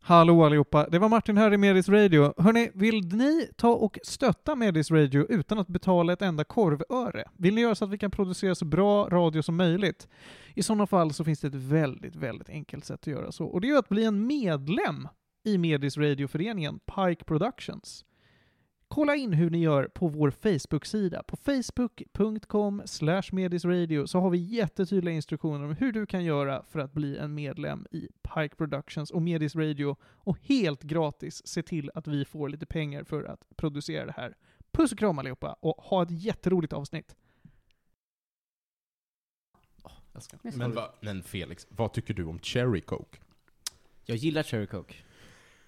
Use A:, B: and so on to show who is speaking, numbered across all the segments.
A: Hallå allihopa, det var Martin här i Medis Radio. Hörni, vill ni ta och stötta Medis Radio utan att betala ett enda korvöre? Vill ni göra så att vi kan producera så bra radio som möjligt? I sådana fall så finns det ett väldigt, väldigt enkelt sätt att göra så och det är att bli en medlem i Medis Radio-föreningen Pike Productions. Kolla in hur ni gör på vår Facebook-sida. På facebook.com medisradio så har vi jättetydliga instruktioner om hur du kan göra för att bli en medlem i Pike Productions och Medis Radio och helt gratis se till att vi får lite pengar för att producera det här. Puss och kram allihopa och ha ett jätteroligt avsnitt.
B: Jag, ska.
C: Men
B: Men,
C: sorry.
B: va, men Felix, vad tycker du om cherry coke?
C: jag gillar cherry coke.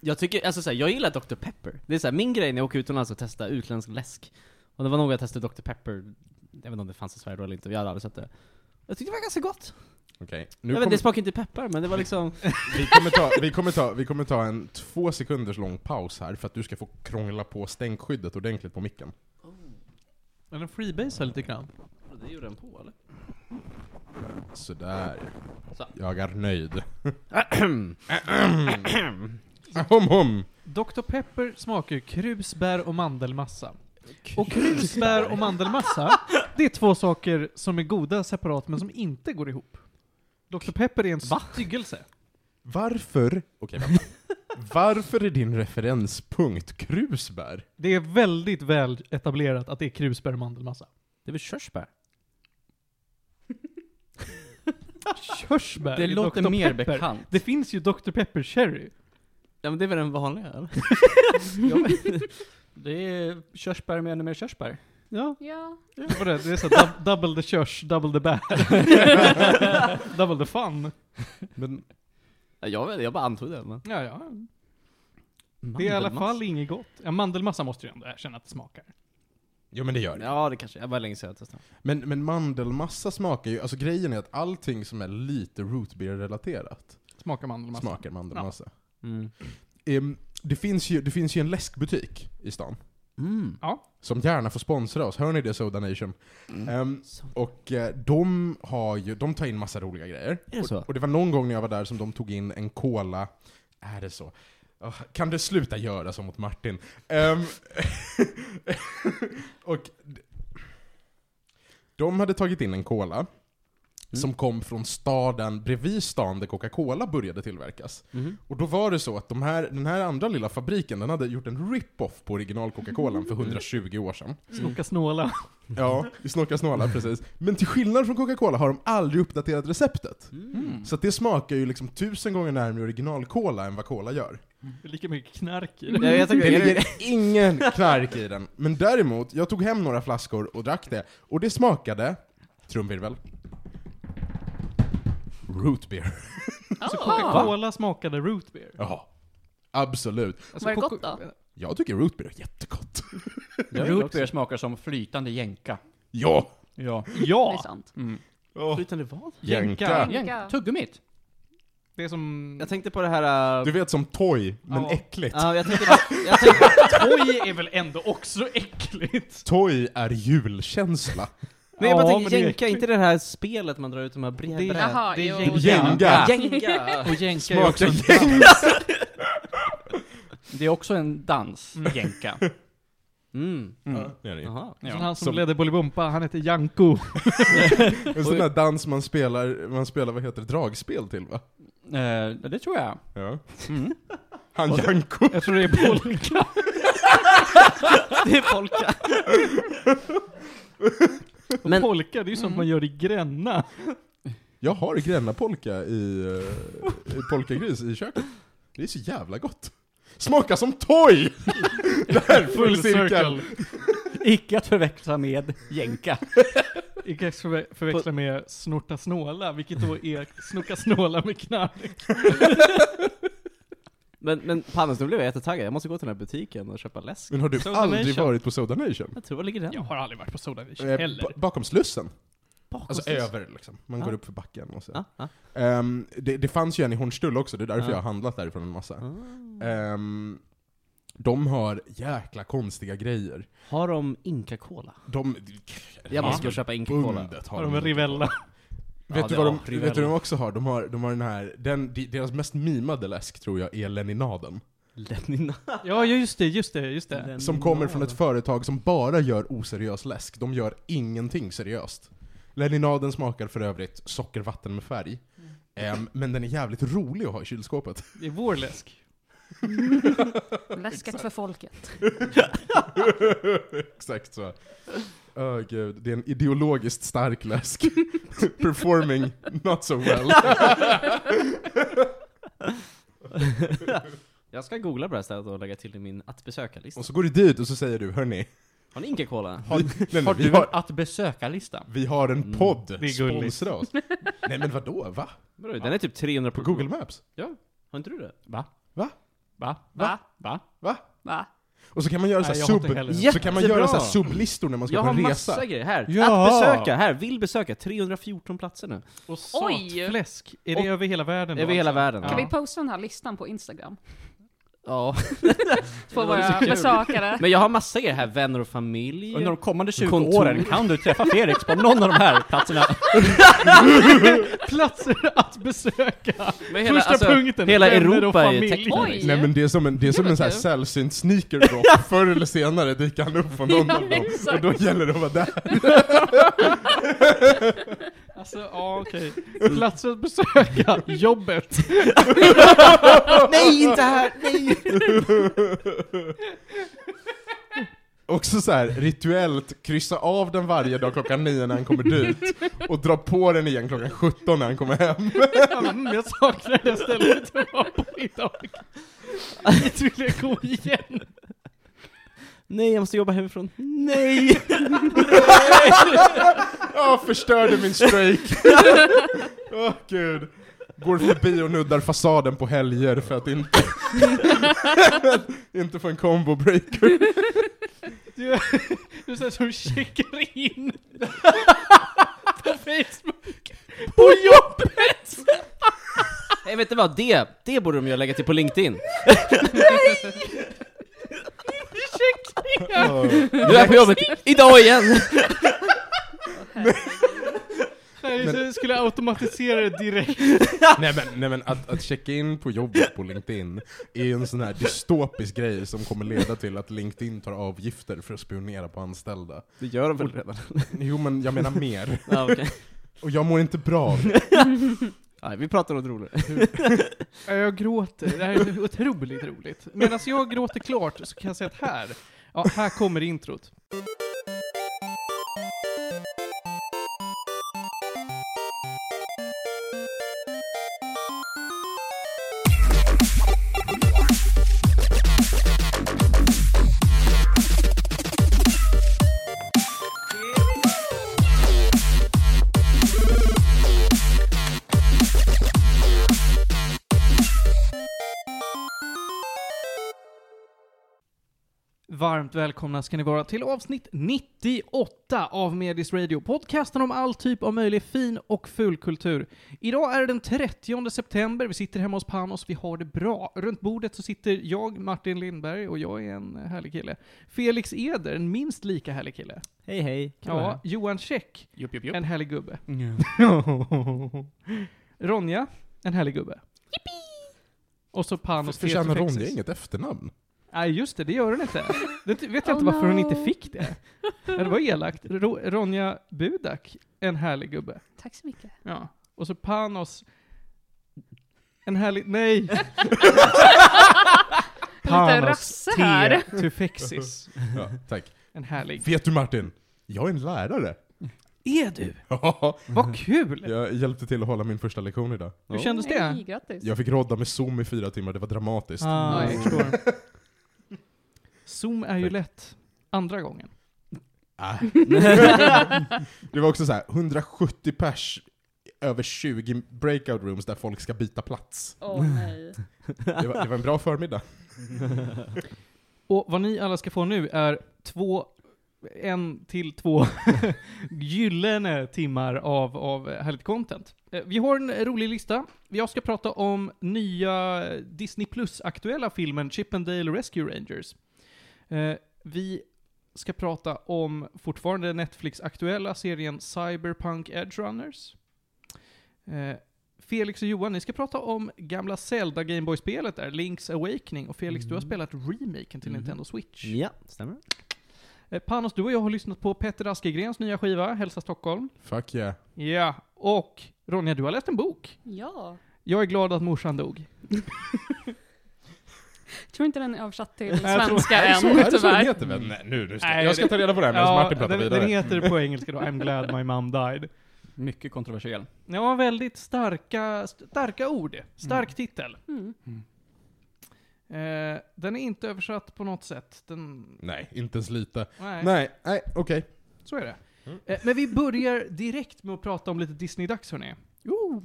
D: Jag tycker, alltså såhär, jag gillar Dr Pepper. Det är såhär, min grej när jag åker utomlands och testar utländsk läsk. Och det var nog jag testade Dr Pepper, jag vet inte om det fanns i Sverige då eller inte, jag hade aldrig sett det. Jag tyckte det var ganska gott.
B: Okej,
D: Jag
B: nu
D: vet,
B: kommer,
D: det smakade inte peppar, men det var liksom...
B: vi, kommer ta, vi, kommer ta, vi kommer ta en två sekunders lång paus här för att du ska få krångla på stänkskyddet ordentligt på micken.
A: Men den freebasar lite grann.
D: Det gjorde den på eller?
B: Sådär.
D: Så.
B: Jag är nöjd. hum hum!
A: Dr Pepper smakar ju krusbär och mandelmassa. Och krusbär och mandelmassa, det är två saker som är goda separat men som inte går ihop. Dr Pepper är en styggelse.
B: Varför... Okej, vänta. Varför är din referenspunkt krusbär?
A: Det är väldigt väl etablerat att det är krusbär och mandelmassa.
D: Det är väl körsbär?
A: Körsbär
D: Det
A: är
D: låter
A: Dr.
D: mer
A: Pepper.
D: bekant.
A: Det finns ju Dr Pepper Cherry.
D: Ja men det är väl den vanliga eller?
E: Det är körsbär med ännu mer körsbär.
A: Ja,
C: Ja.
A: det var det. Det är så dub double the körs, double the bär. double the fun.
B: Men
D: Ja, Jag vet jag bara antog det. Men...
A: Ja, ja. Det är i alla fall inget gott. Ja, mandelmassa måste ju ändå erkänna att det smakar.
B: Jo men det gör det.
D: Ja det kanske, det var länge sedan jag testade.
B: Men, men mandelmassa smakar ju, alltså grejen är att allting som är lite root beer relaterat
A: Smakar mandelmassa.
B: smakar mandelmassa.
D: Mm.
B: Ehm, det, finns ju, det finns ju en läskbutik i stan,
D: Mm.
B: som gärna får sponsra oss, hör ni det Soda Nation? Ehm,
D: Så.
B: och eh, de har ju, de tar in massa roliga grejer.
D: Är det så?
B: Och det var någon gång när jag var där som de tog in en cola, är det så? Ah, Kan du sluta göra så mot Martin? Ehm, och d- de hade tagit in en cola som kom från staden bredvid stan där Coca-Cola började tillverkas.
D: Mhm.
E: Mm.
B: Och då var det så att de här, den här andra lilla fabriken, den hade gjort en rip-off på original Coca-Colan för 120 år sedan.
A: Snoka snåla.
B: Ja, i Snorka Snåla, precis. Men till skillnad från Coca-Cola har de aldrig uppdaterat
D: Mm.
B: receptet.
A: Mm.
B: Så att det smakar ju liksom tusen gånger närmare original-cola än vad cola gör.
A: Det är lika mycket knark i det.
D: Ja, jag
B: Det
D: tänkte,
B: ligger ingen knark i den. Men däremot, jag tog hem några flaskor och drack det, och det smakade, trumvirvel, root beer.
A: Så Alltså,
C: Ah.
A: Coca-Cola smakade root beer. Alltså,
B: Jaha. Absolut.
C: Var det
A: Coca-
C: gott då?
B: Jag tycker root beer är jättegott.
E: Root beer smakar som flytande jänka.
B: Ja!
E: Ja.
C: Det är
A: Ja!
C: sant.
D: flytande vad?
A: Jänka.
C: Jänka.
E: Tuggummit.
A: Det är som...
D: Jag tänkte på det här... äh,
B: Du vet som toy, men
A: Ja.
B: äckligt.
D: Ja, jag tänkte på... Jag tänkte,
A: Toy är väl ändå också äckligt?
B: Toy är julkänsla.
D: Nej jag bara
A: Ja,
D: tänker,
A: men det är
D: jänka, inte det här spelet man drar ut de här
A: Det är-
D: bredbrädan?
C: Jaha,
A: det är
C: jo.
B: Jenga!
D: Jänka!
A: Och jänka är också
B: Smakar
A: en
B: jänga!
E: Det är också en dans, jänka.
D: Mm,
E: Mm.
B: Det är det ju.
D: jaha.
A: Ja.
E: Ja.
A: Han som,
B: Som-
A: ledde Bolibompa, han heter Janko.
B: En sån där dans man spelar, man spelar vad heter det, dragspel till va?
E: Eh, det tror jag.
B: Ja.
E: Mm.
B: Han Janko.
A: Jag tror det är polka.
D: Det är polka. Men-
A: polka, det är ju sånt man gör i Gränna.
B: Jag har grännapolka i, eh, i polkagris i köket. Det är så jävla gott. Smakar som toy! Det här är full cirkel.
E: Icke att förväxla med jänka.
A: Vi kan förve- förväxla med snorta snåla, vilket då är snoka snåla med knark.
D: Men, men Pannes, nu blev jag jättetaggad. Jag måste gå till den här butiken och köpa läsk.
B: Men har du
A: Soda
B: aldrig
A: Nation.
B: varit på Soda Nation?
D: Jag tror var ligger den?
A: Jag har aldrig varit på Soda Nation
B: Eh,
A: heller.
B: ba- bakom Slussen?
D: Bakom
B: Alltså
D: oss.
B: över liksom. Man
D: Ja.
B: går upp för backen och så.
D: Ja, ja.
B: Ehm, det, det fanns ju en i Hornstull också, det är därför
D: Ja.
B: jag har handlat därifrån en massa.
D: Ah.
B: Ehm, de har jäkla konstiga grejer.
D: Har de Inka-cola?
B: De...
D: Jag måste gå och köpa Inka-cola.
B: Bundet
A: har de en Rivella?
B: Vet,
F: Ja,
B: du
F: det-
B: vad
F: ja,
B: de,
F: Rivella.
B: vet du vad de också har? De har, de har den här, den, de- deras mest mimade läsk tror jag är Leninaden.
D: Lenin.
A: Ja, just det, just det, just det.
B: Som kommer från ett företag som bara gör oseriös läsk. De gör ingenting seriöst. Leninaden smakar för övrigt sockervatten med färg. Ehm, men den är jävligt rolig att ha i kylskåpet.
A: Det är vår läsk.
C: Läsket för folket.
B: Exakt så. Åh gud, det är en ideologiskt stark läsk. Performing not so well.
D: Jag ska googla på det här stället och lägga till i min att besöka-lista.
B: Och så går du dit och så säger du, hörni,
D: Har ni Inka Cola?
B: har, nej, nej,
F: Har
B: vi,
F: du
B: har,
F: att besöka-lista?
B: vi har en
D: Mm,
B: podd,
A: det är gulligt.
B: sponsra oss. Nej men vadå, va?
D: Bra, Den är typ 300
B: På Google Maps?
D: Har inte du det?
F: Va?
B: Va?
F: Va?
B: Va?
F: Va?
C: Va?
B: Och så kan man göra så
A: Nej,
B: här
A: jag har inte heller
B: sub...
D: det.
B: Så kan man
D: Jättebra.
B: göra så här sublistor när man ska
D: Jag
B: på
D: har
B: en resa.
D: massa grejer här.
F: Ja.
D: Att besöka, här, vill besöka, 314 platser nu.
A: Och
C: Oj!
A: satfläsk. Är det
D: Och-
A: över hela världen då,
D: Över hela
A: alltså?
D: världen.
A: Ja.
C: Kan vi posta den här listan på Instagram?
D: Ja.
C: På
D: Det var så
C: våra
D: kul.
C: besökare.
D: Men jag har massa grejer här, vänner och familj.
F: Under de kommande 20
D: Kontor.
F: åren kan du träffa Felix på någon av de här platserna.
A: Platser att besöka!
D: Men
A: Första punkten,
D: hela alltså-
A: vänner och
D: Europa är ju
A: familj.
D: tecknat.
C: Oj.
D: liksom.
B: Nej men det är som en, det är som
C: Det
B: en så här
C: låter-
B: sällsynt sneaker drop. Förr eller senare dyker han upp på någon
C: Ja,
B: av dem.
C: exakt.
B: Och då gäller det att vara där.
A: Alltså, ja okej. Platser att besöka, jobbet.
D: Nej, inte här! Nej!
B: Också så här rituellt kryssa av den varje dag klockan nio när han kommer dit. Och dra på den igen klockan 17 när han kommer hem.
A: Mm, jag saknar det stället jag var på idag. Dit vill jag gå igen.
D: Nej, jag måste jobba hemifrån. Nej!
B: Ja, förstörde min strejk. Åh gud. Går förbi och nuddar fasaden på helger för att inte, inte få en combo breaker.
A: Du, du är sån som checkar in på Facebook. På jobbet!
D: Nej, vet du vad? Det, det borde de ju lägga till på LinkedIn. Du är på jobbet idag igen!
A: Nej,
B: Men-
A: så jag skulle automatisera det direkt.
B: Nej men, nej, men att, att checka in på jobbet på LinkedIn är en sån här dystopisk grej som kommer leda till att LinkedIn tar avgifter för att spionera på anställda.
D: Det gör de väl redan?
B: Jo men jag menar mer.
D: Ja, okej.
B: Och jag mår inte bra av det.
D: Nej, vi pratar något roligt.
A: Ja, Jag gråter, det här är så otroligt roligt. Medan jag gråter klart så kan jag säga att här, ja, här kommer introt. Varmt välkomna ska ni vara till avsnitt 98 av Medis Radio, podcasten om all typ av möjlig fin och ful kultur. Idag är det den 30 september, vi sitter hemma hos Panos, vi har det bra. Runt bordet så sitter jag, Martin Lindberg, och jag är en härlig kille. Felix Eder, en minst lika härlig kille.
D: Hej, hej.
A: Ja, Johan Käck,
F: Jupp, jupp, jupp.
A: en härlig gubbe. Ronja, en härlig gubbe. Och så Panos
B: Förtjänar
A: T2
B: Ronja
A: Texas.
B: inget efternamn?
A: Nej just det, det gör hon inte. Det ty- vet jag
C: Oh
A: inte varför hon
C: no.
A: inte fick det. Ja, Det var elakt. Ro- Ronja Budak, en härlig gubbe.
C: Tack så mycket.
A: Ja. Och så Panos, en härlig... Nej!
C: Lite
A: Panos
C: rasse
A: T.
C: här.
A: Tufexis,
B: Ja, tack.
A: en härlig.
B: Vet du Martin? Jag är en lärare.
A: Är du?
B: Ja,
A: Vad kul!
B: jag hjälpte till att hålla min första lektion idag.
A: Hur kändes
C: Hej,
A: det?
C: grattis.
B: Jag fick rodda med Zoom i fyra timmar, det var dramatiskt.
A: Ah, jag
C: Mm.
A: förstår. Zoom är ju lätt andra gången.
B: Ah. det var också så här, 170 pers över 20 breakout rooms där folk ska byta plats.
C: Åh nej.
B: Det var, det var en bra förmiddag.
A: Och vad ni alla ska få nu är två, en till två gyllene timmar av, av härligt content. Eh, Vi har en rolig lista. Jag ska prata om nya Disney Plus-aktuella filmen Chippendale Rescue Rangers. Eh, Vi ska prata om fortfarande Netflix-aktuella serien Cyberpunk Edge Runners. Eh, Felix och Johan, ni ska prata om gamla Zelda Gameboy-spelet där, Link's Awakening. Och Felix, du har spelat remaken till
G: Mhm.
A: Nintendo Switch.
G: Ja, stämmer.
A: Eh, Panos, du och jag har lyssnat på Petter Askegrens nya skiva, Hälsa Stockholm.
B: Fuck yeah.
A: Ja, och Ronja, du har läst en bok.
C: Ja.
A: Jag är glad att morsan dog.
C: Tror inte den är översatt till
A: jag tror-
C: svenska
B: Är det så- är
C: än,
B: det så den
C: tyvärr.
B: heter? väl? Nej, nu, nu ska,
A: Mm. Nej,
B: jag ska
A: det-
B: ta reda på det här medan Martin pratar
A: den,
B: vidare.
A: den heter på engelska då, I'm glad my mom died.
D: Mycket kontroversiell.
A: Ja, väldigt starka, starka ord. Stark titel.
C: Mm.
A: Eh, den är inte översatt på något sätt. Den,
B: Nej, inte ens lite.
A: nej,
B: Nej, nej, okej.
A: så är det.
B: Mm.
A: Eh, men vi börjar direkt med att prata om lite Disney-dags hörni.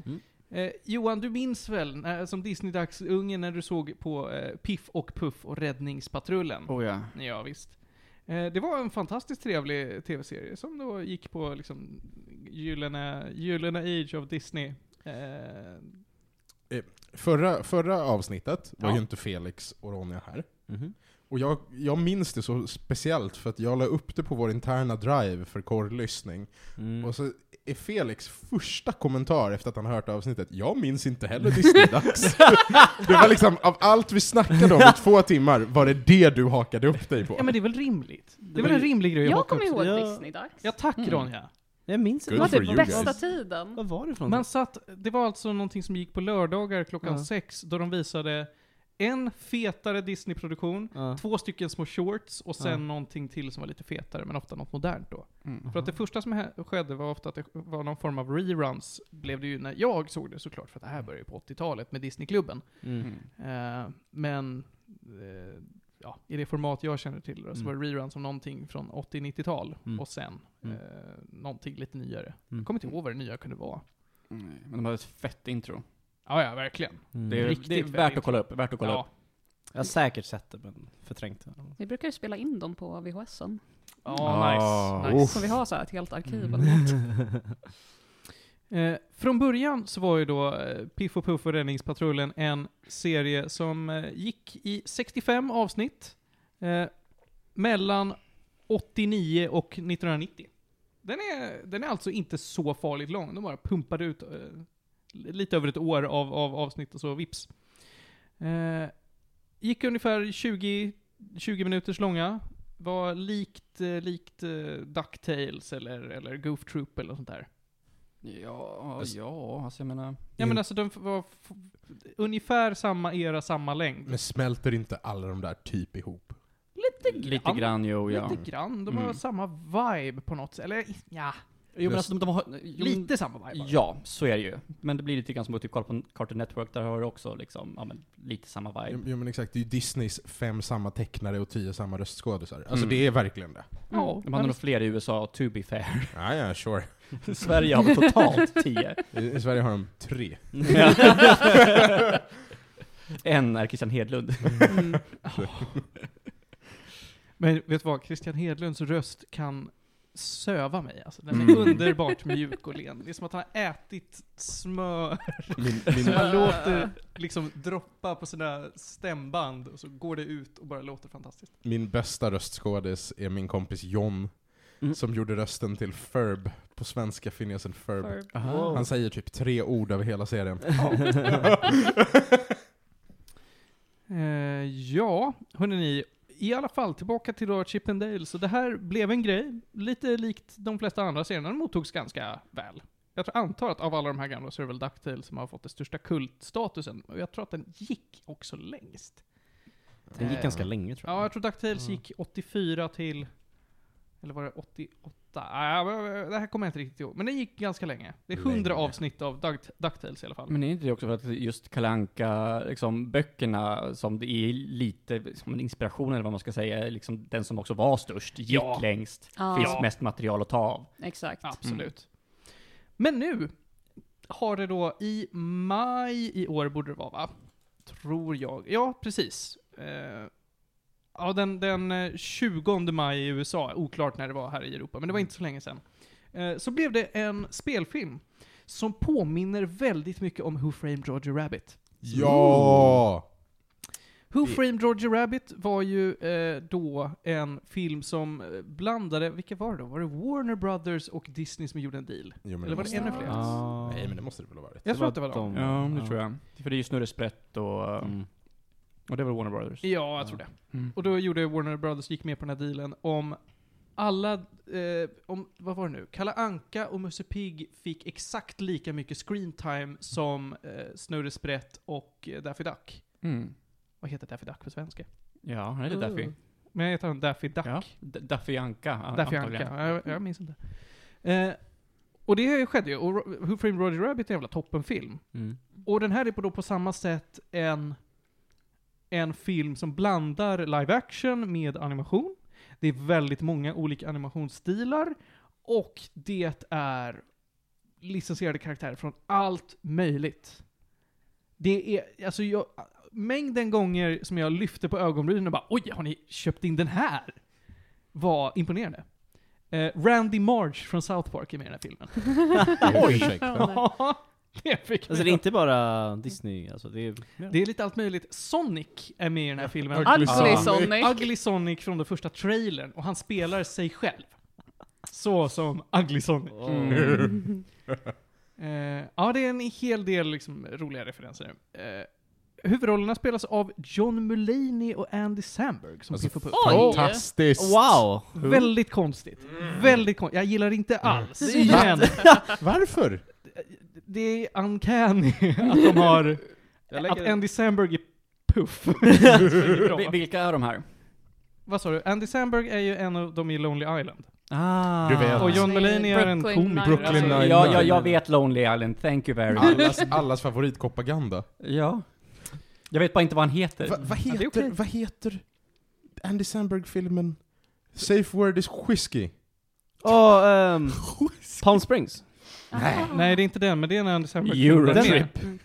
G: Mm.
A: Eh, Johan, du minns väl när, som Disney-dags-unge när du såg på eh, Piff och Puff och Räddningspatrullen?
D: Oh ja.
A: Ja, visst. Eh, det var en fantastiskt trevlig tv-serie som då gick på liksom gyllene, gyllene Age of Disney. Eh,
B: Förra, förra avsnittet var
A: Ja.
B: ju inte Felix och Ronja här.
G: Mhm.
B: Och jag, jag minns det så speciellt för att jag la upp det på vår interna drive för korrlyssning.
G: Mm.
B: Och så är Felix första kommentar efter att han hört avsnittet, jag minns inte heller Disney-dags. det var liksom, av allt vi snackade om i två timmar, var det det du hakade upp dig på?
A: ja men det är väl rimligt? Det är väl
G: var
A: en
G: ju- Mm.
A: rimlig grej att
C: Jag
A: haka
C: kommer
A: upp sig-
C: ihåg
G: Ja.
C: Disney-dags.
A: Ja tack Ronja.
G: Jag minns
C: Det
B: Good
G: inte.
C: var
G: Vad
B: for
C: typ
B: you
C: bästa
B: guys.
C: tiden.
G: vad var det för
A: Man
G: någonting?
A: satt, det var alltså någonting som gick på lördagar klockan
G: Ja.
A: sex, då de visade en fetare Disney-produktion,
G: Ja.
A: två stycken små shorts och sen
G: Ja.
A: någonting till som var lite fetare, men ofta något modernt då.
D: Mm.
A: För att det första som hä- skedde var ofta att det var någon form av reruns, blev det ju när jag såg det såklart, för att det här började ju på 80-talet med Disneyklubben.
G: Mm.
D: Mm.
A: Eh, men eh, ja, i det format jag känner till då, så
G: Mm.
A: var det reruns om någonting från 80-90-tal
G: Mm.
A: och sen
G: Mm.
A: eh, någonting lite nyare.
G: Mm.
A: Jag kommer inte ihåg vad det nya kunde vara.
D: Nej, Men de hade ett fett intro.
A: Ja, ja, verkligen.
D: Det är,
A: Riktigt
D: det är värt
A: väldigt.
D: att kolla upp. Värt att kolla
A: Ja.
D: upp.
G: Mm. Jag har säkert sett det, men förträngt det.
C: Vi brukar ju spela in dem på VHSen.
A: Ja,
B: Ah,
A: nice. nice.
C: Så vi har så här ett helt arkiv.
A: Eh, från början så var ju då eh, Piff och Puff och Räddningspatrullen en serie som eh, gick i 65 avsnitt eh, mellan 89 och 1990. Den är, den är alltså inte så farligt lång, de bara pumpade ut eh, lite över ett år av, av avsnitt och så vips. Eh, gick ungefär 20, 20 minuters långa, var likt, eh, likt eh, DuckTales eller, eller Goof Troop eller något sånt där.
D: Ja, ja, alltså jag menar.
A: Ja men alltså de var f- ungefär samma era, samma längd.
B: Men smälter inte alla de där typ ihop?
A: Lite
D: Lite grann jo, ja.
A: Lite grann. De har
D: Mm.
A: samma vibe på något sätt. Eller ja,
D: Jo men alltså de, de har... Jo, men-
A: lite samma vibe. bara.
D: Ja, så är det ju. Men det blir lite grann som att typ kolla på Cartoon Network, där har du också liksom, ja men lite samma vibe.
B: Jo,
G: Mm.
B: jo men exakt, det är ju Disneys fem samma tecknare och tio samma röstskådisar. Alltså
D: Mm.
B: det är verkligen det.
A: Ja,
D: De hade
A: men-
D: nog fler i USA, to be fair.
B: Ja, ja, sure.
D: Sverige har väl totalt tio.
B: I, i Sverige har de tre.
D: en är Christian Hedlund.
A: Men vet du vad? Christian Hedlunds röst kan söva mig. Alltså, den är
D: Mm.
A: underbart mjuk och len. Det är som att han har ätit smör
B: Min,
A: som
B: min,
A: han låter liksom droppa på sina stämband och så går det ut och bara låter fantastiskt.
B: min bästa röstskådis är min kompis John,
D: Mm.
B: som gjorde rösten till Ferb. På svenska finns en Ferb.
C: För
B: Han säger typ tre ord över hela serien.
A: Eh, ja, hörni ni. I alla fall, tillbaka till då Chip and Dale. Så det här blev en grej, lite likt de flesta andra serierna. Den mottogs ganska väl. Jag tror, antar att av alla de här gamla så är det väl DuckTales som har fått den största kultstatusen. Och jag tror att den gick också längst.
G: Den gick ganska länge tror jag.
A: Ja, jag tror DuckTales gick 84 till... Eller var det 88? Ah, det här kommer jag inte riktigt ihåg. Men den gick ganska länge. Det är 100
B: Länge.
A: avsnitt av Duck- DuckTales i alla fall.
D: Men är inte det också för att just Kalanka, liksom böckerna som det är lite som en inspiration eller vad man ska säga, liksom den som också var störst, gick
A: Ja.
D: längst,
C: Ja.
D: finns
A: Ja.
D: mest material att ta av.
C: Exakt.
A: Absolut. Mm. Men nu har det då i maj i år, borde det vara va? Tror jag. Ja, precis. Eh, ja, den, den eh, 20 maj i USA, oklart när det var här i Europa, men det var inte så länge sedan. Eh, så blev det en spelfilm som påminner väldigt mycket om Who Framed Roger Rabbit.
B: ja!
A: Who
B: Det-
A: Framed Roger Rabbit var ju eh, då en film som eh, blandade, vilka var det då? Var det Warner Brothers och Disney som gjorde en deal?
B: Jo, men
A: Eller var det
B: måste-
A: ännu fler?
G: Ah.
B: Nej, men det måste det väl ha varit?
A: Jag tror att det var dem.
D: Ja, det tror jag. För det är ju Snurre Sprätt och, eh,
G: Mm.
D: och det var Warner Brothers.
A: Ja, jag tror det.
D: Mm.
A: Och då gjorde Warner Brothers, gick med på den här dealen om alla, eh, om, vad var det nu? Kalle Anka och Musse Pigg fick exakt lika mycket screen time som eh, Snurre Sprätt och eh, Daffy Duck.
D: Mm.
A: Vad heter Daffy Duck på svenska?
D: Ja, han heter Daffy.
A: Men jag heter han Daffy Duck.
D: Ja. D- Daffy Anka. an-
A: Daffy
D: antagligen.
A: Anka. Jag, jag minns inte. Eh, och det skedde ju. Och Ro- Who Framed Roger Rabbit är en jävla toppenfilm.
G: Mm.
A: Och den här är på, då på samma sätt en, en film som blandar live action med animation. Det är väldigt många olika animationsstilar. Och det är licensierade karaktärer från allt möjligt. Det är, alltså jag, mängden gånger som jag lyfte på ögonbrynen och bara oj, har ni köpt in den här? Var imponerande. Eh, Randy Marge från South Park är med i den här filmen.
B: Oj!
A: Ja, det fick
G: Alltså det
A: mig
G: är inte bara Disney, alltså det är...
A: det är lite allt möjligt. Sonic är med i den här filmen.
C: Ugly
D: Ah.
C: Sonic.
A: Ugly Sonic från den första trailern, och han spelar sig själv. Så som Ugly Sonic. Eh, ja, det är en hel del liksom, roliga referenser. Eh, huvudrollerna spelas av John Mulaney och Andy Samberg som
B: Alltså,
A: Piff och Puff.
C: Oj!
B: Fantastiskt!
G: Wow!
A: Mm. Väldigt konstigt. Väldigt konstigt. Jag gillar det inte alls.
C: Mm.
A: Men
B: Varför?
A: det är uncanny att de har... Att Andy Samberg är Puff. Det är bra.
D: Vi- Vilka är de här?
A: Vad sa du? Andy Samberg är ju en av dem i Lonely Island.
D: Ah.
B: Du vet.
A: Och John Mulaney är en
C: Brooklyn
A: komiker. Alltså,
C: Nine-Nine.
B: Brooklyn
D: Ja,
B: Nine-Nine.
D: ja, jag vet Lonely Island, thank you very much.
B: Allas, allas favoritpropaganda.
D: Ja. Jag vet bara inte vad han heter.
B: Va, vad,
A: det är
B: heter,
A: okej.
B: vad heter Andy Samberg-filmen? Safe word is whisky.
G: Och ehm... Palm Springs.
A: Nej, det är inte den, men det är en Andy Samberg.
D: Eurotrip.
A: Den är-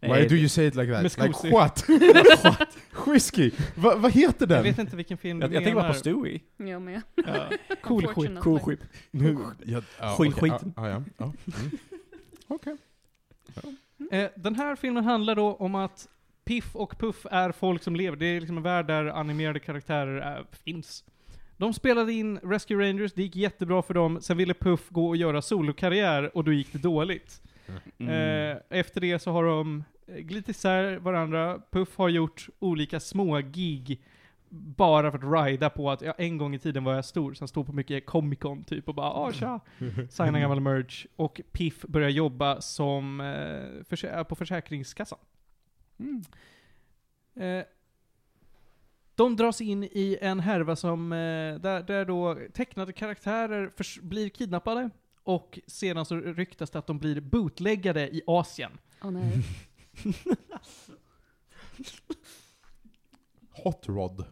B: Why do you say it like that?
A: Med
B: Like what? what? Whisky? Va, vad heter
A: Jag
B: den?
A: vet inte vilken film
D: Jag,
A: du
D: jag tänker bara på
A: menar.
D: Stewie.
C: Jag med.
A: Cool skit.
C: Unfortunately.
D: Cool skip.
B: Nu, jag, ja,
D: Skit-
B: okej.
D: skiten.
B: Ja, ja, ja. Mm.
A: Eh, Den här filmen handlar då om att Piff och Puff är folk som lever. Det är liksom en värld där animerade karaktärer är, finns. De spelade in Rescue Rangers, det gick jättebra för dem. Sen ville Puff gå och göra solokarriär och då gick det dåligt.
D: Mm.
A: Eh, efter det så har de eh, glidit isär varandra. Puff har gjort olika små gig bara för att rida på att ja, en gång i tiden var jag stor, sen stod på mycket Comic Con typ och bara ah tja, signa gammal merch. Och Piff börjar jobba som eh, försä- på Försäkringskassan. Eh, de dras in i en härva som, eh, där, där då tecknade karaktärer förs- blir kidnappade och sedan så ryktas det att de blir bootleggade i Asien.
C: Åh
A: Mm.
C: nej.
B: Hot Rod.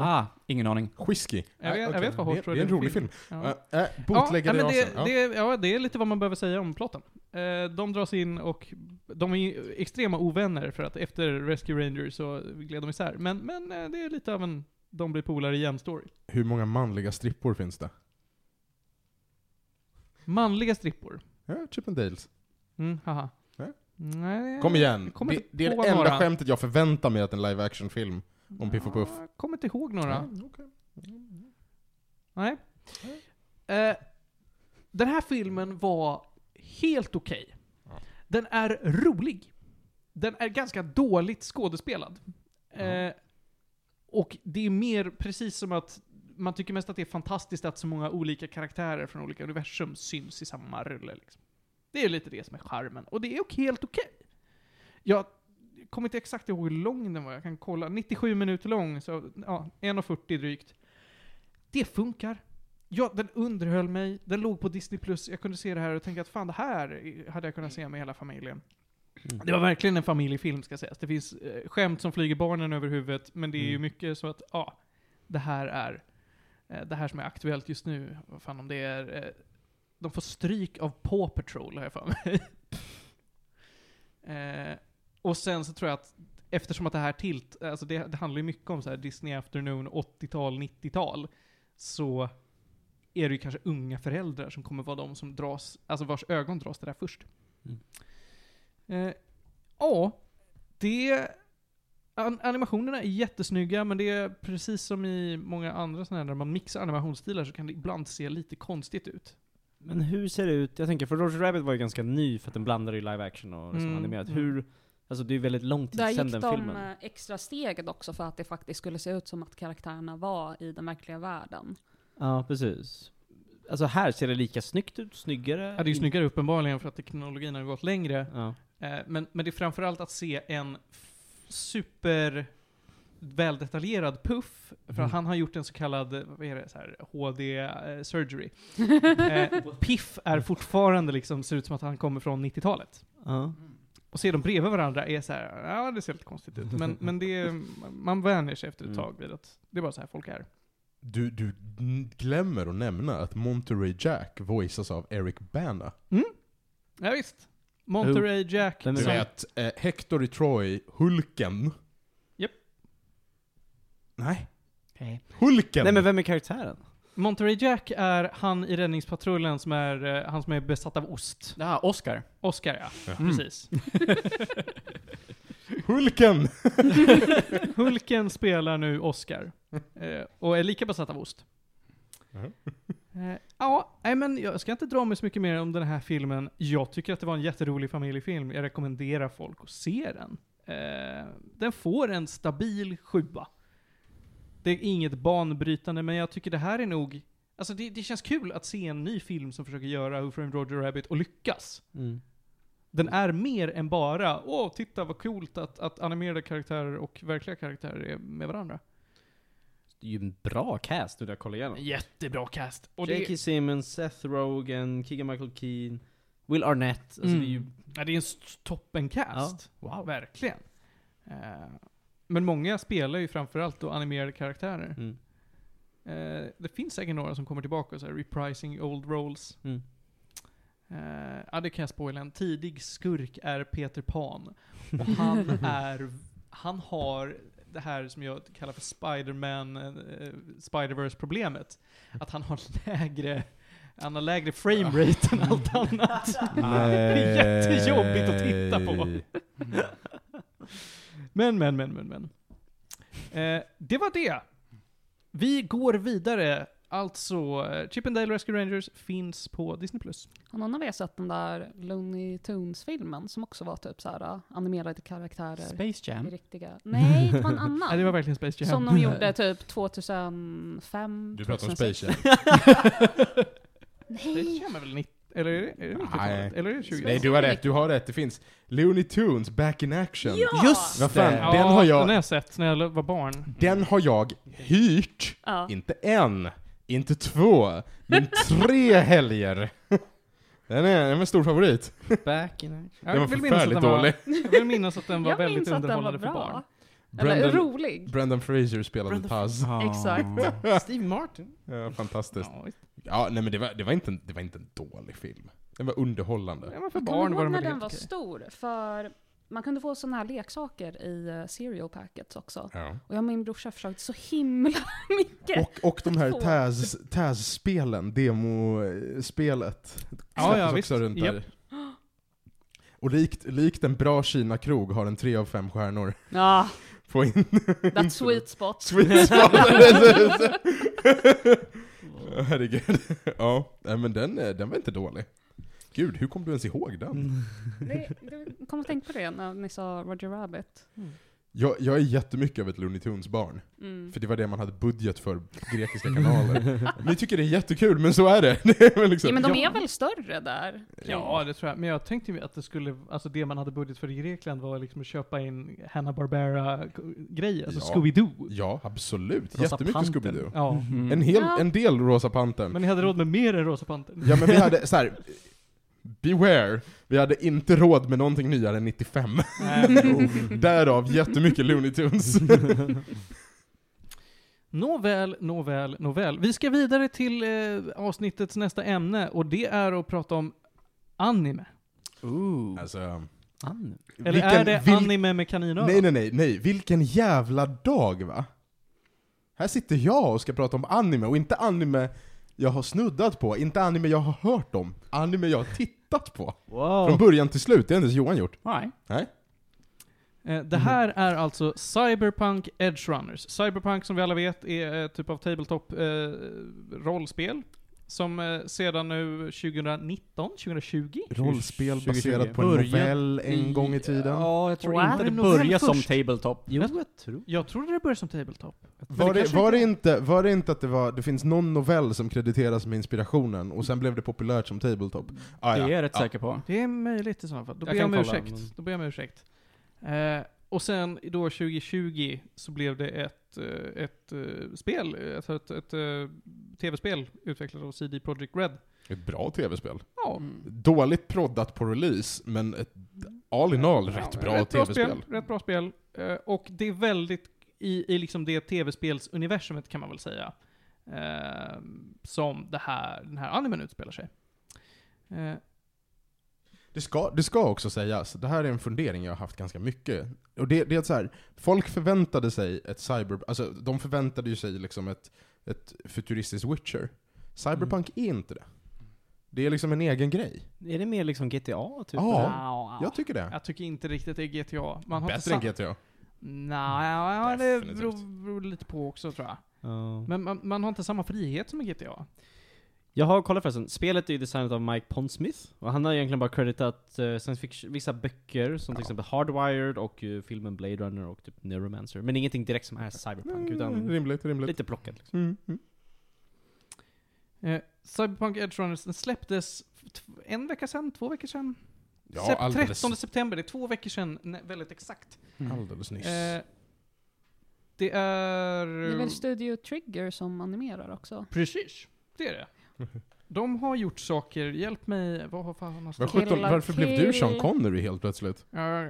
D: Ah, ingen aning.
B: Whisky.
A: Jag vet- jag
B: okej.
A: vet vad Hot
B: Det-
A: Rod
B: Det är en
A: är för
B: rolig film.
A: film.
B: Ja. Äh,
A: ja,
B: Bootläggare
A: nej, men
B: i Asien.
A: det, det, ja, det är lite vad man behöver säga om plotten. Eh, de dras in och de är ju extrema ovänner för att efter Rescue Rangers så gled de isär. Men, men eh, det är lite av en de blir polare igen-story.
B: ja. Hur många manliga strippor finns det?
A: Manliga strippor.
B: Ja, Chippendales.
A: Mm, haha.
B: Nej.
A: Nej.
B: Äh? Kom igen.
A: Eh, Kommer
B: Det,
A: inte
B: det är
A: på
B: det enda
A: några.
B: skämtet jag förväntar mig att en live action-film om Piff och Puff.
A: Ja, Kommer inte ihåg några.
B: Ja, okej.
A: Nej. Eh, den här filmen var helt okej. Den är rolig. Den är ganska dåligt skådespelad. Eh, och det är mer precis som att man tycker mest att det är fantastiskt att så många olika karaktärer från olika universum syns i samma rulle. Liksom. Det är lite det som är charmen. Och det är ok- helt okej. Jag kommer inte exakt ihåg hur lång den var, jag kan kolla. 97 minuter lång, så ja, 1.40 drygt. Det funkar. Ja, den underhöll mig, den låg på Disney+, Plus. jag kunde se det här och tänka att fan det här hade jag kunnat se med hela familjen. Det var verkligen en familjefilm ska sägas. Det finns eh, skämt som flyger barnen över huvudet, men det är ju
G: Mm.
A: mycket så att ja, det här är eh, det här som är aktuellt just nu. Vad fan om det är... eh, De får stryk av Paw Patrol har jag för mig. eh, och sen så tror jag att eftersom att det här tilt, alltså det, det handlar ju mycket om så här Disney Afternoon 80-tal, 90-tal, så är det ju kanske unga föräldrar som kommer vara de som dras, alltså vars ögon dras till det där först.
G: Mm.
A: Eh, ja, Det... An animationerna är jättesnygga, men det är precis som i många andra sådana här, när man mixar animationsstilar så kan det ibland se lite konstigt ut.
G: Men hur ser det ut? Jag tänker, för Roger Rabbit var ju ganska ny för att den blandade ju live action och liksom
A: Mm,
G: animerat.
A: mm.
G: Hur, alltså det är ju väldigt lång tid
C: Där
G: sedan
C: gick
G: den
C: de
G: filmen.
C: eh, extra steget också för att det faktiskt skulle se ut som att karaktärerna var i den verkliga världen.
G: Ja, precis. Alltså här ser det lika snyggt ut, snyggare.
A: Ja, det är ju
G: In-
A: snyggare uppenbarligen för att teknologin har gått längre.
G: Ja.
A: Eh, Men, men det är framförallt att se en f- super väldetaljerad puff, för
G: Mm.
A: han har gjort en så kallad, eh, vad är det, så här, HD eh, surgery. Eh, Piff är fortfarande liksom, ser ut som att han kommer från 90-talet.
G: Ja.
A: Och se dem bredvid varandra är så här, ja det ser lite konstigt ut. Men, men det, är- man vänjer sig efter ett
G: Mm.
A: tag vid att det är bara så här folk är.
B: Du, du glömmer att nämna att Monterey Jack voices av Eric Bana.
A: Ja, visst. Monterey Jack.
G: Vem är
B: Du
G: det?
A: som-
B: vet, eh, Hector i Troy, Hulken.
A: Japp.
B: Nej.
G: Nej.
B: Hulken!
G: Nej men vem är karaktären?
A: Monterey Jack är han i Räddningspatrullen som är, eh, han som är besatt av ost.
D: Ja, Ah, Oscar.
A: Oscar ja,
B: Ja.
A: precis.
B: Hulken!
A: Hulken spelar nu Oscar. eh, Och är lika besatt av ost.
B: Mhm.
A: Eh, Ja, nej men jag ska inte dra mig så mycket mer om den här filmen. Jag tycker att det var en jätterolig familjefilm. Jag rekommenderar folk att se den. Eh, Den får en stabil sjua. Det är inget banbrytande, men jag tycker det här är nog... Alltså det, det känns kul att se en ny film som försöker göra Who Framed Roger Rabbit och lyckas.
G: Mm.
A: Den är mer än bara åh, titta vad coolt att, att animerade karaktärer och verkliga karaktärer är med varandra.
G: Det är ju en bra cast du där kollar igenom.
A: Jättebra cast. Och det,
G: J.K. Simmons, Seth Rogen, Keegan Michael Keen, Will Arnett. Alltså
A: Mm.
G: det är ju...
A: ja, det är en s- toppencast.
G: Wow.
A: Verkligen. Eh, men många spelar ju framförallt då animerade karaktärer.
G: Mm.
A: Eh, det finns säkert några som kommer tillbaka och så här, reprising old roles.
G: Mm.
A: Eh, ja, det kan jag spoila. En tidig skurk är Peter Pan. Och han är... Han har det här som jag kallar för Spider-Man, eh, Spider-Verse problemet. Att han har lägre... Han har lägre frame rate än allt annat. Det är jättejobbigt att titta på. Men, men, men, men, men. Eh, det var det. Vi går vidare. Alltså, eh, Chip and Dale Rescue Rangers finns på Disney+.
C: Har någon av er sett den där Looney Tunes-filmen som också var typ så här eh, animerade karaktärer?
D: Space
C: i
D: Jam.
C: riktiga. Nej, det var en annan.
A: Nej, det var verkligen Space Jam.
C: Som de gjorde typ 2005,
B: Du pratar om
C: 2006.
B: Space Jam.
A: Space Jam är väl 90 eller är det, är det 90-talet? Eller är det 20
B: Nej, du har rätt, du har rätt. Det finns Looney Tunes, Back in Action.
C: Ja!
D: Just
B: Vad fan,
D: det!
B: den har jag-
A: den har jag sett när jag var barn.
B: Den har jag hyrt,
C: Ja.
B: inte en, inte två, men tre helger. Den är, den är en stor favorit.
G: Back in action.
A: Jag
B: Den var
A: vill minnas att
B: förfärligt
A: den var-
B: dålig.
A: Jag vill minnas att den var
C: Jag
A: väldigt
C: minns att den var
A: underhållande för
C: bra.
A: barn.
C: Eller
B: Brendan,
C: rolig.
B: Brendan Fraser spelade Taz.
C: Exakt.
G: Steve Martin.
B: Ja, fantastiskt.
A: Ja, visst.
B: Ja, nej men det var, det, var inte, en- det var inte en dålig film. Den var underhållande.
A: Ja, men för
C: Kommer
A: barn
C: du
A: var
C: ihåg
A: den
C: när
A: väl
C: den
A: helt
C: var
A: okej.
C: stor? För man kunde få sådana här leksaker i eh, cereal packets också.
B: Ja.
C: Och jag och min brorsa försökte så himla mycket.
B: Och, och de här
C: Två.
B: Taz- Taz-spelen, demospelet.
A: Ja, ja,
B: släpptes
A: visst.
B: också runt där. Och likt, likt en bra Kina-krog har den tre av fem stjärnor.
C: Ja,
B: På in-
C: that sweet spot.
B: Sweet spot. Ja, Herregud. Ja, nej, men den, eh, den var inte dålig. Gud, hur kom du ens ihåg den?
C: Det, det, kom och tänk på det när ni sa Roger Rabbit.
B: Jag, jag är jättemycket av ett Looney Tunes-barn.
C: Mm.
B: För det var det man hade budget för på grekiska kanaler. Ni tycker det är jättekul, men så är det. det är väl liksom,
C: Ja, men de
A: Ja.
C: är väl större där?
A: Ja, det tror jag. Men jag tänkte ju att det skulle, alltså det man hade budget för i Grekland var liksom att köpa in Hanna-Barbera-grejer, alltså
B: Ja.
A: Scooby-Doo.
B: Ja, absolut.
D: Rosa
B: Jättemycket
D: Pantern.
B: Scooby-Doo.
A: Ja.
D: Mhm.
B: En, hel,
C: Ja.
B: en del Rosa Pantern.
A: Mm. Men ni hade råd med mer än Rosa Pantern.
B: Ja men vi hade så här. Beware! Vi hade inte råd med någonting nyare än 95. Därav jättemycket Looney Tunes.
A: Nåväl, nåväl, nåväl. Vi ska vidare till eh, avsnittets nästa ämne och det är att prata om anime.
G: Mm.
D: Ooh.
B: Alltså,
D: Anime.
A: Eller
B: vilken-
A: är det
B: vil-
A: anime med kaninöron?
B: Nej nej nej, nej. Vilken jävla dag va? Här sitter jag och ska prata om anime, och inte anime jag har snuddat på, inte anime jag har hört om, anime jag har tittat på.
G: Wow.
B: Från början till slut, det har inte ens Johan gjort.
D: Nej.
B: Nej.
A: Eh, Det
B: Mm.
A: här är alltså Cyberpunk Edge Runners. Cyberpunk som vi alla vet är eh, typ av tabletop-rollspel. som eh, sedan nu 2019, 2020?
B: Rollspel
D: 2020.
B: baserat på en
D: Början
B: novell en gång i tiden.
D: Ja, jag tror
C: Wow.
D: inte det
C: En
A: novell
D: börjar som
A: först.
D: tabletop.
G: Jo, jag tror.
A: Jag trodde det började som tabletop.
B: Var
A: Men
B: det,
A: kanske
B: var, det inte, var det inte att det var, det finns någon novell som krediteras med inspirationen, och sen blev det populärt som tabletop? Ah,
D: Det är
B: ja.
D: jag rätt
B: Ja.
D: säker på.
A: Det är möjligt i så fall. Då
G: Jag
A: ber jag om
G: kan kolla,
A: ursäkt.
G: men-
A: Då ber jag om ursäkt. Eh, och sen då 2020 så blev det ett, eh, ett eh, spel, ett, ett, ett eh, tv-spel utvecklat av CD Projekt Red.
B: Ett bra tv-spel.
A: Ja,
D: Mm.
B: Dåligt proddat på release, men ett all in all rätt
A: Ja,
B: bra tv-spel.
A: Rätt bra spel. Eh, Och det är väldigt i, i liksom det tv-spelsuniversumet kan man väl säga. Eh, som det här, den här animen utspelar sig. Eh,
B: Det ska, det ska också sägas, det här är en fundering jag har haft ganska mycket. Och det, det är att så här, folk förväntade sig ett cyber... Alltså de förväntade ju sig liksom ett, ett futuristiskt Witcher. Cyberpunk
A: Mm.
B: är inte det. Det är liksom en egen grej.
G: Är det mer liksom GTA, typ?
B: Ja.
G: eller?
A: nja,
B: Jag tycker det.
A: jag tycker inte riktigt det är GTA. Man har
B: Bättre än
A: inte satt-
B: GTA.
A: Nej, det
B: Definitivt.
A: beror, beror lite på också tror jag.
G: Ja.
A: Men man, man har inte samma frihet som i GTA.
G: Jag har kollat förresten, spelet är ju designat av Mike Pondsmith, och han har egentligen bara creditat eh, science fiction, vissa böcker, som till exempel Hardwired och eh, filmen Blade Runner och typ Neuromancer. Men ingenting direkt som är cyberpunk,
B: Mm,
G: utan
B: rimligt, rimligt.
G: lite plockat. Liksom.
B: Mm, mm.
A: Eh, Cyberpunk Edge Runners den släpptes t- en vecka sedan, två veckor sedan?
B: Ja,
A: Sep-
B: alldeles,
A: 13 september, det är två veckor sedan, nej, väldigt exakt.
B: alldeles nyss.
A: Eh, det är...
C: Det är väl Studio Trigger som animerar också?
A: Precis, det är det. De har gjort saker, hjälp mig, vad har fan har
B: Var
A: stått?
B: sjutton,
C: Kill-
B: varför blev du Sean
C: Kill-
B: Connery helt plötsligt?
A: Uh,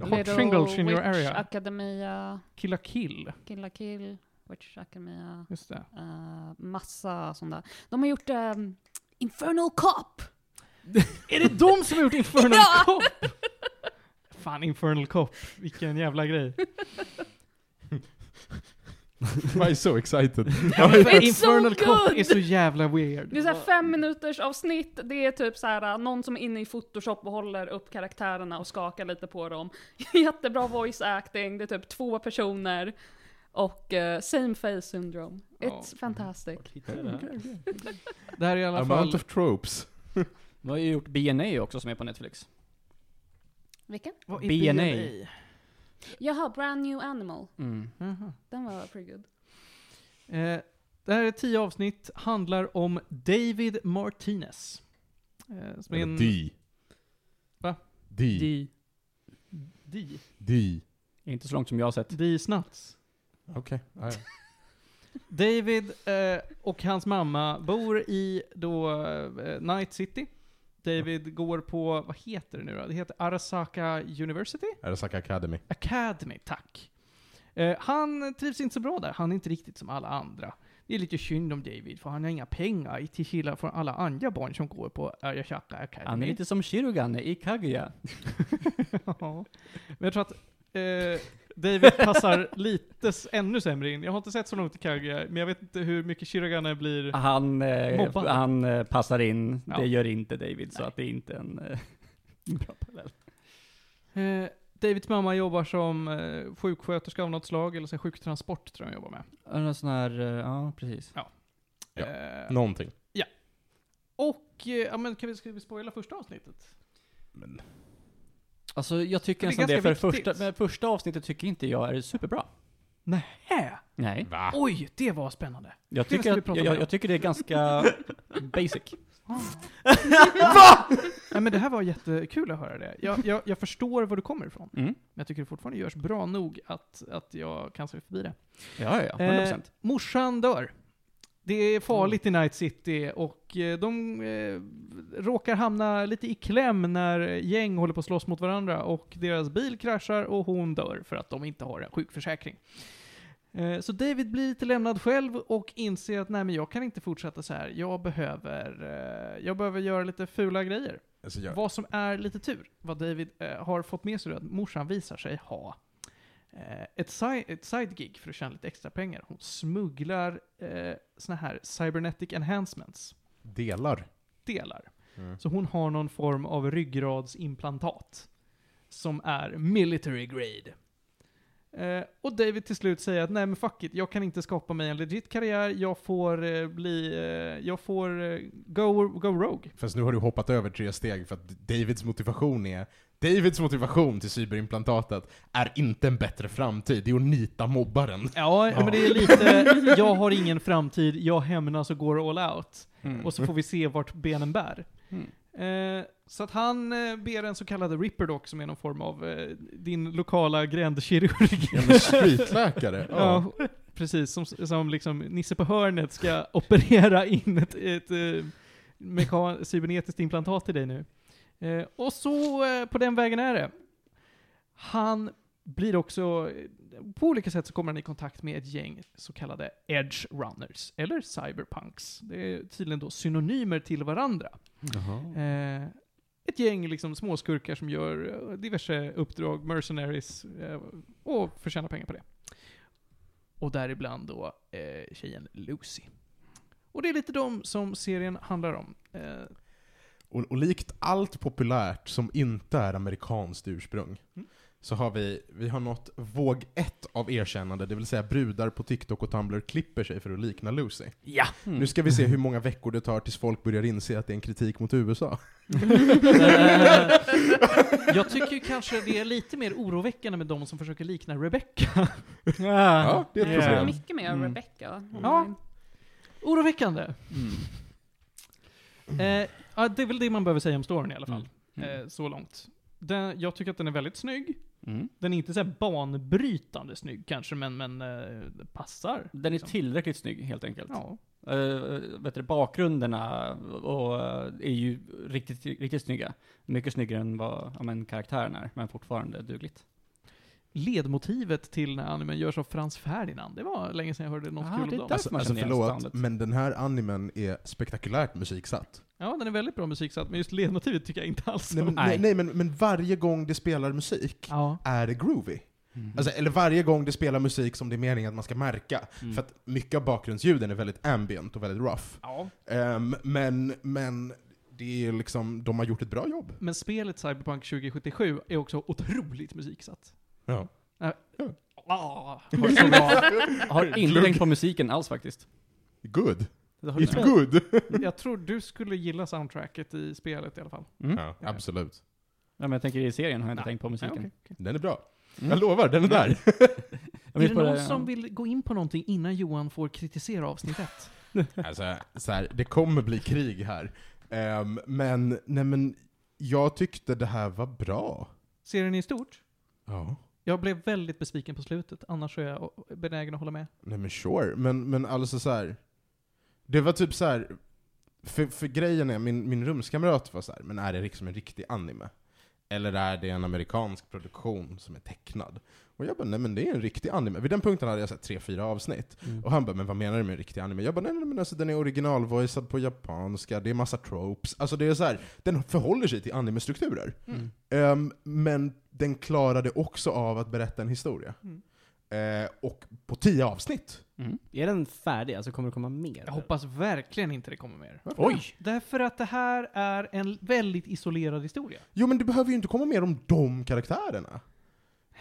A: hot
C: Little
A: shingles in your
C: Witch
A: area.
C: Academia,
A: Killa kill.
C: Kill la Kill, Witch Academia,
A: Just det.
C: eh, massa sånt där. De har gjort ehm, Infernal Cop!
A: är det de som har gjort Infernal
C: Ja!
A: Cop? Fan, Infernal Cop. Vilken jävla grej.
B: Why so excited?
C: It's
A: Infernal
C: so
A: Cop
C: good!
A: är så jävla weird.
C: Det är såhär fem minuters avsnitt, det är typ såhär någon som är inne i photoshop och håller upp karaktärerna och skakar lite på dem. Jättebra voice acting, det är typ två personer. Och eh, same face syndrome. It's fantastic. Mm.
A: Det här är i alla
B: Amount
A: fall...
B: of tropes.
D: De har ju gjort BNA också som är på Netflix.
C: Vilken?
A: Vad är
D: BNA?
C: Jaha, Brand New Animal.
D: Mm.
A: Jaha.
C: Den var pretty good.
A: Eh, det här är tio avsnitt, handlar om David Martinez. Eh, som är en...
B: D.
A: Va?
B: D.
A: D. D.
B: D.
D: Inte så långt som jag har sett.
A: D. Snats.
B: Okej. ja, ja.
A: David eh, och hans mamma bor i då eh, Night City. David går på, vad heter det nu då? Det heter Arasaka University?
B: Arasaka Academy.
A: Academy, tack. Eh, han trivs inte så bra där, han är inte riktigt som alla andra. Det är lite synd om David, för han har inga pengar i- till skillnad från alla andra barn som går på Arasaka Academy.
D: Han är lite som Shirogane i Kaguya.
A: Ja. Men jag tror att eh, David passar lite s- ännu sämre in. Jag har inte sett så långt i Kaguya, men jag vet inte hur mycket Shirogane blir.
D: Han, eh,
A: Mobbad.
D: han eh, passar in,
A: Ja.
D: det gör inte David, så att det är inte en eh, bra parallell.
A: Eh, Davids mamma jobbar som eh, sjuksköterska av något slag, eller så här sjuktransport tror jag hon jobbar med.
D: En sån här, eh, ja precis.
B: Ja.
A: Eh,
B: Någonting.
A: och, eh, ja men kan vi, ska vi spoila första avsnittet?
B: Men,
D: Alltså jag tycker
A: Det är
D: nästan det, för
A: ganska
D: första,
A: viktigt.
D: men första avsnittet tycker inte jag är superbra.
A: Äh,
D: Nej.
B: va?
A: oj, det var spännande.
D: Jag
A: Det ska
D: tycker,
A: vi
D: att,
A: prata
D: jag,
A: om
D: jag,
A: då.
D: jag tycker det är ganska basic.
A: Nej men det här var jättekul att höra det. Jag, jag, jag förstår var du kommer ifrån,
D: Mm.
A: men jag tycker det fortfarande görs bra nog att, att jag kan se förbi det.
D: Ja, ja, ja. 100%.
A: Eh, morsan dör. Det är farligt i Night City och eh, de eh, råkar hamna lite i kläm när gäng håller på att slåss mot varandra och deras bil kraschar och hon dör för att de inte har en sjukförsäkring. Eh, så David blir lite lämnad själv och inser att nej men jag kan inte fortsätta så här. Jag behöver, eh, jag behöver göra lite fula grejer.
B: Alltså, jag,
A: Vad som är lite tur, vad David eh, har fått med sig är att morsan visar sig ha eh, ett, si- ett sidegig för att tjäna lite extra pengar. Hon smugglar eh, såna här cybernetic enhancements,
B: delar.
A: delar.
B: Mm.
A: Så hon har någon form av ryggradsimplantat som är military grade. Eh, och David till slut säger att nej men fuck it, jag kan inte skapa mig en legit karriär, jag får eh, bli, eh, jag får eh, go, go rogue.
B: Fast nu har du hoppat över tre steg för att Davids motivation är Davids motivation till cyberimplantatet är inte en bättre framtid, det är att nita mobbaren.
A: Ja, men det är lite, jag har ingen framtid, jag hämnas och går all out.
D: mm.
A: Och så får vi se vart benen bär. Eh, så att han eh, ber en så kallad ripper dock, som är någon form av eh, din lokala grändkirurg.
B: Ja, men Streetläkare. Ja.
A: Ja, precis. Som, som liksom Nisse på hörnet ska operera in ett, ett eh, mekan- cybernetiskt implantat i dig nu. Eh, och så eh, på den vägen är det. Han blir också, eh, på olika sätt så kommer han i kontakt med ett gäng så kallade edge runners, eller cyberpunks. Det är tydligen då synonymer till varandra. Eh, ett gäng liksom småskurkar som gör eh, diverse uppdrag, mercenaries, eh, och förtjänar pengar på det. Och däribland då eh, tjejen Lucy. Och det är lite de som serien handlar om. Eh,
B: Och, och likt allt populärt som inte är amerikanskt ursprung, så har vi, vi har nått våg ett av erkännande, det vill säga brudar på TikTok och Tumblr klipper sig för att likna Lucy.
D: Ja!
B: Nu ska vi se hur många veckor det tar tills folk börjar inse att det är en kritik mot USA.
A: eh, jag tycker ju kanske det är lite mer oroväckande med de som försöker likna Rebecca.
B: Ja, det är ett
C: Det är
B: problem.
C: mycket mer
D: Mm.
C: Rebecca. Hon
A: Ja.
C: är-
A: Oroväckande!
D: Mm.
A: Eh, ja, det är väl det man behöver säga om storyn i alla fall. Eh, så långt. Den, jag tycker att den är väldigt snygg.
D: Mm.
A: Den är inte så här banbrytande snygg kanske, men, men eh, det passar.
D: Den är
A: liksom.
D: tillräckligt snygg helt enkelt.
A: Ja.
D: Eh, vet du, bakgrunderna och, eh, är ju riktigt, riktigt snygga. Mycket snyggare än vad ja, men, karaktären är, men fortfarande dugligt.
A: Ledmotivet till när animen görs av Frans Ferdinand, det var länge sedan jag hörde något
D: Ah,
A: kul
D: det
A: om dem.
D: där.
B: Alltså,
D: man
B: alltså
D: känner igen
B: förlåt,
D: soundet.
B: men den här animen är spektakulärt musiksatt.
A: Ja, den är väldigt bra musiksatt, men just ledmotivet tycker jag inte alls
B: Nej,
A: om.
B: men, nej.
D: Nej.
B: Nej, men, men varje gång det spelar musik
A: Ja.
B: är det groovy. Alltså, eller varje gång det spelar musik som det är meningen att man ska märka.
D: Mm.
B: För att mycket av bakgrundsljuden är väldigt ambient och väldigt rough.
A: ja.
B: Ehm, men, men det är liksom, de har gjort ett bra jobb.
A: Men spelet Cyberpunk 2077 är också otroligt musiksatt.
B: Ja.
A: Ah,
D: Har, så bra, har inte
B: Glugg.
D: tänkt på musiken alls faktiskt.
B: Good.
D: Det har du
B: It's
D: inte.
B: good.
A: jag tror du skulle gilla soundtracket i spelet i alla fall.
D: Mm.
B: Ja, absolut.
D: Ja, men jag tänker i serien har jag inte
A: Nej.
D: tänkt på musiken.
A: Ja, okej.
B: Den är bra.
D: Mm.
B: Jag lovar, den är där.
D: Jag
A: Är
D: vill
A: det
D: bara-
A: någon som vill gå in på någonting innan Johan får kritisera avsnittet?
B: Alltså, så här, det kommer bli krig här. Ehm, men, nej men, jag tyckte det här var bra.
A: Serien i stort?
B: Ja.
A: Jag blev väldigt besviken på slutet, annars är jag benägen att hålla med.
B: Nej men sure, men, men alltså så här. Det var typ så här. För, för grejen är, min, min rumskamrat var så här, men är det liksom en riktig anime? Eller är det en amerikansk produktion som är tecknad? Och jag bara, nej men det är en riktig anime. Vid den punkten hade jag sett tre, fyra avsnitt.
G: Mm.
B: Och han bara, men vad menar du med en riktig anime? Jag bara, nej, nej men alltså den är originalvoicad på japanska, det är massa tropes. Alltså det är så här, den förhåller sig till animestrukturer.
D: Mm.
B: Ehm, men den klarade också av att berätta en historia.
A: Mm.
B: Eh, och på tio avsnitt.
D: Mm.
G: Är den färdig? Alltså kommer det komma mer?
A: Jag hoppas verkligen inte det kommer mer.
B: Oj!
A: Därför att det här är en väldigt isolerad historia.
B: Jo men det behöver ju inte komma mer om de karaktärerna.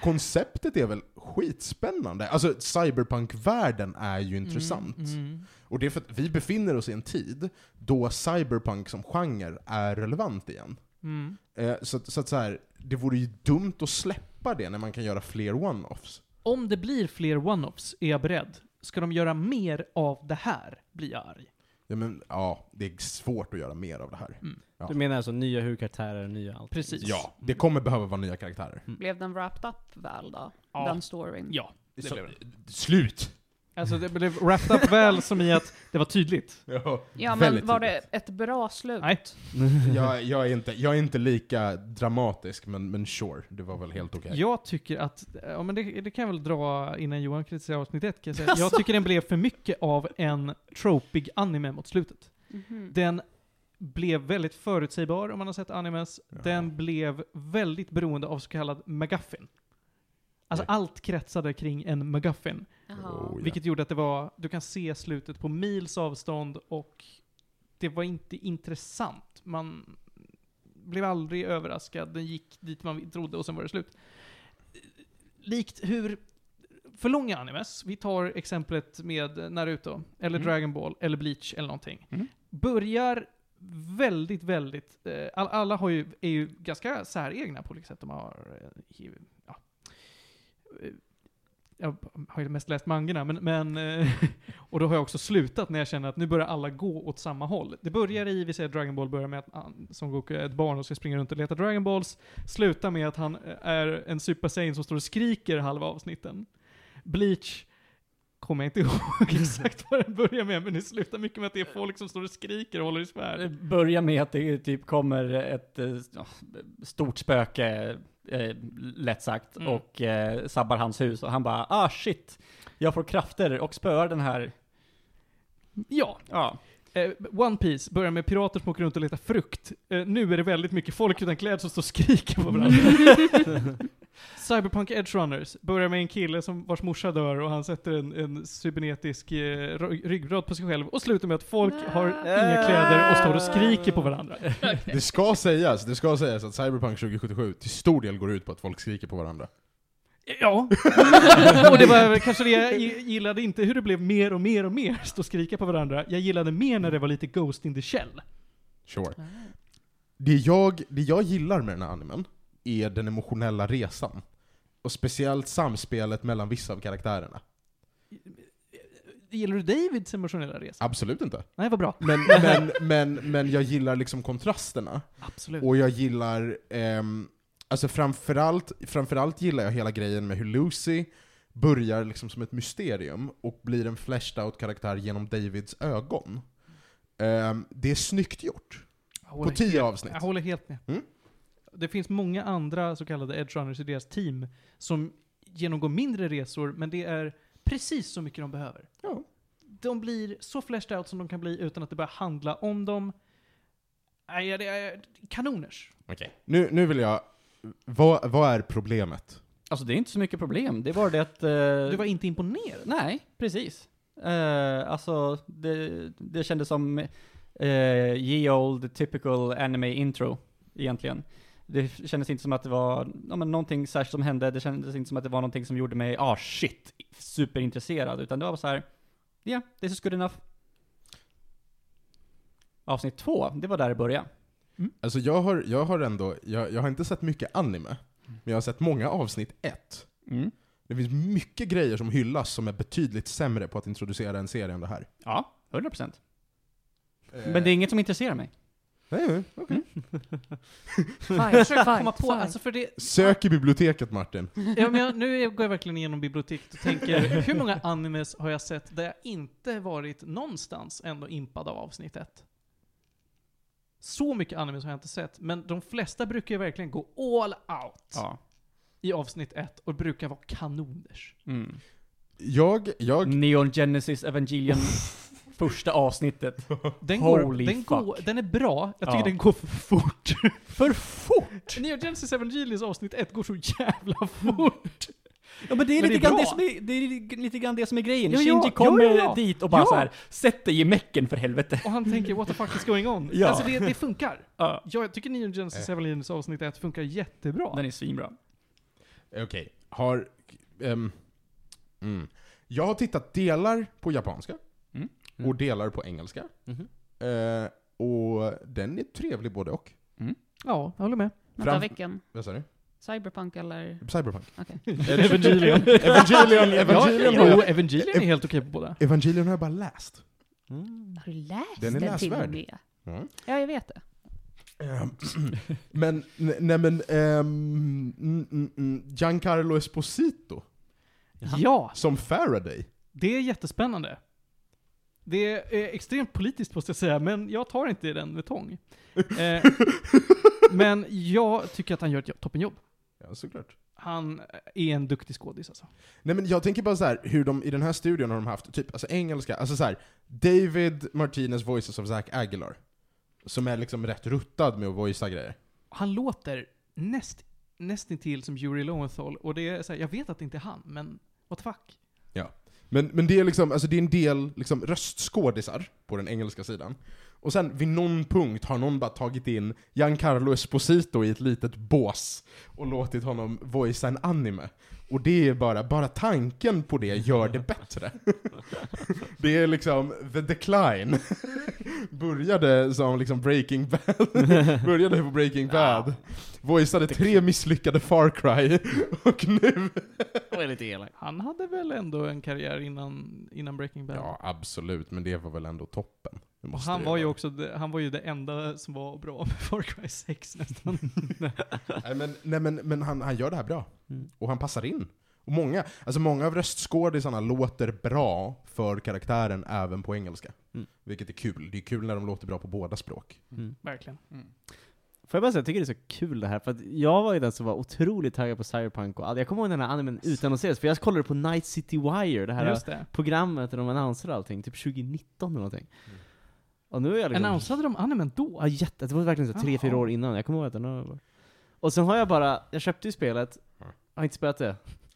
B: Konceptet är väl skitspännande? Alltså cyberpunk-världen är ju intressant.
A: Mm.
B: Och det är för att vi befinner oss i en tid då cyberpunk som genre är relevant igen.
A: Mm.
B: Eh, så att- så, att så här, det vore ju dumt att släppa det när man kan göra fler one-offs.
A: Om det blir fler one-offs är jag beredd. Ska de göra mer av det här blir jag arg.
B: Ja, men, ja, det är svårt att göra mer av det här.
G: Du menar alltså nya huvudkaraktärer, nya allt?
A: Precis.
B: Ja, det kommer behöva vara nya karaktärer.
C: Blev den wrapped up väl då?
A: Ja.
C: Den storyn?
A: Ja.
B: Så- Slut!
A: Alltså det blev wrapped up väl som i att det var tydligt.
B: Ja,
C: Ja, men
B: väldigt
C: var
B: tydligt.
C: det ett bra slut?
A: Nej.
B: jag, jag, är inte, jag är inte lika dramatisk, men, men sure, det var väl helt okej.
A: Jag tycker att, ja men det, det kan jag väl dra innan Johan kritiserar avsnitt ett kan jag säga. Jag tycker den blev för mycket av en tropig anime mot slutet.
C: Mhm.
A: Den blev väldigt förutsägbar om man har sett animes.
B: Ja.
A: Den blev väldigt beroende av så kallad McGuffin. Alltså
B: Ja.
A: allt kretsade kring en McGuffin.
C: Jaha.
B: Oh, ja.
A: Vilket gjorde att det var, du kan se slutet på mils avstånd och det var inte intressant. Man, blev aldrig överraskad, den gick dit man trodde och sen var det slut. Likt hur för långa animes, vi tar exemplet med Naruto, eller
D: Mm.
A: Dragon Ball, eller Bleach eller någonting.
D: Mm.
A: Börjar väldigt, väldigt, eh, all, alla har ju, är ju ganska säregna på olika sätt. De har, eh, ju- ja. Eh, Jag har ju mest läst mangorna, men, men eh, och då har jag också slutat när jag känner att nu börjar alla gå åt samma håll. Det börjar i, vi säger Dragon Ball börjar med att han, som Goku är ett barn och ska springa runt och leta Dragon Balls, slutar med att han eh, är en Super Saiyan som står och skriker halva avsnitten. Bleach kommer jag inte ihåg exakt vad den börjar med, men det slutar mycket med att det är folk som står och skriker och håller i svärd.
D: Börja med att det typ kommer ett eh, ja, stort spöke, eh, lätt sagt,
A: Mm.
D: och eh, sabbar hans hus. Och han bara ah shit, jag får krafter och spöar den här.
A: Ja,
D: Ja.
A: Eh, One Piece börjar med pirater som åker runt och letar frukt. Eh, nu är det väldigt mycket folk utan kläder som står och skriker på varandra. Cyberpunk Edge Runners börjar med en kille som, vars morsa dör och han sätter en, en cybernetisk eh, ry- ryggrad på sig själv och slutar med att folk
C: Nej.
A: har inga kläder och står och skriker på varandra.
B: Det ska sägas, det ska sägas att Cyberpunk 2077 till stor del går ut på att folk skriker på varandra.
A: Ja. och det var väl kanske det jag gi- gillade inte, hur det blev mer och mer och mer stå och skrika på varandra. Jag gillade mer när det var lite Ghost in the Shell.
B: Sure. Det jag, det jag gillar med den här animen är den emotionella resan. Och speciellt samspelet mellan vissa av karaktärerna.
A: Gillar du Davids emotionella resa?
B: Absolut inte.
A: Nej, vad bra.
B: Men, men, men, men jag gillar liksom kontrasterna.
A: Absolut.
B: Och jag gillar, ehm, alltså framförallt, framförallt gillar jag hela grejen med hur Lucy börjar liksom som ett mysterium och blir en fleshed out karaktär genom Davids ögon. Ehm, det är snyggt gjort.
A: Jag håller
B: På tio avsnitt.
A: Jag håller helt med.
B: Mm.
A: Det finns många andra så kallade edgerunners i deras team som genomgår mindre resor, men det är precis så mycket de behöver.
B: Ja.
A: De blir så fleshed out som de kan bli utan att det börjar handla om dem. Nej, ja, det är kanoners.
B: Nu, nu vill jag, vad, vad är problemet?
D: Alltså det är inte så mycket problem, det är bara det att... eh,
A: Du var inte imponerad.
D: Nej, precis. Eh, alltså, det, det kändes som eh, ye old typical anime intro, egentligen. Det kändes inte som att det var ja, men någonting särskilt som hände, det kändes inte som att det var någonting som gjorde mig, ah shit, superintresserad, utan det var bara så här, ja, yeah, this is good enough. Avsnitt två, det var där det började.
B: Alltså jag har, jag har ändå, jag, jag har inte sett mycket anime, men jag har sett många avsnitt ett.
D: Mm.
B: Det finns mycket grejer som hyllas som är betydligt sämre på att introducera en serie än det här.
D: Ja, 100%. Eh,
A: Eh.
D: Men det är Mm. inget som intresserar mig.
B: Nej, nej.
C: Fine,
A: Försök komma på, alltså för det,
B: Sök i biblioteket Martin.
A: ja, men jag, nu går jag verkligen igenom biblioteket och tänker, hur många animes har jag sett där jag inte varit någonstans ändå impad av avsnitt ett? Så mycket animes har jag inte sett, men de flesta brukar ju verkligen gå all out
D: Ja.
A: i avsnitt ett och brukar vara kanoners.
D: Mm.
B: Jag, jag,
D: Neon Genesis Evangelion, första avsnittet.
A: Den, går,
D: Holy
A: den, går,
D: fuck.
A: den är bra, jag tycker
D: Ja.
A: den går för fort.
D: För fort!
A: Neo Genesis Evangelions avsnitt ett går så jävla fort.
D: Ja, men det är,
A: Men det är
D: lite, grann
A: bra.
D: det, som är, det är lite grann det som är grejen.
A: Ja, ja,
D: Shinji
A: ja,
D: kommer
A: ja, ja.
D: dit och bara
A: Ja.
D: så här, sätt dig i mecken för helvete.
A: Och han tänker what the fuck is going on?
D: Ja.
A: Alltså det, det funkar.
D: Ja. Eh.
A: Jag tycker Neo Genesis Evangelions avsnitt ett funkar jättebra.
D: Den är svinbra.
B: okej, har, ehm, mm. jag har tittat delar på japanska
D: Mm. Mm-hmm.
B: och delar på engelska.
G: Mhm.
B: Eh, och den är trevlig både och.
A: Ja, jag håller med.
C: Vänta,
B: Fram-
C: vilken?
B: Vad sa du?
C: Cyberpunk eller?
B: Cyberpunk.
C: Okej.
A: Evangelion.
B: Evangelion, Evangelion, har, jag,
A: Evangelion är helt okej på båda.
B: Evangelion har jag bara läst.
C: Har du läst
B: Den är
C: till och
B: läsvärd.
C: med?
B: Mm.
C: Ja, jag vet det.
B: Ehm, men, ne- nej men, ehm, mm, mm, mm, Giancarlo Esposito
A: Ja,
B: som Faraday.
A: det är jättespännande. Det är extremt politiskt måste jag säga, men jag tar inte den med tång. Eh, men jag tycker att han gör ett toppenjobb.
B: Ja, såklart.
A: Han är en duktig skådis alltså.
B: Nej men jag tänker bara så här, hur de i den här studion har de haft, typ, alltså engelska, alltså så här, David Martinez voices of Zack Aguilar. Som är liksom rätt ruttad med att voicea grejer.
A: Han låter näst, nästintill som Yuri Lowenthal, och det är så här, jag vet att det inte är han, men what the fuck?
B: Men, men det är liksom, alltså det är en del liksom, röstskådisar på den engelska sidan. Och sen vid någon punkt har någon bara tagit in Giancarlo Esposito i ett litet bås och låtit honom voicea en anime. Och det är bara, bara tanken på det gör det bättre. det är liksom, the decline. började som liksom Breaking Bad, började på Breaking Bad. Voiceade tre misslyckade Far Cry, och nu...
G: Det var lite elakt.
A: Han hade väl ändå en karriär innan, innan Breaking Bad?
B: Ja, absolut, men det var väl ändå toppen. Det
A: Och
B: måste
A: han
B: det
A: var ju
B: vara.
A: också det, han var ju det enda som var bra med Far Cry 6 nästan.
B: Nej men, nej, men, men han, han gör det här bra.
G: Mm.
B: Och han passar in. Och många, alltså många av röstskådisarna låter bra för karaktären även på engelska.
G: Mm.
B: Vilket är kul. Det är kul när de låter bra på båda språk.
G: Mm.
A: Verkligen.
G: Får jag bara säga, jag tycker det är så kul det här, för att jag var ju den som var otroligt taggad på Cyberpunk och allt. Jag kommer ihåg den här animen utannonserades, för jag kollade på Night City Wire, det här
A: Just det.
G: programmet där de annonserade allting, typ 2019 eller någonting. Och nu är jag liksom...
A: Annonsade de animen då?
G: Ja jätte, det var verkligen så tre,
A: Jaha.
G: fyra år innan, jag kommer ihåg att den har varit. Och sen har jag bara, jag köpte ju spelet,
B: Mm.
G: jag har inte spelat det.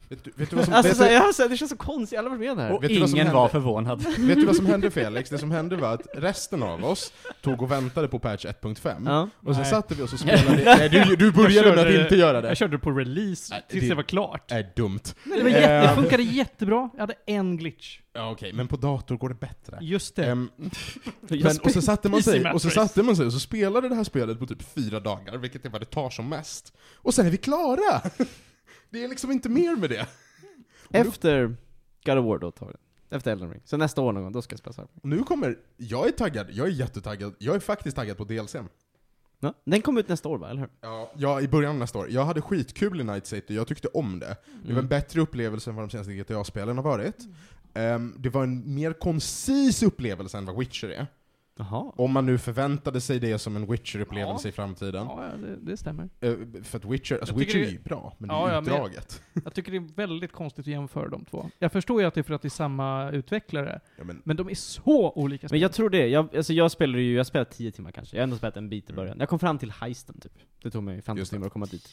B: Vet du, vet du vad som,
G: Alltså
B: vet
G: så här,
B: du,
G: jag, har så här, det känns så konstigt, jag har aldrig varit med här.
B: Och
D: Och
B: vet du vad som
D: ingen
B: hände?
D: var förvånad.
B: vet du vad som hände Felix? Det som hände var att resten av oss tog och väntade på patch 1.5.
G: Ja.
B: Och sen
A: Nej.
B: satte vi oss och spelade... Nej, du, du började
A: Jag
B: med att
A: körde-
B: inte göra det.
A: Jag körde på release
B: Nej,
A: tills
B: det-
A: det var klart.
B: Är dumt.
A: Nej, det, var jätte, det funkade jättebra. Jag hade en glitch.
B: Ja okej, men på dator går det bättre.
A: Just det.
B: Ehm, men, och så satte man sig och så satte man sig och så spelade det här spelet på typ fyra dagar, vilket är vad det tar som mest. Och sen är vi klara! Det är liksom inte mer med det.
G: Efter God of War då tar det. Efter Elden Ring. Så nästa år någon gång, då ska jag spela Cyberpunk.
B: Och nu kommer, jag är taggad, jag är jättetaggad, jag är faktiskt taggad på DLCn.
G: Ja. Den kommer ut nästa år va, eller hur?
B: Ja, ja, i början av nästa år. Jag hade skitkul i Night City, jag tyckte om det. Det var en bättre upplevelse än vad de senaste GTA-spelen har varit. Ehm, det var en mer koncis upplevelse än vad Witcher är.
G: Jaha.
B: Om man nu förväntade sig det som en Witcher-upplevelse
A: Ja.
B: i framtiden.
A: Ja, ja, det, det stämmer.
B: Eh, För att Witcher, alltså
A: Jag tycker
B: Witcher
A: det-
B: är ju bra, men
A: Ja,
B: det är
A: ja,
B: ju
A: men-
B: utdraget.
A: Jag tycker det är väldigt konstigt att jämföra de två. Jag förstår ju att det är för att det är samma utvecklare,
B: Ja, men,
A: men de är så olika
G: Men
A: spel.
G: jag tror det. Jag, alltså jag spelade ju, jag spelade 10 timmar kanske. Jag har ändå spelat en bit i början. Jag kom fram till heisten typ. Det tog mig 15
B: Mm. Just det.
G: timmar att komma dit.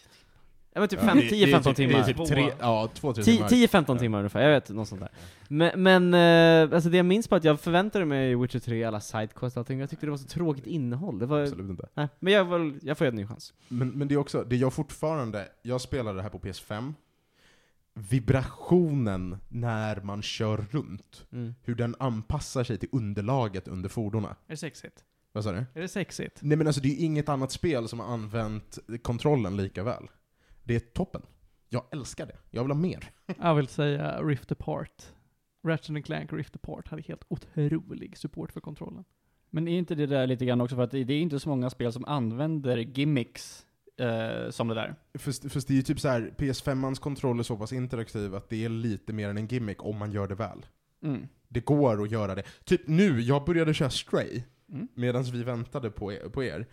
G: Ja men typ
B: ja,
G: fem-
B: det- det är
G: 10-15
B: typ-
G: timmar.
B: Det är typ tre, ja, två, tre timmar.
G: 10-15
B: Ja.
G: timmar ungefär, jag vet något sånt där. Men, men eh, alltså det jag minns på att jag förväntade mig Witcher 3, alla sidequests och allting, jag tyckte det var så tråkigt innehåll. Det var,
B: Absolut inte.
G: nej, men jag, var, jag får ju en ny chans.
B: Men, men det är också, det jag fortfarande, jag spelar det här på PS5, vibrationen när man kör runt,
G: Mm.
B: hur den anpassar sig till underlaget under fordonen.
A: Är det sexigt?
B: Vad sa du?
A: Är det sexigt?
B: Nej men alltså det är ju inget annat spel som har använt kontrollen lika väl. Det är toppen. Jag älskar det. Jag vill ha mer.
A: Jag vill säga Rift Apart. Ratchet and Clank Rift Apart hade helt otrolig support för kontrollen.
D: Men är inte det där lite grann också för att det det är inte så många spel som använder gimmicks eh, som det där?
B: Fast, fast det är ju typ så här, PS5-ans kontroll är så pass interaktiv att det är lite mer än en gimmick om man gör det väl.
D: Mm.
B: Det går att göra det. Typ nu, jag började köra Stray
D: Mm.
B: medan vi väntade på er, på er.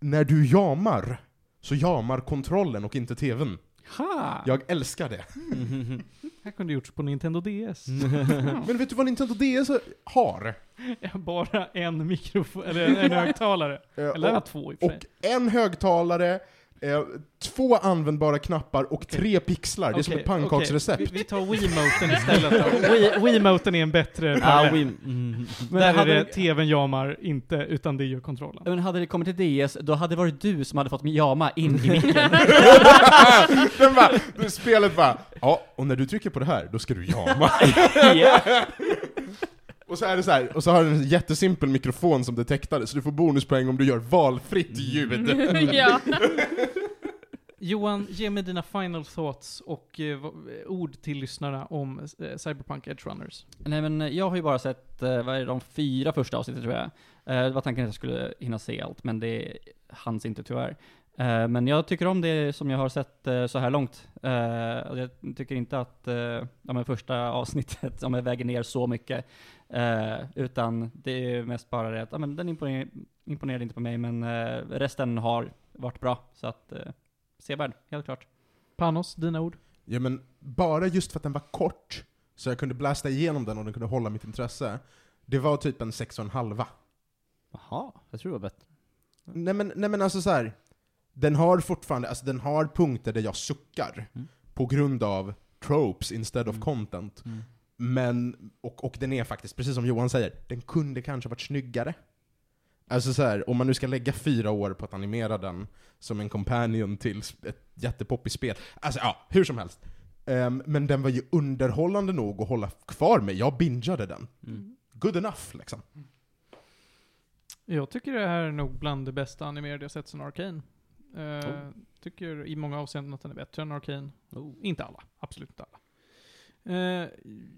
B: När du jamar så jamar kontrollen och inte tvn.
D: Ha!
B: Jag älskar det.
A: Det här kunde gjorts på Nintendo DS.
B: Men vet du vad Nintendo DS har?
A: Bara en mikrofon, eller en, en högtalare.
B: Eh,
A: Eller
B: och,
A: två i och för sig.
B: och en högtalare, eh, två användbara knappar och tre pixlar. Det är som
A: Okej,
B: ett pannkaksrecept.
A: okej. Vi, vi tar Wiimoten istället då. Wii- Wiimoten är en bättre
G: Ah,
A: parallell.
G: we, mm.
D: Men
A: Där är
D: hade
A: det
D: det-
A: tvn jamar inte, utan det gör kontrollen.
D: Men hade det kommit till DS, då hade det varit du som hade fått Yama in i micken.
B: Den bara, det- spelet bara, ja, och när du trycker på det här, då ska du jama. och så är det så här, och så har den en jättesimpel mikrofon som detektar det, så du får bonuspoäng om du gör valfritt ljud.
C: Mm. ja.
A: Johan, ge mig dina final thoughts och eh, vad- eh, ord till lyssnarna om eh, Cyberpunk Edge Runners.
D: Nej men eh, jag har ju bara sett, eh, vad är det, de fyra första avsnitten tror jag. Eh, det var tanken att jag skulle hinna se allt, men det hanns inte tyvärr. Eh, men jag tycker om det som jag har sett eh, så här långt. Eh, och jag tycker inte att eh, ja, men första avsnittet ja, men väger ner så mycket. Eh, utan det är mest bara det att ja, men den imponer- imponerade inte på mig, men eh, resten har varit bra. Så att, eh, sevärd, helt klart.
A: Panos, dina ord?
B: Ja men, bara just för att den var kort, så jag kunde blästa igenom den och den kunde hålla mitt intresse. Det var typ en sex och en halva.
G: Jaha, jag tror det var bättre.
B: Nej men, nej men alltså så här. den har fortfarande, alltså den har punkter där jag suckar.
G: Mm.
B: På grund av tropes instead of
G: Mm.
B: content. Men, och, och den är faktiskt, precis som Johan säger, den kunde kanske varit snyggare. Alltså så här, om man nu ska lägga fyra år på att animera den som en companion till sp- ett jättepoppigt spel. Alltså ja, hur som helst. Ehm, men den var ju underhållande nog att hålla kvar mig. Jag bingeade den.
G: Mm.
B: Good enough liksom.
A: Jag tycker det här är nog bland det bästa animerade jag sett sen Arcane. Eh,
D: Oh.
A: Tycker i många avseenden att den är bättre än Arcane.
G: Oh.
A: Inte alla, absolut inte alla. Eh,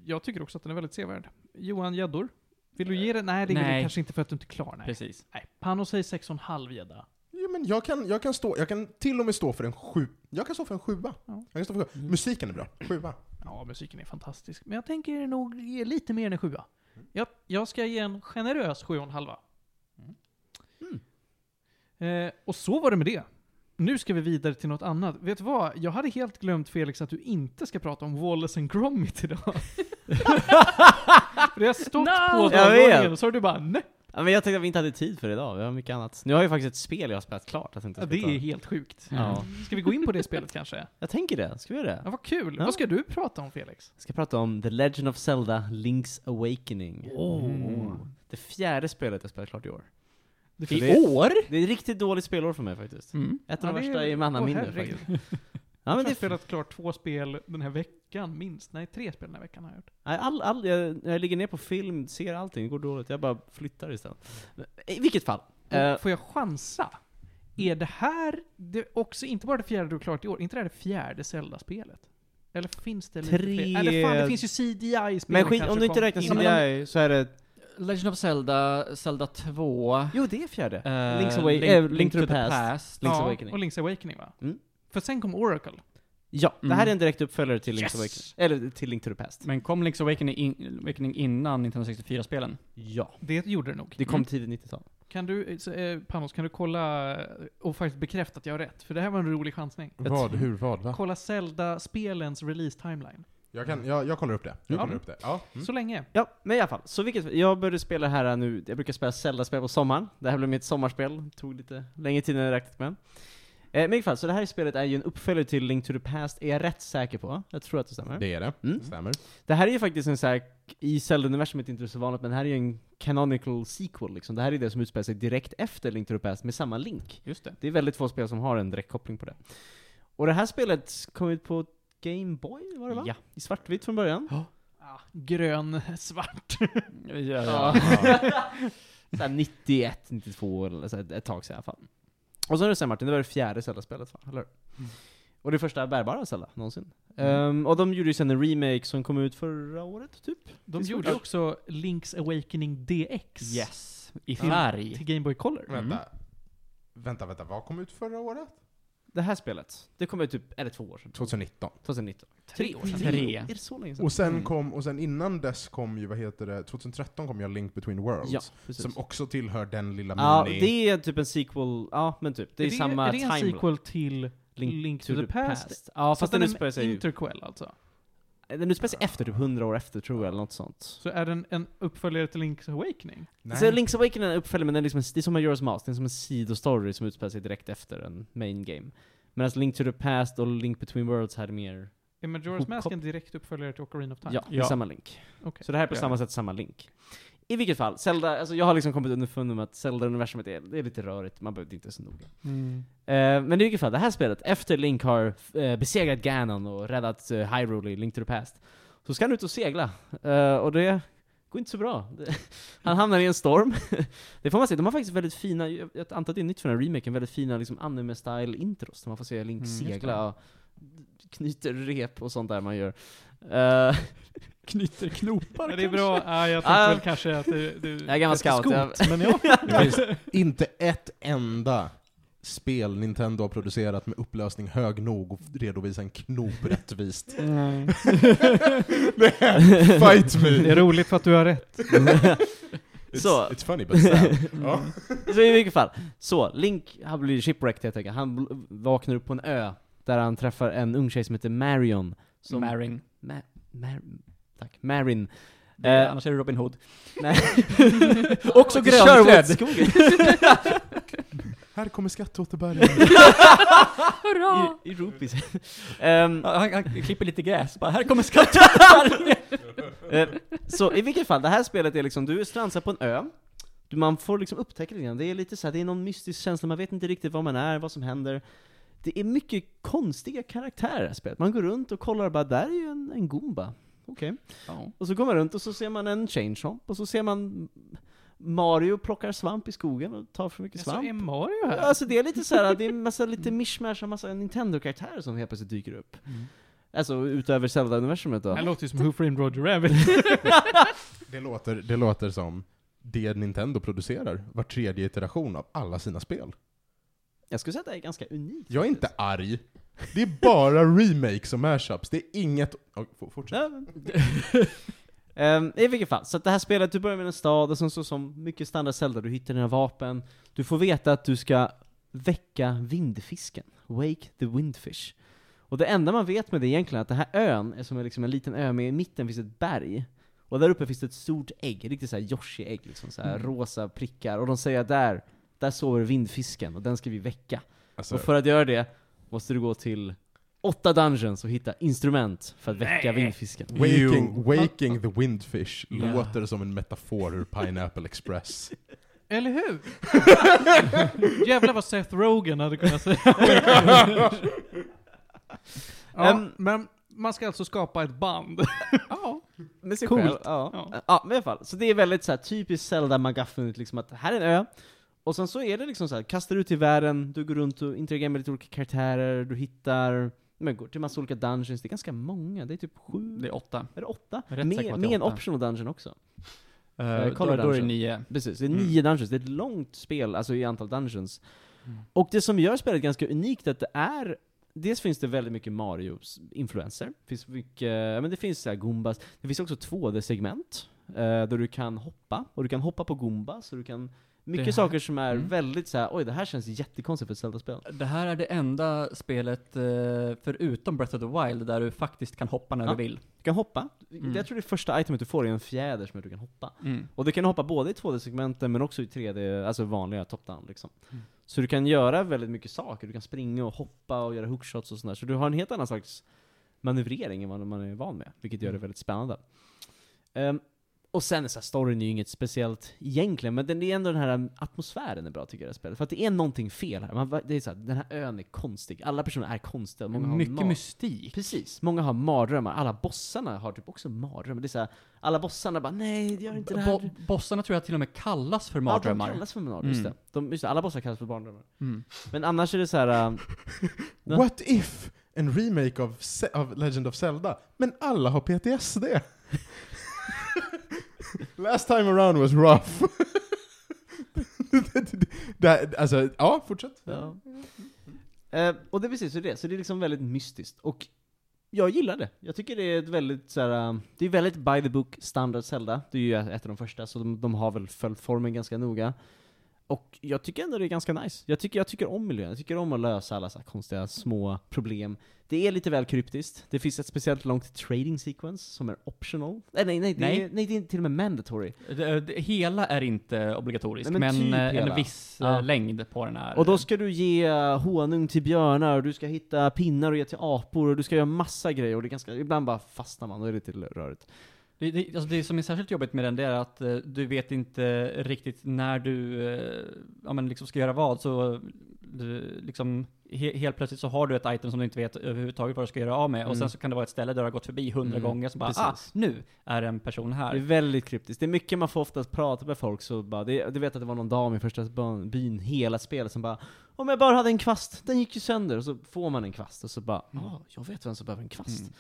A: jag tycker också att den är väldigt sevärd. Johan, gäddor? Vill du ge den? Nej, det vill du
D: Eh, Nej.
A: kanske inte för att du inte klarar nej.
D: Precis.
A: nej. Pano säger 6,5 gädda.
B: Ja, men jag, kan, jag, kan stå, jag kan till och med stå för en sju. Jag kan stå för en sjua.
A: Ja.
B: Jag kan stå för en sjua. Musiken är bra. Sjua.
A: Ja, musiken är fantastisk. Men jag tänker nog ge lite mer än en sjua.
G: Mm.
A: Jag, jag ska ge en generös sju och en halva.
G: Mm.
A: Mm. Eh, och så var det med det. Nu ska vi vidare till något annat. Vet du vad? Jag hade helt glömt Felix att du inte ska prata om Wallace and Gromit idag. För det har stått
C: No!
A: på
C: Jag
A: dagordningen
G: vet.
A: och så har du bara nej.
G: Ja, men jag tänkte att vi inte hade tid för det idag, vi har mycket annat. Nu har jag ju faktiskt ett spel jag har spelat klart. Jag tänkte
A: Ja, Det
G: jag skulle
A: är
G: ta.
A: helt sjukt.
G: Ja,
A: Ska vi gå in på det spelet kanske?
G: jag tänker det. Ska vi göra det?
A: Ja, vad kul.
G: Ja.
A: Vad ska du prata om Felix?
G: Jag ska prata om The Legend of Zelda Link's Awakening.
A: Mm.
G: Det fjärde spelet jag spelat klart i år.
A: Det
G: I
A: finns-
G: år? Det är ett riktigt dåligt spelår för mig faktiskt.
D: Mm.
G: Ett av
A: Ja,
G: de
A: det är-
G: värsta i
A: Åh,
G: mannaminne
A: herregud.
G: faktiskt. Ja, men
A: jag har
G: det
A: spelat klart två spel den här veckan, minst. Nej, tre spel den här veckan har jag gjort.
G: Nej, all, all, jag, jag ligger ner på film, ser allting, det går dåligt. Jag bara flyttar istället. I vilket fall. Eh,
A: Och Får jag chansa? Är det här det också, inte bara det fjärde du har klarat i år, inte det här det fjärde Zelda-spelet? Eller finns det lite
G: Tre-
A: fler? Eller fan, det finns ju CDI-spel
G: men skit, om du inte räknar CDI så är det...
D: Legend of Zelda, Zelda 2.
G: Jo, det är fjärde.
D: eh,
G: Link's Awa-
D: Link-
G: eh, Link to the Past. Link's
A: ja,
G: Awakening.
A: och Link's Awakening va?
G: Mm.
A: För sen kom Oracle.
G: Ja, det här
D: Mm.
G: är en direkt uppföljare till Link's
A: Yes!
G: Awakening. Eller till Link to the Past.
D: Men kom Link's Awakening, in, Awakening innan 1964-spelen?
G: Ja.
A: Det gjorde det nog.
G: Det kom
D: Mm.
G: tidigt 90-tal.
A: Kan du, eh, så, eh, Panos, kan du kolla eh, och faktiskt bekräfta att jag har rätt? För det här var en rolig chansning.
B: Vad, hur, vad, va?
A: Kolla Zelda-spelens release-timeline.
B: Jag, kan, jag, jag kollar upp det. Jag
A: Ja.
B: kollar upp det. Ja. Mm.
A: Så länge.
G: Ja, men i alla fall. Så vilket, jag började spela det här nu, jag brukar spela Zelda-spel på sommaren. Det här blev mitt sommarspel, tog lite längre tid än jag räknat med. Eh, men i alla fall, så det här spelet är ju en uppföljare till Link to the Past, är jag rätt säker på. Jag tror att det stämmer. Det,
B: Det är det.
G: Mm.
B: Stämmer.
G: här är ju faktiskt en så här, i Zelda-universumet inte så vanligt, men det här är ju en canonical sequel liksom. Det här är det som utspelar sig direkt efter Link to the Past med samma Link.
D: Just det.
G: Det är väldigt få spel som har en direkt koppling på det. Och det här spelet kom ut på Game Boy, var det va?
D: Ja.
G: I svartvitt från början.
A: Ah, grön, svart.
D: Ja, ja.
G: Ja. såhär 91, 92 eller så här, ett tag sedan i alla fall. Och sen är det sen Martin, det var det fjärde Zelda-spelet va? Eller hur?
A: Mm.
G: Och det första bärbara Zelda någonsin. Ehm, och de gjorde ju sen en remake som kom ut förra året typ.
A: De
G: Det är
A: gjorde
G: svårt.
A: också Link's Awakening DX.
D: Yes. I
A: Till-
D: färg.
A: Till Game Boy Color.
G: Mm.
B: Vänta. Vänta, vänta. Vad kom ut förra året?
G: Det här spelet, det kom ut typ, är det två år sedan?
B: 2019.
G: 2019. Tre år sedan?
D: Tre.
G: Är det så länge sedan?
B: Och sen kom, och sen innan dess kom ju, vad heter det, 2013 kom ju Link Between Worlds.
G: Ja, precis.
B: som också tillhör den lilla
G: Ja,
B: mini...
G: det är typ en sequel, ja men typ. Det är, samma
A: är det en
G: timeline.
A: sequel till Link, to, the, Past?
G: Ja,
A: Fast
G: fast
A: den
G: den
A: är
G: utspelar
A: en
G: sig
A: interquel alltså?
G: Den utspelar sig efter, typ 100 år efter tror jag, eller något sånt.
A: Så är den en uppföljare till Link's Awakening?
B: Nej.
G: Så Link's Awakening är en uppföljare, men den är liksom en, det är som en Euros Mask, det är som en sidostory som utspelar sig direkt efter en main game. Medan Link to the Past och Link Between Worlds hade mer,
A: Är Majora's
G: Hop-
A: Mask en direkt uppföljare till Ocarina of Time?
G: Oh, ja, det är
D: Ja.
G: samma Link.
A: Okej.
G: Så det här är på
A: Ja.
G: samma sätt samma Link. I vilket fall, Zelda, alltså jag har liksom kommit underfund med att Zelda-universumet är, det är lite rörigt, man behöver inte vara så noga.
A: Mm.
G: Eh, men i vilket fall, det här spelet, efter Link har eh, besegrat Ganon och räddat uh, Hyrule i Link to the Past, så ska han ut och segla. Eh, och det går inte så bra. Det- han hamnar i en storm. det får man se. De har faktiskt väldigt fina, jag jag antar att det är nytt för den här remaken, väldigt fina liksom, anime-style intros. Där man får se Link
D: Mm, just
G: segla och knyter rep och sånt där man gör. Eh,
D: Knyter knopar
A: Ja, det är bra. Ah, jag tänkte
G: Ah.
A: väl kanske att du... du
G: jag är gammal
A: efter
G: scout. Jag,
B: Men ja. Det finns inte ett enda spel Nintendo har producerat med upplösning hög nog och redovisa en knop rättvist. Fight
A: Det
B: me!
A: är roligt för att du har rätt.
G: Så. Mm.
B: It's, it's funny but sad. Ja.
G: Så i vilket fall. Så, Link, han blir shipwrecked helt enkelt. Han bl- vaknar upp på en ö, där han träffar en ung tjej som heter Marion. Som
D: Maring.
G: Ma- Mar- tack. Marin.
D: Det är-
G: Eh,
D: Annars är det Robin Hood.
G: Nej. Också grönklädd. skogen.
B: Här kommer skatteåterbäringen.
C: Hurra!
G: I, i rupees. Ehm,
D: Ja, Han, han klipper lite gräs, bara här kommer skatteåterbäringen!
G: Eh, så i vilket fall, det här spelet är liksom, du är strandsatt på en ö, du, man får liksom upptäcka lite grann, det är lite så här, det är någon mystisk känsla, man vet inte riktigt vad man är, vad som händer. Det är mycket konstiga karaktärer i det här spelet. Man går runt och kollar och bara, där är ju en, en Goomba. Okej. Och så går man runt och så ser man en Chainsomp, och så ser man Mario plockar svamp i skogen och tar för mycket
A: Alltså, är
G: svamp.
A: Mario här?
G: Alltså det är lite så här, det är massa lite mishmash av massa Nintendo-karaktärer som helt plötsligt dyker upp. Alltså utöver Zelda-universumet
A: Det
G: då.
A: här låter ju som Who Framed Roger Rabbit.
B: det, låter, det låter som det Nintendo producerar, var tredje iteration av alla sina spel.
G: Jag skulle säga att det är ganska unikt.
B: Jag är inte arg. Det är bara remakes och mashups, det är inget... Ja, f- Fortsätt.
G: Ja, men- Ehm, I vilket fall, så att det här spelet, du börjar med en stad, och sen så som mycket standard Zelda, du hittar dina vapen, du får veta att du ska väcka vindfisken. Wake the windfish. Och det enda man vet med det egentligen är att den här ön är som en, liksom en liten ö, men i mitten finns ett berg. Och där uppe finns det ett stort ägg, riktigt såhär Yoshi-ägg, liksom så här rosa prickar. Och de säger att där, där sover vindfisken, och den ska vi väcka.
B: Alltså,
G: Och för att göra det måste du gå till åtta dungeons och hitta instrument för att väcka vindfisken.
B: Waking, waking the Windfish
G: Ja.
B: låter som en metafor ur Pineapple Express.
A: Eller hur? Jävlar vad Seth Rogen hade kunnat säga. ja,
G: Em,
A: men man ska alltså skapa ett band. ja.
G: Med sig
A: Coolt.
G: själv, ja. Ja. men i alla fall. Så det är väldigt så här, typiskt Zelda McGuffin, liksom att här är en ö, och sen så är det liksom så här, kastar ut i världen, du går runt och interagerar med lite olika karaktärer, du hittar, men går till massa olika dungeons, det är ganska många, det är typ sju,
D: Det är åtta.
G: är det åtta?
D: Jag är rätt säker på
G: Med,
D: att det är
G: med en
D: åtta.
G: optional dungeon också.
D: Uh,
G: Color
D: då, då är det
G: Dungeon.
D: nio.
G: Precis, det är
D: Mm.
G: nio dungeons. Det är ett långt spel, alltså i antal dungeons.
D: Mm.
G: Och det som gör spelet ganska unikt är att det är Dels finns det väldigt mycket Mario-influenser. Det finns mycket, ja, men det finns så här Goombas. Det finns också 2D-segment, eh, där du kan hoppa, och du kan hoppa på Goombas, och du kan... Mycket
D: här-
G: saker som är
D: Mm.
G: väldigt så här, oj det här känns jättekonstigt för ett Zelda-spel.
D: Det här är det enda spelet eh, förutom Breath of the Wild där du faktiskt kan hoppa när
G: Ja.
D: du vill.
G: Du kan hoppa.
D: Mm.
G: Jag tror det första itemet du får är en fjäder som gör att du kan hoppa. Och du kan hoppa både i 2D-segmenten men också i 3D, alltså vanliga top-down liksom.
D: Mm.
G: Så du kan göra väldigt mycket saker, du kan springa och hoppa och göra hookshots och sådär. Så du har en helt annan slags manövrering än vad man är van med, vilket
D: Mm.
G: gör det väldigt spännande. Ehm, och sen är så här, storyn är ju inget speciellt egentligen, men den är ändå den här atmosfären är bra tycker jag i det här spelet. För att det är någonting fel här. Man, det är så här, den här ön är konstig, alla personer är konstiga. Många har
D: Mycket
G: mat-
D: mystik.
G: Precis, många har mardrömmar. Alla bossarna har typ också mardrömmar. Det är så här, alla bossarna bara nej, gör inte det här.
D: Bo- bossarna tror jag till och med kallas för
G: Ja, de
D: mardrömmar.
G: kallas för mardrömmar, just det.
D: Mm.
G: De, just det. Alla bossar kallas för mardrömmar.
D: Mm.
G: Men annars är det så här. äh, Ja.
B: What if en remake av, Se- av Legend of Zelda, men alla har PTSD? Last time around was rough. det, det, det, det, här- alltså, ja, fortsätt.
G: ja. Eh, och det är precis så det är. Så det är liksom väldigt mystiskt. Och jag gillar det. Jag tycker det är ett väldigt så här, äh, det är väldigt by the book standard Zelda. Det är ju ett av de första, så de, de har väl följt formen ganska noga. Och jag tycker ändå det är ganska nice. Jag tycker, jag tycker om miljön, jag tycker om att lösa alla så här konstiga små problem. Det är lite väl kryptiskt, det finns ett speciellt långt trading sequence som är optional. Nej, nej, nej, det,
D: Nej.
G: Är, nej, det är till och med mandatory.
D: Det, det, hela är inte obligatoriskt,
G: Nej,
D: men,
G: men typ
D: eh,
G: hela.
D: en viss eh,
G: Ja.
D: längd på den här.
G: Och då ska du ge eh, honung till björnar, och du ska hitta pinnar och ge till apor, och du ska göra massa grejer, och det är ganska, ibland bara fastnar man, och det är lite rörigt.
D: det, det, alltså det som är särskilt jobbigt med den, det är att eh, du vet inte riktigt när du eh, ja, men liksom ska göra vad, så eh, du, liksom, he, helt plötsligt så har du ett item som du inte vet överhuvudtaget vad du ska göra av med, och
G: Mm.
D: sen så kan det vara ett ställe där du har gått förbi hundra
G: Mm,
D: gånger, så bara ah,
G: precis.
D: nu är en person
G: Det är
D: här.
G: väldigt kryptiskt. Det är mycket man får ofta prata med folk, så bara, det, du vet att det var någon dam i första ban- byn, hela spelet, som bara Om jag bara hade en kvast, den gick ju sönder, och så får man en kvast, och så bara
D: Mm.
G: ah, jag vet vem som behöver en kvast.
D: Mm.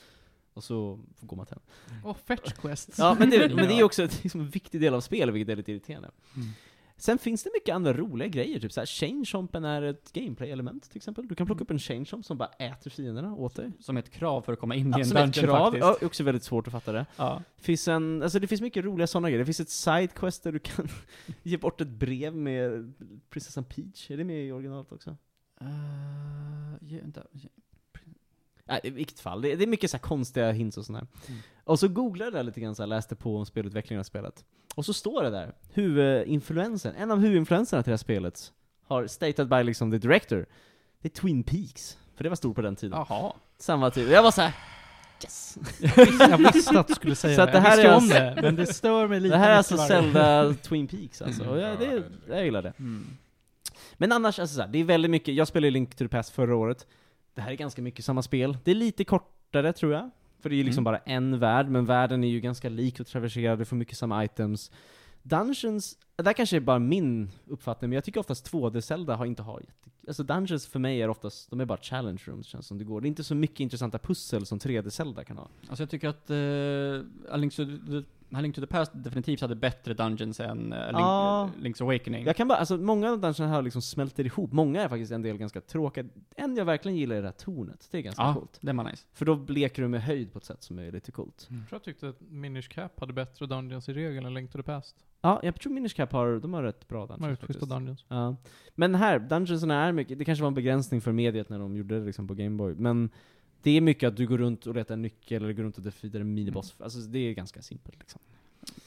G: Och så går man till henne.
A: Och Fetch Quest.
G: Ja, men det, men det är också ett, liksom, en viktig del av spelet, vilket är lite irriterande.
D: Mm.
G: Sen finns det mycket andra roliga grejer, typ såhär, chainsompen är ett gameplay-element till exempel. Du kan plocka upp en chainsomp som bara äter fienderna åt dig.
D: Som ett krav för att komma in i en
G: Som ett
D: dungeon
G: krav,
D: faktiskt.
G: ja, också väldigt svårt att fatta det.
D: Ja.
G: Finns en, alltså det finns mycket roliga sådana grejer. Det finns ett sidequest där du kan ge bort ett brev med prinsessan Peach. Är det med i originalet också?
D: Eh, ge- vänta, ge-
G: Nej, i vilket fall. Det, det är mycket så här konstiga hints och sådär.
A: Mm.
G: Och så googlade jag det där lite grann, så här, läste på om spelutvecklingen av spelet. Och så står det där, huvudinfluensen, en av huvudinfluenserna till det här spelet, har stated by liksom the director, det är Twin Peaks. För det var stort på den tiden.
A: Jaha.
G: Samma tid. Jag var såhär, yes!
A: Jag visste att du skulle säga
G: Så
A: så det.
G: att det här
A: jag visste
G: är
A: om
G: alltså-
A: det, men det stör mig lite.
G: Det här är
A: mycket
G: alltså
A: varje gång.
G: Zelda Twin Peaks alltså, och jag,
B: Ja,
G: det,
B: det-
G: jag gillar det.
D: Mm.
G: Men annars, alltså så här, det är väldigt mycket, jag spelade ju Link to the Past förra året, det här är ganska mycket samma spel. Det är lite kortare tror jag, för det är ju liksom
B: Mm.
G: bara en värld, men världen är ju ganska lik och traverserad, du får mycket samma items. Dungeons, det här kanske är bara min uppfattning, men jag tycker oftast 2D-Zelda har inte har jätte... Alltså Dungeons för mig är oftast, de är bara challenge rooms känns som det går. Det är inte så mycket intressanta pussel som 3D-Zelda kan ha.
D: Alltså jag tycker att uh, A, Link to the, A Link to the Past definitivt hade bättre dungeons än eh, A Link,
G: Ja.
D: Link's Awakening.
G: Jag kan bara, alltså många av dungeons här liksom smälter ihop, många är faktiskt en del ganska tråkiga. En jag verkligen gillar är det här tornet, det är ganska
D: ja,
G: coolt.
D: den var nice.
G: För då leker du med höjd på ett sätt som är lite coolt.
A: Jag tror jag tyckte att Minish Cap hade bättre Dungeons i regel än Link to the Past.
G: Ja, jag tror Minish Cap har, de har rätt bra
A: De har ju
G: dungeons
A: schyssta
G: faktiskt.
A: Dungeons.
G: Ja. Men här, dungeonsen är mycket, det kanske var en begränsning för mediet när de gjorde det liksom på Gameboy, men det är mycket att du går runt och letar en nyckel eller går runt och defeatar en miniboss. Alltså det är ganska simpelt liksom.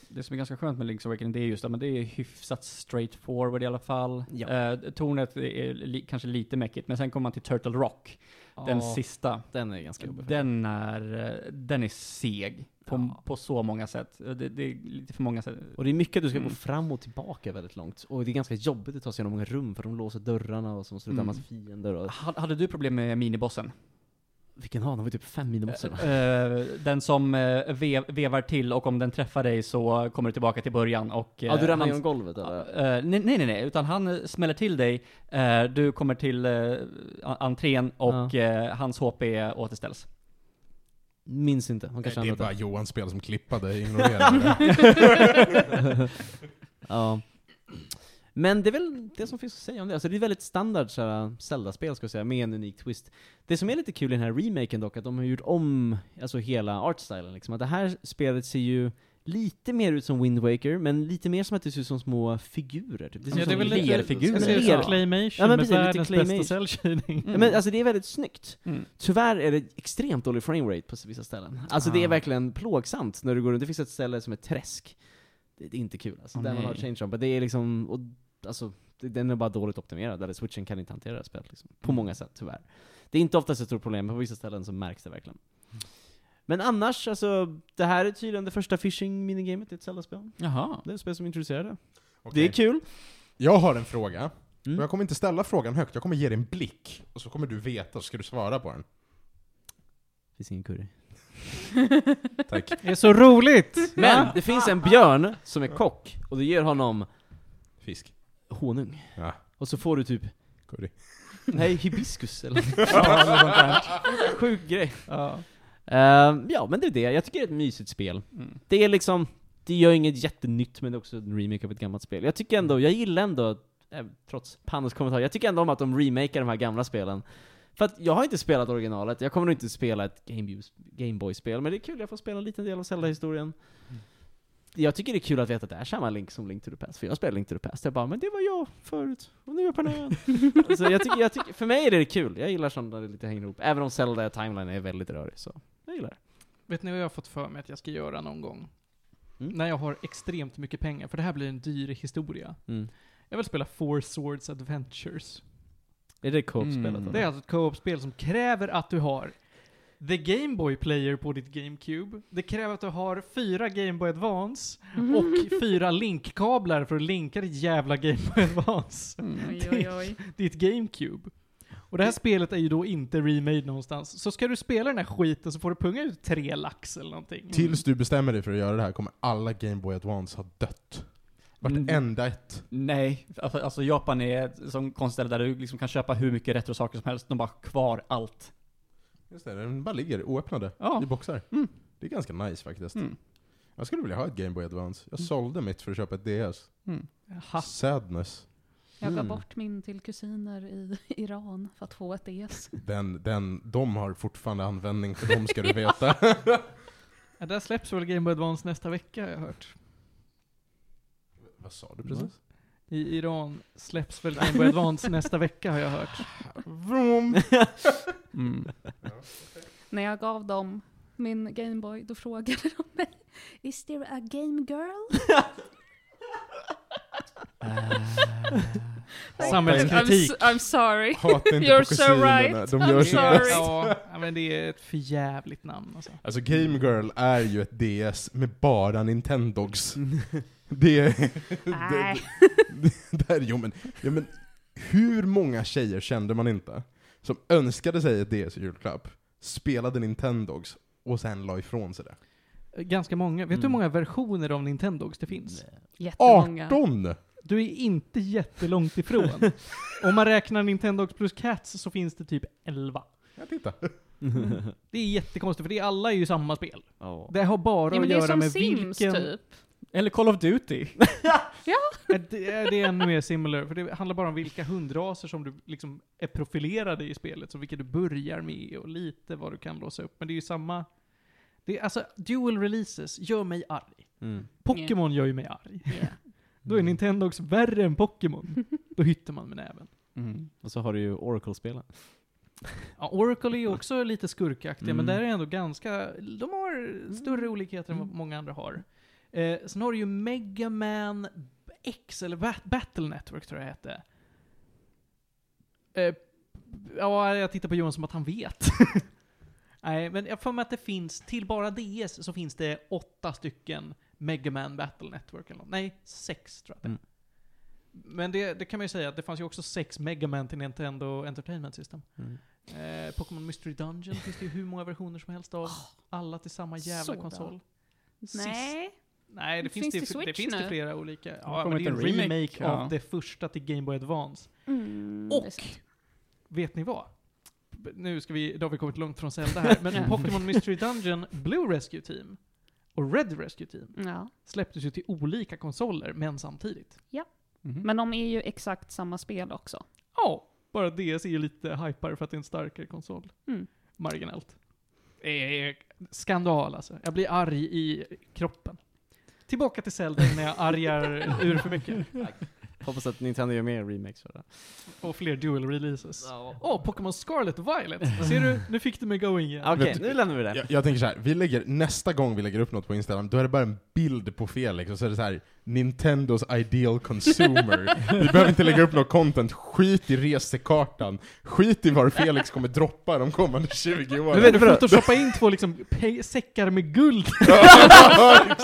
D: Det som är ganska skönt med Link's Awakening det är just att men det är hyfsat straight forward i alla fall.
G: Ja.
D: Eh, tornet är li, kanske lite mäckigt, men sen kommer man till Turtle Rock, den
G: Ja,
D: sista.
G: den är ganska jobbig.
D: Den är, eh, den är seg på,
G: Ja.
D: på så många sätt. Eh, Det, det är lite för många sätt.
G: Och det är mycket att du ska
D: Mm.
G: gå fram och tillbaka väldigt långt. Och det är ganska jobbigt att ta sig igenom många rum för de låser dörrarna och så måste du
D: Mm.
G: döma massa fiender och... Ah,
D: Ha- Hade du problem med minibossen?
G: Vilken har de? har ju typ fem minibossar va?
D: Eh, den som eh, ve- vevar till och om den träffar dig så kommer du tillbaka till början och... eh,
G: Ja, du ramlar
D: hans-
G: genom golvet eller?
D: Eh, nej, nej, nej, nej, utan han eh, smäller till dig, eh, du kommer till eh, a- entrén och eh, hans HP återställs.
G: Minns inte, hon
B: Det
G: kanske
B: är
G: ändrat
B: bara
G: det.
B: Johans spel som klippade, ignorera det.
G: ja. Men det är väl det som finns att säga om det. Alltså det är väldigt standard såhär, Zelda-spel ska jag säga, med en unik twist. Det som är lite kul i den här remaken dock, att de har gjort om alltså hela artstylen liksom. Att det här spelet ser ju lite mer ut som Wind Waker, men lite mer som att det ser ut som små figurer. Typ. Det ser
D: Ja,
G: ut
D: det är
G: som
D: väl lite-
G: lerfigurer.
D: Jag
A: Jag
D: ser
A: ser
D: det
A: ut
D: som
A: som
D: Ja.
A: Claymation
G: Ja, men
A: med
G: precis, lite
A: världens
G: claymation.
A: bästa cellshading.
G: Ja, men alltså det är väldigt snyggt.
D: Mm.
G: Tyvärr är det extremt dålig framerate på vissa ställen. Alltså det är
D: Ah.
G: verkligen plågsamt när du går runt. Det finns ett ställe som är träsk. Det, det är inte kul alltså.
D: Åh,
G: där man
D: nej.
G: har change jump. Det är liksom, och, alltså, det, den är bara dåligt optimerad. Där switchen kan inte hantera det här spelet liksom. På många sätt, tyvärr. Det är inte oftast ett stort problem, men på vissa ställen så märks det verkligen. Men annars, alltså, det här är tydligen det första phishing minigamet i ett Zelda-spel.
D: Jaha.
G: Det är ett spel som introducerar det. Det
B: Okej.
G: är kul.
B: Jag har en fråga,
G: Mm.
B: och jag kommer inte ställa frågan högt, jag kommer ge dig en blick, och så kommer du veta, så ska du svara på den.
G: Finns ingen curry.
B: Tack.
A: Det är så roligt!
G: Men det finns en björn som är kock, och det ger honom
B: Fisk.
G: honung.
B: Ja.
G: Och så får du typ,
B: Curry.
G: nej hibiskus eller
D: ja, något sånt där.
G: sjuk grej.
D: Ja.
G: Ehm, ja men det är det, jag tycker det är ett mysigt spel.
D: Mm.
G: Det är liksom, det gör inget jättenytt men det är också en remake av ett gammalt spel. Jag tycker ändå, jag gillar ändå, eh, trots Panos kommentar, jag tycker ändå om att de remakar de här gamla spelen. För att jag har inte spelat originalet, jag kommer nog inte spela ett Gameboy- Gameboy-spel, men det är kul, jag får spela en liten del av Zelda-historien. Jag tycker det är kul att veta att det är samma Link som Link to the Past, för jag spelade Link to the Past, jag bara 'Men det var jag förut, och nu är jag på den här ön." Så jag tycker, jag tycker, för mig är det kul, jag gillar sånt när det lite hänger ihop. Även om Zelda timeline är väldigt rörig, så jag gillar det.
A: Vet ni vad jag har fått för mig att jag ska göra någon gång?
G: Mm.
A: När jag har extremt mycket pengar, för det här blir en dyr historia.
G: Mm.
A: Jag vill spela Four Swords Adventures.
G: Är det co-op-spelet
D: Mm.
G: då?
A: Det är alltså ett co-op-spel som kräver att du har The Game Boy Player på ditt GameCube. Det kräver att du har fyra Game Boy Advance och fyra linkkablar för att linka ditt jävla Game Boy Advance.
C: Oj, oj, oj.
A: Ditt GameCube. Och det här spelet är ju då inte remade någonstans. Så ska du spela den här skiten så får du punga ut tre lax eller någonting.
B: Tills du bestämmer dig för att göra det här kommer alla Game Boy Advance ha dött.
G: Mm.
B: Vartenda ett.
D: Mm. Nej, alltså, alltså Japan är ett sånt konstställe där du liksom kan köpa hur mycket retrosaker som helst, de bara har kvar allt.
B: Just det, den bara ligger oöppnade
D: Ja.
B: i boxar.
D: Mm.
B: Det är ganska nice faktiskt.
D: Mm.
B: Jag skulle vilja ha ett Game Boy Advance. Jag sålde mitt för att köpa ett DS.
A: Jaha.
B: Sadness.
C: Jag gav
G: Mm.
C: bort min till kusiner i Iran för att få ett DS.
B: Den, den, de har fortfarande användning för dem ska du veta.
A: Ja, där släpps väl Game Boy Advance nästa vecka har jag hört.
B: Vad sa du precis?
A: I Iran släpps väl Game Boy Advance nästa vecka har jag hört.
B: Vroom.
D: Mm.
C: När jag gav dem min Gameboy, då frågade de mig Is
D: Eh.
B: Eh.
C: there a game girl? I'm,
H: Samhällskritik.
C: s- I'm sorry.
B: Hata inte
C: You're
B: på
C: so
B: kusinerna,
C: right.
B: de
C: I'm
B: gör sitt
C: sorry.
B: bästa.
A: Ja, ja, men det är ett förjävligt namn alltså.
B: Alltså Game Girl är ju ett DS med bara Nintendogs. Det är...
C: Nej.
B: det, det här, jo, men, jo men, hur många tjejer kände man inte som önskade sig ett DS i julklapp, spelade Nintendogs och sen la ifrån sig det?
A: Ganska många. Vet du hur
I: Mm.
A: många versioner av Nintendogs det finns?
C: Jättemånga.
B: 18!
A: Du är inte jättelångt ifrån. Om man räknar Nintendogs plus Cats så finns det typ 11.
B: Ja, titta.
A: Det är jättekonstigt för det är alla är ju samma spel.
G: Ja.
A: Det har bara
C: Ja, men
A: att
C: det är
A: göra
C: som
A: med
C: Sims
A: vilken...
C: typ.
D: Eller Call of Duty.
A: Ja, Det är, det är ännu mer similar, för det handlar bara om vilka hundraser som du liksom är profilerade i spelet, så vilka du börjar med och lite vad du kan låsa upp. Men det är ju samma... Det är, alltså, dual releases gör mig arg.
G: Mm.
A: Pokémon gör ju mig arg. Då
D: Mm.
A: är Nintendo också värre än Pokémon. Då hittar man med näven.
D: Mm.
G: Och så har du ju Oracle-spelen.
A: Ja, Oracle är ju också lite skurkaktiga, men
G: Mm.
A: där är ändå ganska... De har större olikheter än vad många andra har. Eh, sen har du ju Mega Man X, eller Bat- Battle Network tror jag hette. Eh, ja, jag tittar på Johan som att han vet. Nej, men jag får mig att det finns, till bara DS så finns det åtta stycken Mega Man Battle Network eller något. Nej, sex tror jag det är.
G: Mm.
A: Men det, det kan man ju säga, att det fanns ju också sex Mega Man till Nintendo Entertainment System.
D: Mm.
A: Eh, Pokémon Mystery Dungeon finns det ju hur många versioner som helst av. Alla till samma jävla
C: sådan.
A: konsol. Sist-
C: Nej.
A: Nej, det finns,
C: Finns det
A: det, det,
C: Switch
A: finns det
C: nu?
A: flera olika. Ja,
D: kommer
A: men det är en remake,
D: inte en remake, ja.
A: av det första till Game Boy Advance.
C: Mm, det är
A: Och,
C: sant.
A: vet ni vad? B- Nu ska vi, då har vi kommit långt från Zelda här, men Pokémon Mystery Dungeon, Blue Rescue Team och Red Rescue Team
C: Ja.
A: släpptes ju till olika konsoler, men samtidigt.
C: Men de är ju exakt samma spel också.
A: Ja, bara DS är ju lite hypare för att det är en starkare konsol.
C: Mm.
A: Marginellt. Eh, skandal alltså. Jag blir arg i kroppen. Tillbaka till Zelda när jag argar ur för mycket.
G: Hoppas att Nintendo gör mer remakes för det.
A: Och fler dual releases. Åh, Pokémon Scarlet och Violet! Ser du? Nu fick du mig going igen.
G: Okej,
B: Vet-
G: nu lämnar vi det.
B: Jag, jag tänker så här, vi lägger, nästa gång vi lägger upp något på Instagram, då är det bara en bild på Felix, och så är det så här Nintendos ideal consumer. vi behöver inte lägga upp något content, skit i resekartan, skit i var Felix kommer droppa de kommande 20 åren.
A: Men vet du, photoshoppa in två liksom pe- säckar med guld.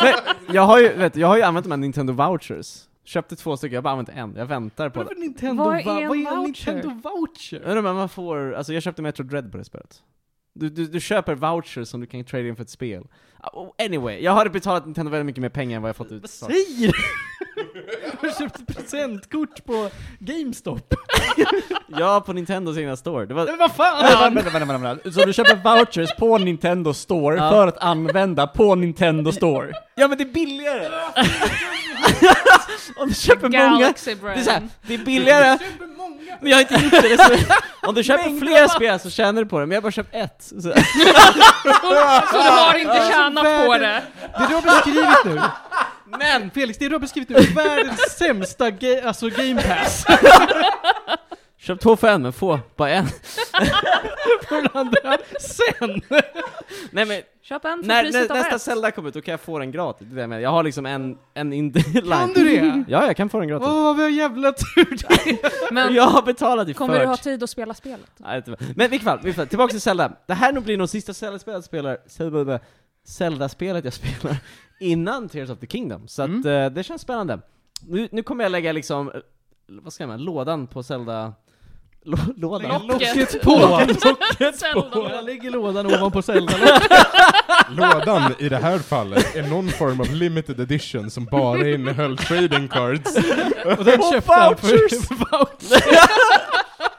G: Nej, jag, har ju, vet, du, jag har ju använt de här Nintendo vouchers. Köpte två stycken, jag har bara använt en. Jag väntar på
A: Vad
G: det.
A: är Nintendo
C: Vad är
A: va-
C: en
A: vad är en
C: voucher?
A: Nintendo voucher?
G: Jag undrar, Men man får, alltså jag köpte Metro Dread på det spelet. Du, du, du köper vouchers som du kan trade in för ett spel. Oh, Anyway, jag har betalat Nintendo väldigt mycket mer pengar än vad jag fått ut.
A: Vad säger du? Jag köpte presentkort på GameStop.
G: Ja, på Nintendos egna store. Det var,
A: Men vad
D: Vänta,
A: fan!
D: vänta, vänta, vänta, vänta. Så du köper vouchers på Nintendo Store
G: Ja.
D: för att använda på Nintendo Store?
G: ja men det är billigare! Om du köper många,
C: Galaxy Brand.
G: det är, så här, det är billigare. Men jag har inte gjort det. det är så, om du köper fler spel så tjänar du på det, men jag har bara köpt ett. Så,
C: Så du har inte tjänat på det?
A: Det du har beskrivit nu. Men Felix, det du har beskrivit nu är världens sämsta ga- alltså game pass.
G: köp två för en, men få bara en.
A: Från andra sen.
G: Nej men,
C: Köp en för
G: när, när
C: priset av
G: nästa
C: ett.
G: Zelda kommer ut, då kan jag få den gratis. Det är det jag menar. Jag har liksom en, en in the line.
A: Kan du det?
G: Ja, jag kan få den gratis.
A: Åh, vad vi har jävla tur det är.
C: Men
G: Jag har betalat i
C: kommer
G: förtid.
C: du ha tid att spela spelet?
G: Nej, inte- Men i vilket fall, i vilket fall, tillbaka till Zelda. Det här nog blir nog sista Zelda-spelet jag spelar, Zelda- Zelda-spelet jag spelar innan Tears of the Kingdom, så att
A: Mm.
G: eh, det känns spännande. Nu, nu kommer jag lägga liksom, eh, vad ska man, lådan på Zelda... Lå, lådan?
A: Locket på!
C: Zelda.
A: Jag lägger lådan ovanpå Zelda.
B: Lådan i det här fallet är någon form av limited edition som bara innehöll trading cards.
A: Och den köpte han för vouchers.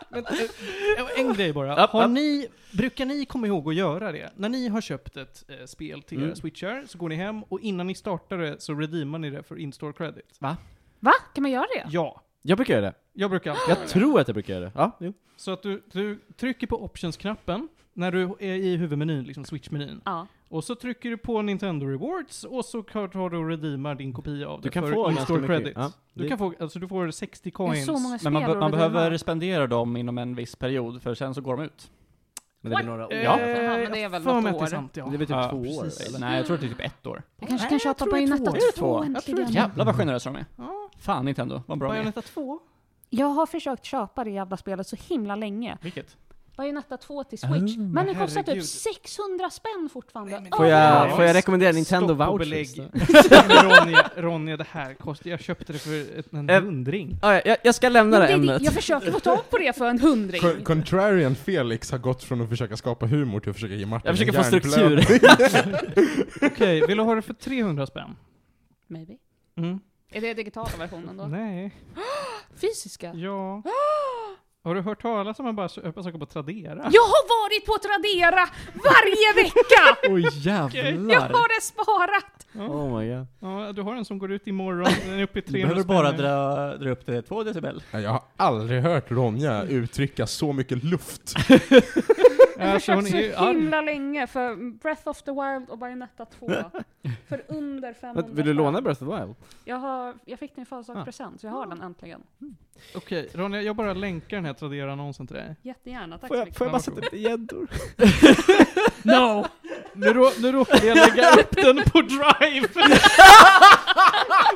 A: Men, eh, en grej bara. Har ni, brukar ni komma ihåg att göra det? När ni har köpt ett eh, spel till era
G: Mm.
A: switchar så går ni hem och innan ni startar det så redeemar ni det för in-store credit.
C: Va? Kan man göra det?
A: Ja.
G: Jag brukar göra det.
A: Jag brukar alltid göra
G: Jag
A: det.
G: tror att jag brukar göra det. Ja, jo.
A: Så att du, du trycker på options-knappen när du är i huvudmenyn, liksom switch-menyn.
C: Ja.
A: Och så trycker du på Nintendo Rewards och så tar du och redeemar din kopia av det
G: Du kan
A: för
G: få ganska
A: in-store
G: mycket.
A: credit.
G: Ja,
A: du
G: det-
A: kan få, alltså du får 60
C: Det är
A: coins.
C: så många spel
D: Men man, be-
C: att
D: man
C: redeema.
D: behöver spendera dem inom en viss period, för sen så går de ut.
G: Men det blir några år.
A: Eh,
G: Ja.
C: men det är väl
A: jag får
C: något
A: mig att det är
C: år.
A: sant, ja.
G: Det blir typ
D: Ja,
G: två
D: precis.
G: år, eller?
D: Nej, jag tror det är typ ett år.
C: Jag kanske
A: Nej,
C: kan
A: jag
C: köpa
A: tror det är två
C: Bayonetta
A: år.
C: 2
D: Jag tror det är
C: äntligen.
D: Jävlar vad generösa de är.
A: Ja.
D: Fan Nintendo, vad bra de är.
A: Bayonetta 2?
C: Jag har försökt köpa det jävla spelet så himla länge.
G: Vilket?
C: Bayonetta 2 till Switch.
G: Oh,
C: men det kostar
A: herregud.
C: typ 600 spänn fortfarande. Ah.
A: men-
C: Ja,
G: Får jag,
C: ja.
G: får jag rekommendera Nintendo
A: Stopp och
G: Vouchers?
A: belägg.
G: då?
A: Ronja, Ronja, det här kostar... Jag köpte det för ett, en
G: Äm.
A: hundring.
G: Ah, ja, jag, jag ska lämna det
C: Men det-
G: ämnet.
C: Jag försöker få tag på det för en hundring.
B: Co- Contrarian Felix har gått från att försöka skapa humor till att försöka ge Martin
G: Jag försöker
B: en
G: få struktur.
B: hjärnblödning.
A: Okej, vill du ha det för 300 spänn?
C: Maybe.
A: Mm.
C: Är det digitala versionen då?
A: Nej.
C: Fysiska?
A: Ja. Har du hört talas om att man bara sö- öppnar saker på Tradera?
C: Jag har varit på Tradera varje vecka!
G: Oj
C: Jag
G: jävlar!
C: har det sparat!
G: Oh my god.
A: Ja, du har en som går ut imorgon. Den är uppe i
D: Du
A: 300
D: behöver
A: spänn
D: bara
A: nu.
D: dra, dra upp det två decibel.
B: Nej, Jag har aldrig hört Ronja uttrycka så mycket luft.
C: Jag har
A: Alltså, hon
C: försökt
A: är ju
C: så
A: arg.
C: himla länge för Breath of the Wild och Bayonetta 2. För under 500
G: Vill du
C: spänn.
G: låna Breath of the Wild?
C: Jag, har, jag fick den i födelsedagspresent, så jag har den äntligen.
A: Okej, Ronja, jag bara länkar den här Tradera-annonsen till dig.
C: Jättegärna, tack
G: Får
C: så
G: jag,
C: mycket.
G: får jag bara sätta upp gäddor?
A: No! Nu, rå, nu råkade jag lägga upp den på Drive!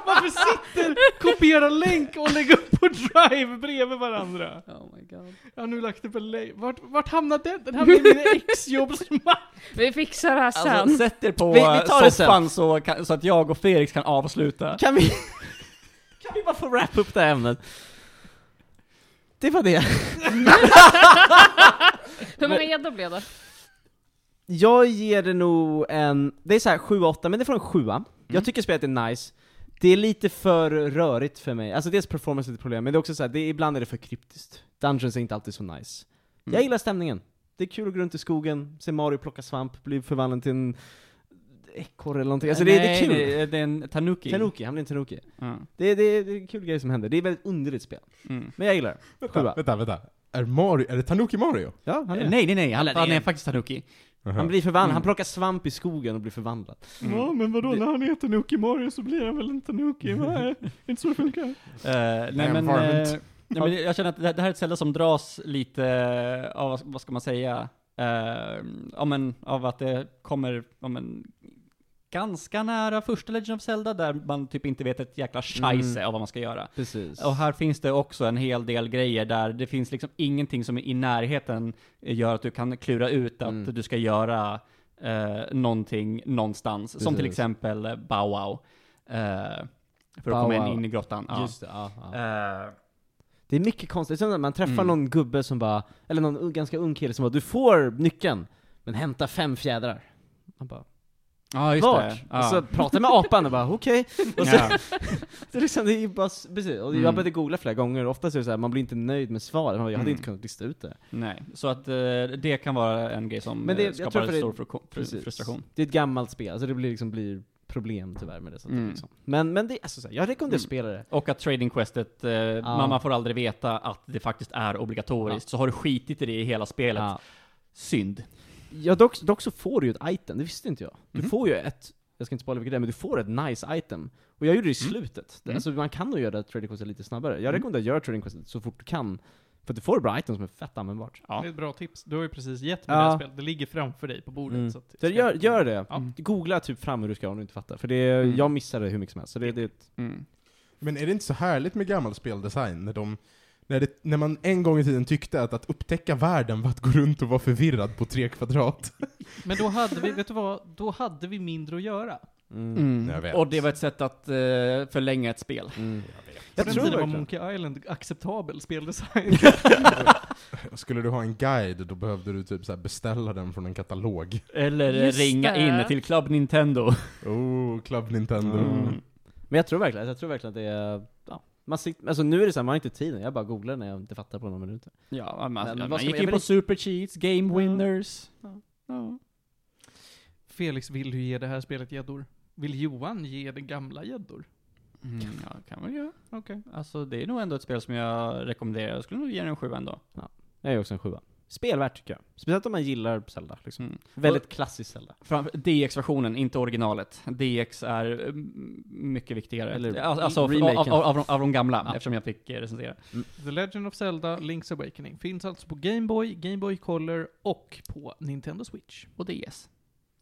A: Varför sitter kopiera länk och lägga upp på Drive bredvid varandra?
C: Oh my God.
A: Jag har nu lagt upp en länk. Vart, vart hamnade den? Den hamnade i mina exjobbsmapp!
C: Vi fixar det här sen.
D: Alltså, sätt er på
G: Vi- vi tar det sen.
D: soffan så, kan, så att jag och Felix kan avsluta.
G: Kan vi... Kan vi bara få wrap upp det här ämnet? Det var det.
C: Hur många gäddor blev det?
G: Jag ger det nog en, det är så här 7-8, men det får en 7
D: Mm.
G: Jag tycker spelet är nice. Det är lite för rörigt för mig, alltså dels performance är ett problem, men det är också så här, det är, ibland är det för kryptiskt. Dungeons är inte alltid så nice.
D: Mm.
G: Jag gillar stämningen. Det är kul att gå runt i skogen, se Mario plocka svamp, bli förvandlad till en ekorre eller någonting. Alltså det, det är
D: Nej,
G: kul.
D: Det, det är en tanuki.
G: Tanuki, han blir en Tanuki.
D: Mm.
G: Det, är- det, är- det är kul grejer som händer. Det är ett väldigt underligt spel.
D: Mm.
G: Men jag gillar det.
B: Vänta,
G: Sjua.
B: vänta, vänta. Är, Mario, är det Tanuki Mario?
G: Ja, han är
D: Eh, Nej, nej, nej. Han,
G: Eller,
D: han
G: det
D: är
G: är-
D: faktiskt tanuki.
G: Han
B: Jaha.
G: blir förvandlad,
D: Mm.
G: han plockar svamp i skogen och blir förvandlad.
D: Mm.
A: Ja, men vadå,
G: Det-
A: när han är Tanuki Mario så blir han väl en Tanuki? Va? Är det inte så det funkar?
D: Eh, nej, men,
B: Environment.
D: eh, nej, men jag känner att det, det här är ett ställe som dras lite eh, av, vad- vad ska man säga, eh, ja, men, av att det kommer ja, men, ganska nära första Legend of Zelda där man typ inte vet ett jäkla scheisse
G: Mm.
D: av vad man ska göra.
G: Precis.
D: Och här finns det också en hel del grejer där det finns liksom ingenting som i närheten gör att du kan klura ut att
G: Mm.
D: du ska göra eh, någonting någonstans. Som till
G: Precis.
D: exempel eh, Bow Wow. Eh, för
G: Bow
D: att komma in,
G: Wow.
D: in i grottan. Ja.
G: Just det, ja, ja.
D: Eh,
G: Det är mycket konstigt, det är som när man träffar
D: Mm.
G: någon gubbe som bara, eller någon un- ganska ung kille som bara 'Du får nyckeln, men hämta fem fjädrar' Man bara
D: Ja, just
G: Vart?
D: det. Ja.
G: Och så pratar jag med apan och bara 'Okej' och så,
D: ja.
G: det är liksom, det är ju bara, s- precis. Och
D: Mm.
G: jag började googla flera gånger, och oftast är det så här, man blir inte nöjd med svaret, man bara, jag hade
D: Mm.
G: inte kunnat lista ut det
D: Nej, så att eh, det kan vara en grej som
G: Men
D: Men
G: det- jag
D: skapar
G: tror för
D: en
G: det-
D: stor fruko- fru-
G: Precis.
D: frustration.
G: Det är ett gammalt spel, alltså det blir liksom blir problem tyvärr med det sånt
D: Mm.
G: liksom. Men, men det, alltså, så här, jag rekommenderar
D: Mm.
G: att spela det
D: Och att trading questet, eh, man, man får aldrig veta att det faktiskt är obligatoriskt. Så har du skitit i det i hela spelet,
G: Ja.
D: synd.
G: Ja, dock, dock så får du ju ett item, det visste inte jag. Du
D: Mhm.
G: får ju ett, jag ska inte spoila vilket det är, men du får ett nice item. Och jag gjorde det i
D: Mm.
G: slutet. Det-
D: Mm.
G: Alltså man kan nog göra trading questet lite snabbare. Jag rekommenderar att göra trading questet så fort du kan. För att du får bra items som är fett användbart.
D: Ja.
A: Det är ett bra tips. Du har ju precis gett mig
G: Ja.
A: det här spelet. Det ligger framför dig på bordet.
G: Mm.
A: Så att
G: Så gör, gör det.
A: Ja.
G: Googla typ fram hur du ska om du inte fattar. För det,
D: Mm.
G: jag missade hur mycket som helst. Så det, det är ett
D: Mm.
B: Men är det inte så härligt med gammal speldesign? När, de, när, det, när man en gång i tiden tyckte att, att upptäcka världen var att gå runt och vara förvirrad på tre kvadrat.
A: Men då hade vi, vet du vad? Då hade vi mindre att göra.
G: mm.
B: Jag vet.
D: Och det var ett sätt att eh, förlänga ett spel.
G: Mm.
A: Jag
G: Jag
A: på
G: tror
A: den tiden var
G: verkligen.
A: Monkey Island acceptabel speldesign.
B: Skulle du ha en guide, då behövde du typ så här beställa den från en katalog.
D: Eller
C: Just
D: ringa
C: det.
D: in till Club Nintendo.
B: Oh, Club Nintendo.
G: Mm. Men jag tror verkligen, jag tror verkligen att det är... Ja. Man sikt, alltså nu är det så här, man har inte tiden. Jag bara googlar när jag inte fattar på några minuter.
D: Ja, man,
G: Men
D: man,
G: vad ska
D: gick
G: man-
D: in
G: men
D: på
G: det-
D: Super Cheats, Game Winners. Ja.
A: Felix, vill du ge det här spelet gäddor? Vill Johan ge det gamla gäddor?
D: Mm, ja, kan man göra.
A: Okej.
D: Alltså det är nog ändå ett spel som jag rekommenderar. Jag skulle nog ge den en sjua ändå.
G: Jag är också en sjua. Spelvärt tycker jag. Speciellt om man gillar Zelda. Liksom.
D: Mm.
G: Väldigt klassisk Zelda.
D: Framför- DX-versionen, inte originalet. DX är eh, m- mycket viktigare.
G: Eller
D: Al- alltså av,
G: remaken.
D: av, av, av, de- av de gamla,
G: Ja.
D: eftersom jag fick eh, recensera.
A: The Legend of Zelda Link's Awakening finns alltså på Game Boy, Game Boy Color och på Nintendo Switch.
D: Och DS.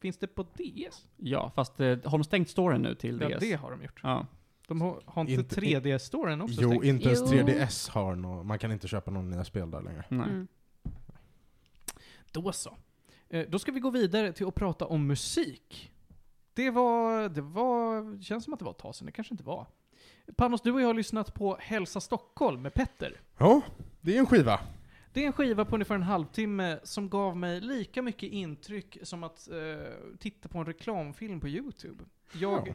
A: Finns det på DS?
D: Ja, fast eh, har de stängt storyn nu till
A: Ja,
D: DS?
A: det har de gjort.
D: Ja.
A: De har, har inte
B: Inte-
A: 3D-storyn också
B: Jo,
A: stängt?
B: inte ens
C: Jo.
B: 3DS har nå. man kan inte köpa någon nya spel där längre.
D: Nej.
C: Mm.
A: Då så. Eh, Då ska vi gå vidare till att prata om musik. Det var, det var, det känns som att det var ett tag sedan, det kanske inte var. Panos, du och jag har lyssnat på Hälsa Stockholm med Petter.
B: Ja, det är en skiva.
A: Det är en skiva på ungefär en halvtimme som gav mig lika mycket intryck som att eh, titta på en reklamfilm på YouTube. Jag
B: Ja.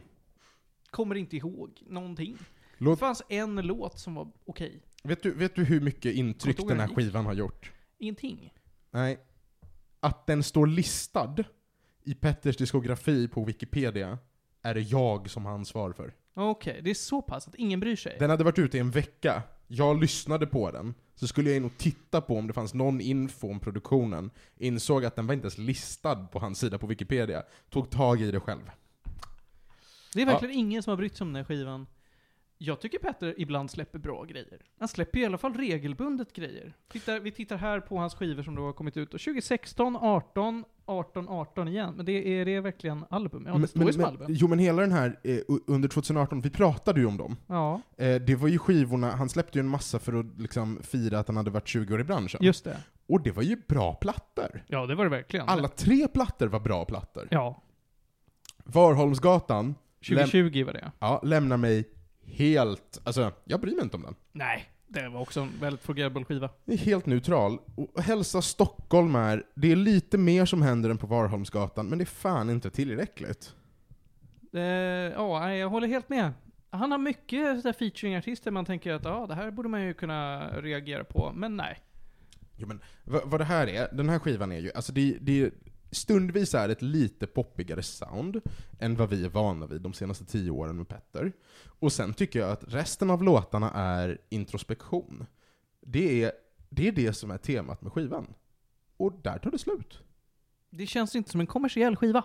A: kommer inte ihåg någonting. Det
B: Låt,
A: fanns en låt som var okej.
B: vet, du, vet du hur mycket intryck
A: Kontoret
B: den här
A: gick.
B: skivan har gjort?
A: Ingenting.
B: Nej. Att den står listad i Petters diskografi på Wikipedia är det jag som har ansvar för.
A: Okej, det är så pass att ingen bryr sig.
B: Den hade varit ute i en vecka. Jag lyssnade på den. Så skulle jag in och titta på om det fanns någon info om produktionen. Insåg att den var inte ens listad på hans sida på Wikipedia. Tog tag i det själv.
A: Det är verkligen ingen som har brytt sig om den här skivan. Jag tycker Petter ibland släpper bra grejer. Han släpper i alla fall regelbundet grejer. Tittar, vi tittar här på hans skivor som då har kommit ut. Och 2016, 18, 18, 18 igen. Men det är det är verkligen album? Ja, det står ju som album.
B: jo men hela den här, eh, u- under 2018, vi pratade ju om dem.
A: Ja,
B: Eh, det var ju skivorna, han släppte ju en massa för att liksom fira att han hade varit 20 år i branschen.
A: just det.
B: Och det var ju bra plattor.
A: Ja, det var det verkligen.
B: Alla tre plattor var bra plattor.
A: Ja,
B: Varholmsgatan, läm-
A: 2020 var det.
B: ja, lämnar mig helt, alltså jag bryr mig inte om den.
A: Nej, det var också en väldigt fungerande skiva.
B: Det är helt neutral. Och Hälsa Stockholm är, det är lite mer som händer än på Varholmsgatan, men det är fan inte tillräckligt.
A: Eh, ja, nej, jag håller helt med. Han har mycket så där featuring-artister man tänker att ja, det här borde man ju kunna reagera på, men nej.
B: Jo, men vad, vad det här är, den här skivan är ju, alltså det, det är stundvis är det ett lite poppigare sound än vad vi är vana vid de senaste tio åren med Petter. Och sen tycker jag att resten av låtarna är introspektion. Det är det, är det som är temat med skivan. Och där tar det slut.
A: Det känns inte som en kommersiell skiva.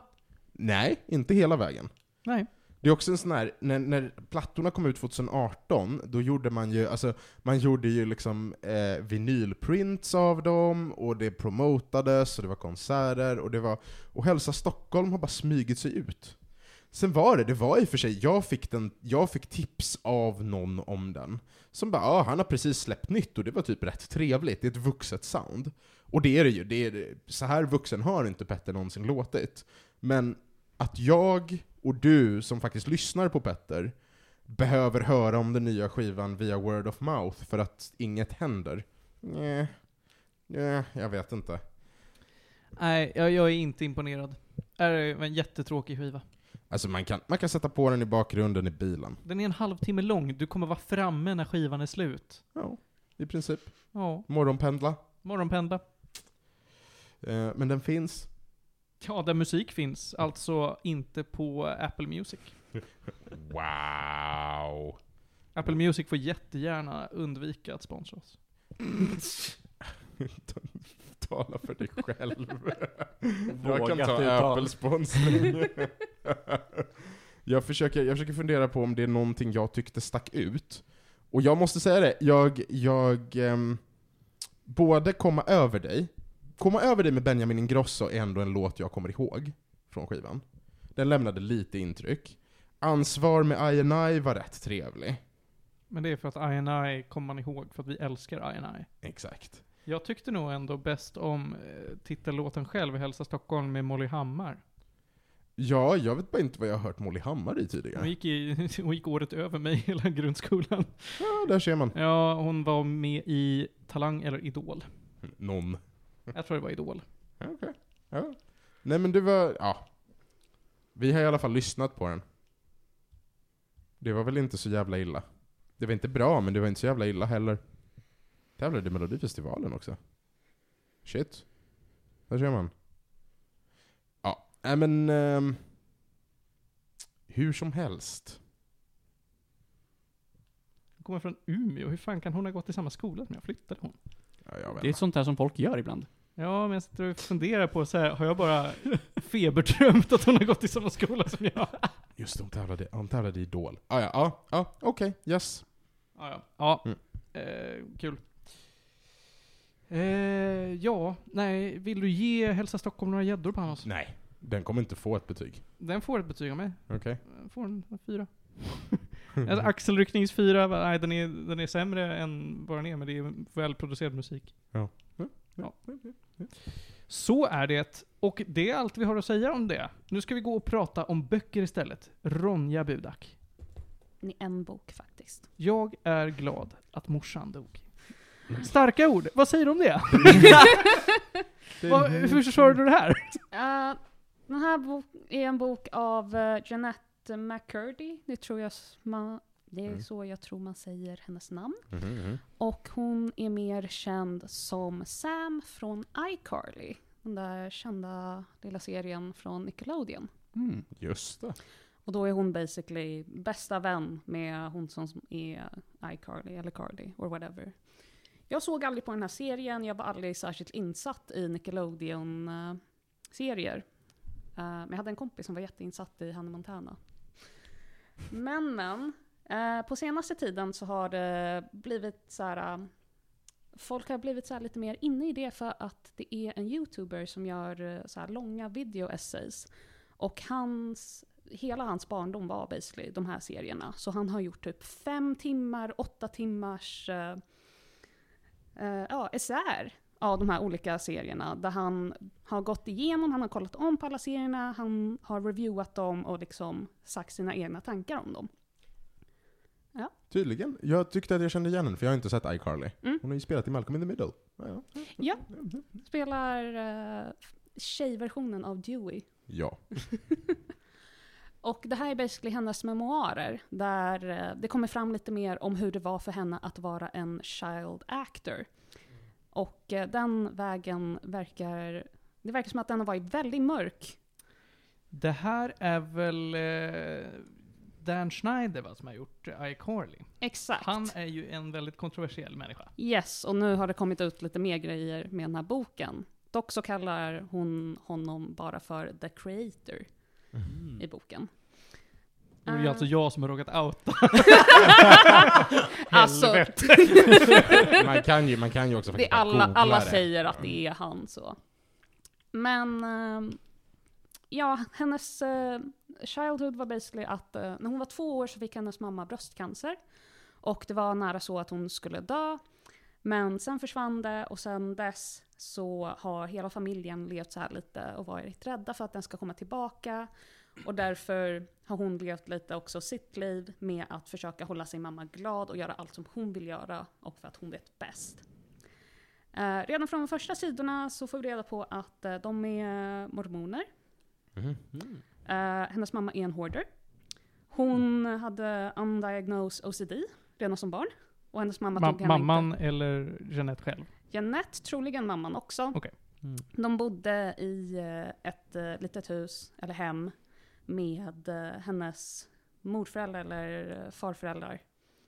B: Nej, inte hela vägen.
A: Nej.
B: Det är också en sån här, när, när plattorna kom ut 2018, då gjorde man ju, alltså, man gjorde ju liksom eh, vinylprints av dem, och det promotades, och det var konserter, och det var, och Hälsa Stockholm har bara smygit sig ut. Sen var det, det var i och för sig, jag fick, den, jag fick tips av någon om den, som bara ah, han har precis släppt nytt och det var typ rätt trevligt, det är ett vuxet sound. Och det är det ju, det är, så här vuxen har inte Petter någonsin låtit. Men att jag och du som faktiskt lyssnar på Petter behöver höra om den nya skivan via word of mouth för att inget händer. Nej, nej, jag vet inte.
A: Nej, jag, jag är inte imponerad. Det är en jättetråkig skiva.
B: Alltså man kan, man kan sätta på den i bakgrunden i bilen.
A: Den är en halvtimme lång, du kommer vara framme när skivan är slut.
B: Ja, i princip.
A: Ja,
B: Morgonpendla.
A: morgonpendla.
B: Eh, men den finns.
A: Ja, där musik finns, alltså inte på Apple Music.
B: Wow!
A: Apple Music får jättegärna undvika att sponsra oss.
B: Tala för dig själv. jag kan
D: Vågat
B: ta
D: uttal.
B: Apple-sponsring. jag, försöker, jag försöker fundera på om det är någonting jag tyckte stack ut. Och jag måste säga det, jag, jag ehm, både komma över dig, komma över dig med Benjamin Ingrosso är ändå en låt jag kommer ihåg från skivan. Den lämnade lite intryck. Ansvar med INI var rätt trevlig.
A: Men det är för att INI kommer man ihåg, för att vi älskar INI.
B: Exakt.
A: Jag tyckte nog ändå bäst om eh, titellåten själv, Hälsa Stockholm med Molly Hammar.
B: Ja, jag vet bara inte vad jag har hört Molly Hammar i
A: Hon
B: tidigare.
A: gick, i, hon gick året över mig hela grundskolan.
B: Ja, där ser man.
A: Ja, hon var med i Talang eller Idol.
B: Någon.
A: Jag tror det var Idol.
B: Ja. Nej men det var, ja. Vi har i alla fall lyssnat på den. Det var väl inte så jävla illa. Det var inte bra, men det var inte så jävla illa heller. Tävlade i Melodifestivalen också. Shit. Där ser man. Ja, nej men... ehm, hur som helst.
A: Hon kommer från Umeå. Hur fan kan hon ha gått i samma skola som jag? Flyttade hon?
B: Ja, jag vet
D: Det är
B: inte.
D: sånt där som folk gör ibland.
A: Ja, men jag sitter och funderar på så här, har jag bara feberdrömt att hon har gått i samma skola som jag?
B: Just det, hon tävlade, hon tävlade i Idol. Ah, ja, ja, ja, okej, yes.
A: Ja, ja. ja.
B: Mm.
A: Eh, kul. Eh, ja, nej, vill du ge Hälsa Stockholm några gäddor på oss?
B: Nej. Den kommer inte få ett betyg.
A: Den får ett betyg av mig.
B: Okej.
A: Den får en fyra. Alltså, axelrycknings 4, va, nej den är, den är sämre än vad den är, men det är välproducerad musik.
B: Ja. Ja,
A: Ja. Så är det. Och det är allt vi har att säga om det. Nu ska vi gå och prata om böcker istället. Ronja Budak.
C: Ni en bok faktiskt.
A: Jag är glad att morsan dog. Starka ord. Vad säger du om det? Vad, hur försvarar du det här?
C: Eh, den här bok är en bok av eh, Jeanette McCurdy. Det, tror jag s- man, det är
B: Mm.
C: så jag tror man säger hennes namn.
B: Mhm, mhm.
C: Och hon är mer känd som Sam från iCarly. Den där kända lilla serien från Nickelodeon.
D: Mm.
B: Just det.
C: Och då är hon basically bästa vän med hon som är iCarly eller Carly or whatever. Jag såg aldrig på den här serien, jag var aldrig särskilt insatt i Nickelodeon-serier. Eh, men jag hade en kompis som var jätteinsatt i Hannah Montana. Men men, eh, på senaste tiden så har det blivit så här... eh, Folk har blivit så här lite mer inne i det för att det är en youtuber som gör eh, så här långa video-essays. Och hans hela hans barndom var basically de här serierna. Så han har gjort typ fem timmar, åtta timmars eh, eh, ja, esär av de här olika serierna. Där han har gått igenom, han har kollat om på alla serierna, han har reviewat dem och liksom sagt sina egna tankar om dem.
B: Tydligen. Jag tyckte att jag kände igen henne, för jag har inte sett iCarly.
C: Mm.
B: Hon har ju spelat i Malcolm in the Middle. Ja, ja.
C: Spelar eh, tjejversionen av Dewey.
B: ja.
C: Och det här är basically hennes memoarer, där eh, det kommer fram lite mer om hur det var för henne att vara en child actor. Och eh, den vägen verkar, det verkar som att den har varit väldigt mörk.
A: Det här är väl eh, Dan Schneider va, som har gjort eh, iCarly.
C: Exakt.
A: Han är ju en väldigt kontroversiell människa.
C: Yes, och nu har det kommit ut lite mer grejer med den här boken. Dock så kallar hon honom bara för the creator
D: Mm.
C: i boken.
A: Det är ju
C: Eh.
A: alltså jag som har råkat outa.
C: Alltså,
B: Man kan ju, man kan ju också
C: det är
B: faktiskt bara
C: alla,
B: googla
C: alla
B: det. Mm.
C: säger att det är han så. Men ehm, ja, hennes eh, childhood var basically att eh, när hon var två år så fick hennes mamma bröstcancer. Och det var nära så att hon skulle dö. Men sen försvann det och sen dess så har hela familjen levt så här lite och varit rädda för att den ska komma tillbaka. Och därför har hon levt lite också sitt liv med att försöka hålla sin mamma glad och göra allt som hon vill göra och för att hon vet bäst. Eh, redan från de första sidorna så får vi reda på att eh, de är mormoner.
B: Mhm.
I: Mm.
C: Eh, hennes mamma är en hoarder. Hon hade undiagnosed OCD redan som barn. Och hennes mamma
A: Ma-
C: tog henne
A: mamman eller Jeanette själv.
C: Jeanette, troligen mamman också.
A: Okej.
G: Mm.
C: De bodde i eh, ett eh, litet hus, eller hem, med eh, hennes morföräldrar eller eh, farföräldrar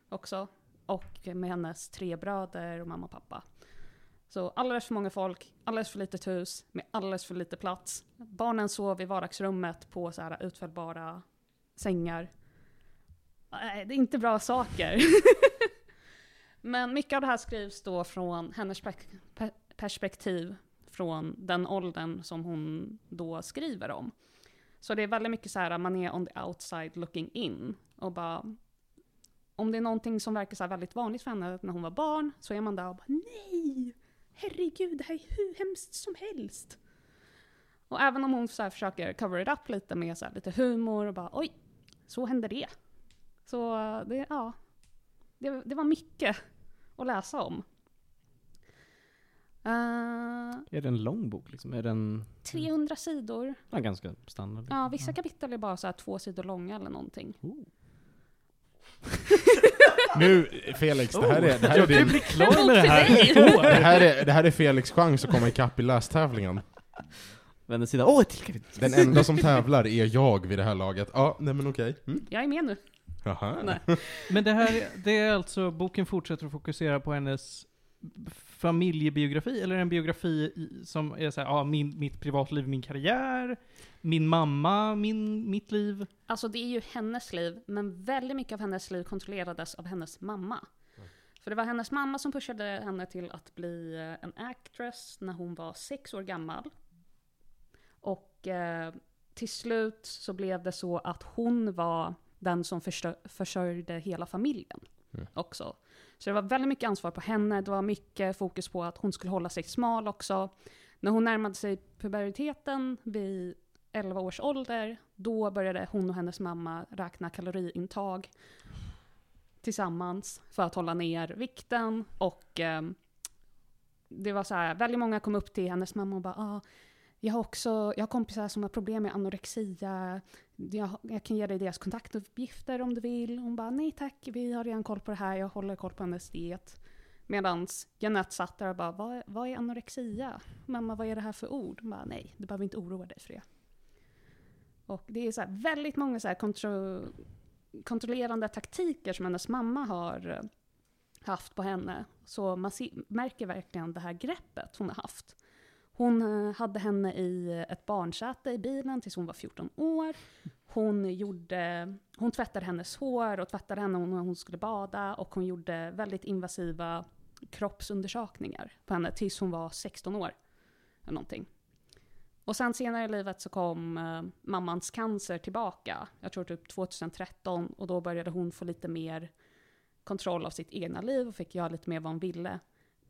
C: också. Och med hennes tre bröder och mamma och pappa. Så alldeles för många folk, alldeles för litet hus, med alldeles för lite plats. Barnen sov i vardagsrummet på så här utfällbara sängar. Nej, det är inte bra saker. Men mycket av det här skrivs då från hennes pek- pe- perspektiv från den åldern som hon då skriver om. Så det är väldigt mycket så här, man är on the outside looking in. Och bara, om det är någonting som verkar så här väldigt vanligt för henne när hon var barn, så är man där och bara nej! Herregud, det här är hur hemskt som helst. Och även om hon så här försöker cover it up lite med så här lite humor och bara oj, så hände det. Så det, ja, det, det var mycket att läsa om. Eh,
G: Är det en lång bok liksom? Är den
C: 300 sidor.
G: ja, ganska standard?
C: Ja, vissa kapitel är bara så här två sidor långa eller någonting.
B: Nu, Felix, det här
C: Oh.
B: är, det här är din...
C: Klar med det
B: Det här är, det här är Felix chans att komma ikapp i lästävlingen.
G: Vänder sidan. Åh, ett till kapitel!
B: Den enda som tävlar är jag vid det här laget. Ja, nej men okej. Mm.
C: Jag är med nu.
B: Jaha.
C: Nej.
A: Men det här, det är alltså, boken fortsätter att fokusera på hennes familjebiografi, eller en biografi i- som är såhär, ja, min, mitt privatliv, min karriär, min mamma, min, mitt liv.
C: Alltså det är ju hennes liv, men väldigt mycket av hennes liv kontrollerades av hennes mamma. För det var hennes mamma som pushade henne till att bli eh, en actress när hon var sex år gammal. Och eh, till slut så blev det så att hon var den som förstö- försörjde hela familjen
B: Mm.
C: också. Så det var väldigt mycket ansvar på henne. Det var mycket fokus på att hon skulle hålla sig smal också. När hon närmade sig puberteten vid 11 års ålder, då började hon och hennes mamma räkna kaloriintag tillsammans för att hålla ner vikten. Och ehm, det var så här, väldigt många kom upp till hennes mamma och bara ah, jag har också, jag har kompisar som har problem med anorexia. Jag, jag kan ge dig deras kontaktuppgifter om du vill. Hon bara, nej tack, vi har redan koll på det här, jag håller koll på hennes diet. Medan Jeanette satt där och bara, vad, vad är anorexia? Mamma, vad är det här för ord? Hon bara, nej, du behöver inte oroa dig för det. Och det är så här, väldigt många så här kontro, kontrollerande taktiker som hennes mamma har eh, haft på henne. Så man se, märker verkligen det här greppet hon har haft. Hon eh, hade henne i ett barnsäte i bilen tills hon var 14 år. Hon, gjorde, hon tvättade hennes hår och tvättade henne när hon skulle bada och hon gjorde väldigt invasiva kroppsundersökningar på henne tills hon var 16 år. Eller någonting. Och sen senare i livet så kom eh, mammans cancer tillbaka. Jag tror typ 2013 och då började hon få lite mer kontroll av sitt egna liv och fick göra lite mer vad hon ville.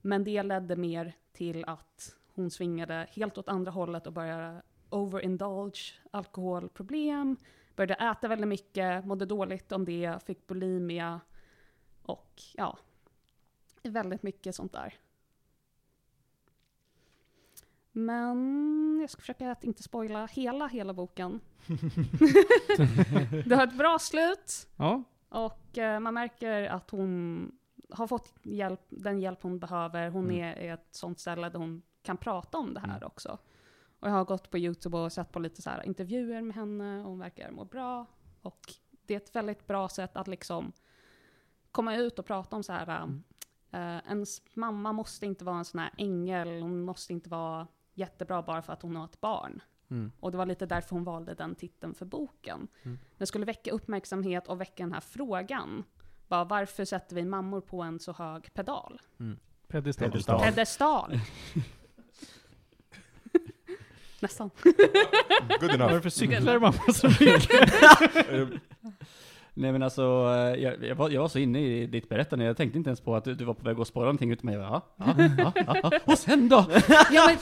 C: Men det ledde mer till att hon svingade helt åt andra hållet och började overindulge, alkoholproblem, började äta väldigt mycket, mådde dåligt om det, fick bulimia och ja, väldigt mycket sånt där. Men jag ska försöka att inte spoila hela, hela boken. det har ett bra slut
A: Ja.
C: och eh, man märker att hon har fått hjälp, den hjälp hon behöver. Hon är i ett sånt ställe där hon kan prata om det här också. Och jag har gått på YouTube och sett på lite så här intervjuer med henne och hon verkar må bra. Och det är ett väldigt bra sätt att liksom komma ut och prata om så här, eh, ens mamma måste inte vara en sån här ängel, hon måste inte vara jättebra bara för att hon har ett barn.
A: Mm.
C: Och det var lite därför hon valde den titeln för boken. Den skulle väcka uppmärksamhet och väcka den här frågan. Bara, varför sätter vi mammor på en så hög pedal?
H: Pedestal.
B: Pedestal. Ja.
C: Pedestal! Nästan.
B: Good
A: Vad är det
B: enough.
A: för cyklar mamma som vill?
D: Nej men alltså, eh, jag, jag, var, jag var så inne i ditt berättande, jag tänkte inte ens på att du, du var på väg att spåra någonting utan mig. Ja, ja, ja, ja, ja. Och sen då?
C: Ja, men,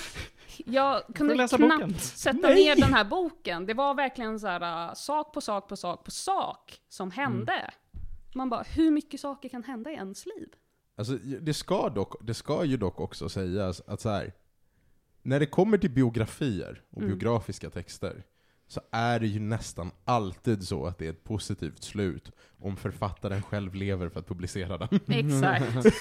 C: jag kunde
A: Får läsa
C: knappt
A: boken?
C: sätta ner den här boken. Det var verkligen så här, uh, sak på sak på sak på sak som
A: Mm.
C: hände. Man bara, hur mycket saker kan hända i ens liv?
B: Alltså, det, ska dock, det ska ju dock också sägas att så här, när det kommer till biografier och
C: Mm.
B: biografiska texter så är det ju nästan alltid så att det är ett positivt slut om författaren själv lever för att publicera den.
C: Exakt.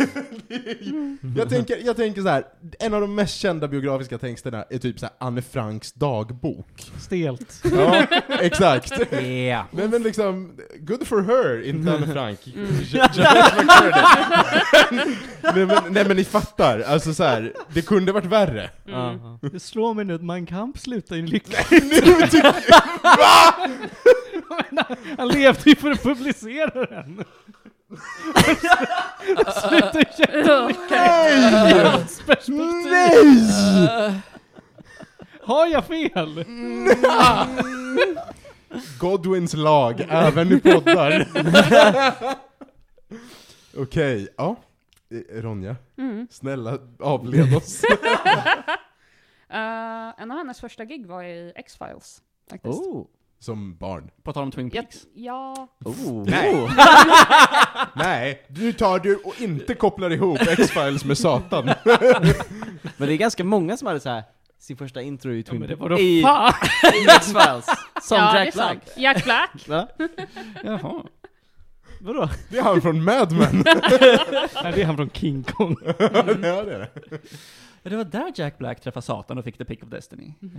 B: jag, tänker, jag tänker så här, en av de mest kända biografiska texterna är typ så här Anne Franks dagbok.
A: Stelt.
B: Ja, exakt.
D: Yeah.
B: Men, men liksom, good for her, inte Anne Frank.
C: Mm.
B: Jeanette McCurdy. nej, men, nej men ni fattar, alltså så här, det kunde varit värre.
C: Mm.
A: Det slår mig nu att Mein Kampf slutar i lycka.
B: Nu tycker-
A: Han levde ju för att publicera den. Sluta i
B: nej!
A: hans perspektiv.
B: Nej!
A: Har jag fel?
B: Godwins lag, även i poddar. Okej, ja. Eh, Ronja,
C: Mm.
B: snälla avled oss.
C: Eh, en av hennes första gig var i X-Files. Faktiskt.
D: Oh.
B: Som barn.
D: På tal om Twin
C: Jag,
D: Peaks.
C: ja,
D: Oh.
B: Nej. Nej, du tar du och inte kopplar ihop X-Files med Satan.
I: Men det är ganska många som hade så här sin första intro i Twin
A: men det
I: Peaks.
A: var då
I: I
A: fan.
I: i X-Files. Som
C: ja,
I: Jack
C: det är sant.
I: Black.
C: Jack Black.
I: Va?
D: Jaha.
A: Vadå?
B: Det är han från Mad Men.
A: Nej, det är han från King Kong.
B: ja, det är det.
D: Ja, Det var där Jack Black träffade Satan och fick The Pick of Destiny.
C: Mm.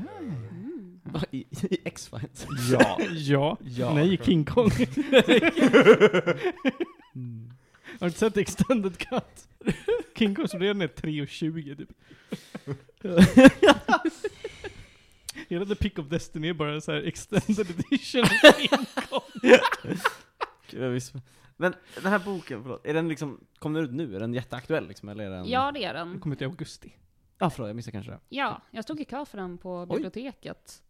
I: Va? I, i X-Files.
D: Ja.
A: Ja.
D: Ja.
A: Nej, King Kong.
D: Mm.
A: Har du inte sett Extended Cut? King Kong som redan är 3.20 typ. Hela The Pick of Destiny är bara så här extended edition.
I: Gud, jag visste- Men den här boken, förlåt, är den liksom, kom den ut nu? Är den jätteaktuell liksom, eller är den?
C: Ja, det är
A: Den
C: den.
A: kom ut i augusti.
I: Ja, förlåt, jag missade kanske det.
C: Ja, jag stod i kö för den på
I: Oj.
C: biblioteket.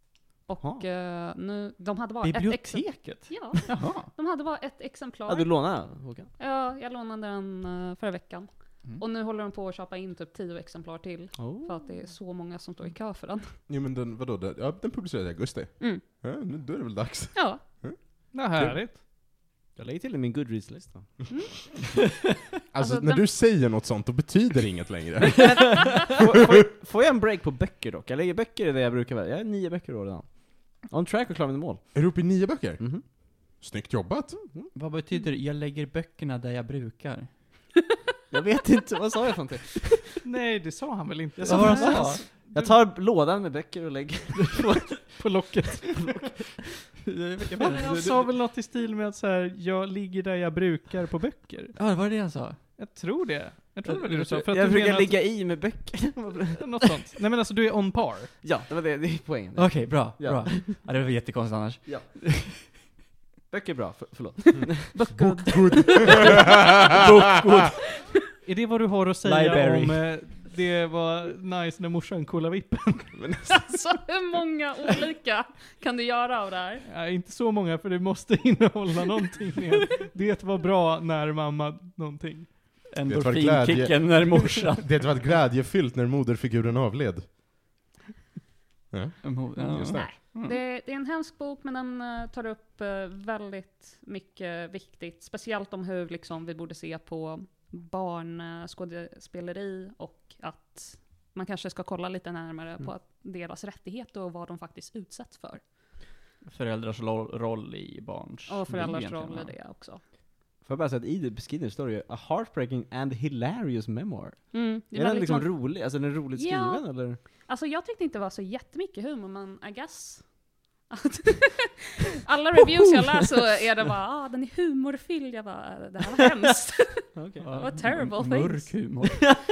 C: Och eh, nu, de hade bara ett exemplar.
D: Biblioteket?
C: Ja,
D: Jaha.
C: de hade bara ett
I: Ja, du
C: exemplar.
I: lånade Håkan?
C: Ja, jag lånade den eh, förra veckan.
D: Mm.
C: Och nu håller de på att köpa in typ tio exemplar till.
I: Oh.
C: För att det är så många som står i kö för den.
B: Jo men den, vadå, den, ja, den publicerades i augusti.
C: Mm.
B: Ja, nu, då är det väl dags.
C: Ja,
A: Ja, härligt.
G: Jag lägger till i min Goodreads-lista.
B: Alltså,
C: Alltså,
B: när
C: den-
B: du säger något sånt, då betyder det inget längre.
G: får, får, får jag en break på böcker dock? Jag lägger böcker i det jag brukar välja. Jag är nio böcker i år redan. On track och klar med mål.
B: är du uppe i nio böcker?
G: Mhm.
B: Snyggt jobbat.
D: Vad betyder det? Jag lägger böckerna där jag brukar.
G: Jag vet inte, vad sa jag för någonting?
A: Nej, det sa han väl inte?
G: Jag
D: Vad var det han sa?
G: Jag tar lådan med böcker och lägger
A: På locket.
D: Vilka
A: Men
D: fel?
A: han sa väl något i stil med att så här, jag ligger där jag brukar på böcker.
D: Ja, var det det han sa?
A: Jag tror det. Jag tror det var det du sa. För att
G: Jag
A: du
G: brukar
A: menar
G: ligga i med böcker.
A: Att, något sånt. Nej men alltså du är on par.
G: Ja, det var det, det är poängen.
D: Okej, bra.
G: Ja.
D: bra. Ja, det var jättekonstigt annars.
G: Böcker är bra, för, förlåt.
A: Är det vad du har att säga
D: Library.
A: om eh, det var nice när morsan kollade vippen?
C: alltså hur många olika kan du göra av det här?
A: Ja, inte så många för det måste innehålla någonting mer. Det var bra när mamma någonting.
B: glädje.
D: Endorfinkicken när morsan...
B: Det var glädjefyllt när moderfiguren avled. Ja,
D: Ja.
B: just det.
G: Mm.
C: Det, det är en hemsk bok, men den eh, tar upp eh, väldigt mycket viktigt. Speciellt om hur liksom, vi borde se på barnskådespeleri och att man kanske ska kolla lite närmare på
G: Mm.
C: att deras rättigheter och vad de faktiskt utsätts för.
D: Föräldrars lo- roll i barns
C: Och föräldrars
D: liv
C: roll i
D: egentligen,
C: det också.
G: Får jag bara säga att i det beskrivningen står det ju A heartbreaking and hilarious memoir.
C: Mm, det
G: Är den
C: väldigt
G: liksom
C: många-
G: rolig? Alltså är den roligt
C: Ja.
G: skriven eller?
C: Alltså jag tyckte inte det var så jättemycket humor, men I guess. att- Alla reviews jag läser så är det bara ah, den är humorfylld. Jag bara, det här var hemskt.
D: va? Ja,
C: What terrible
D: m-
C: things.
D: Mörk humor.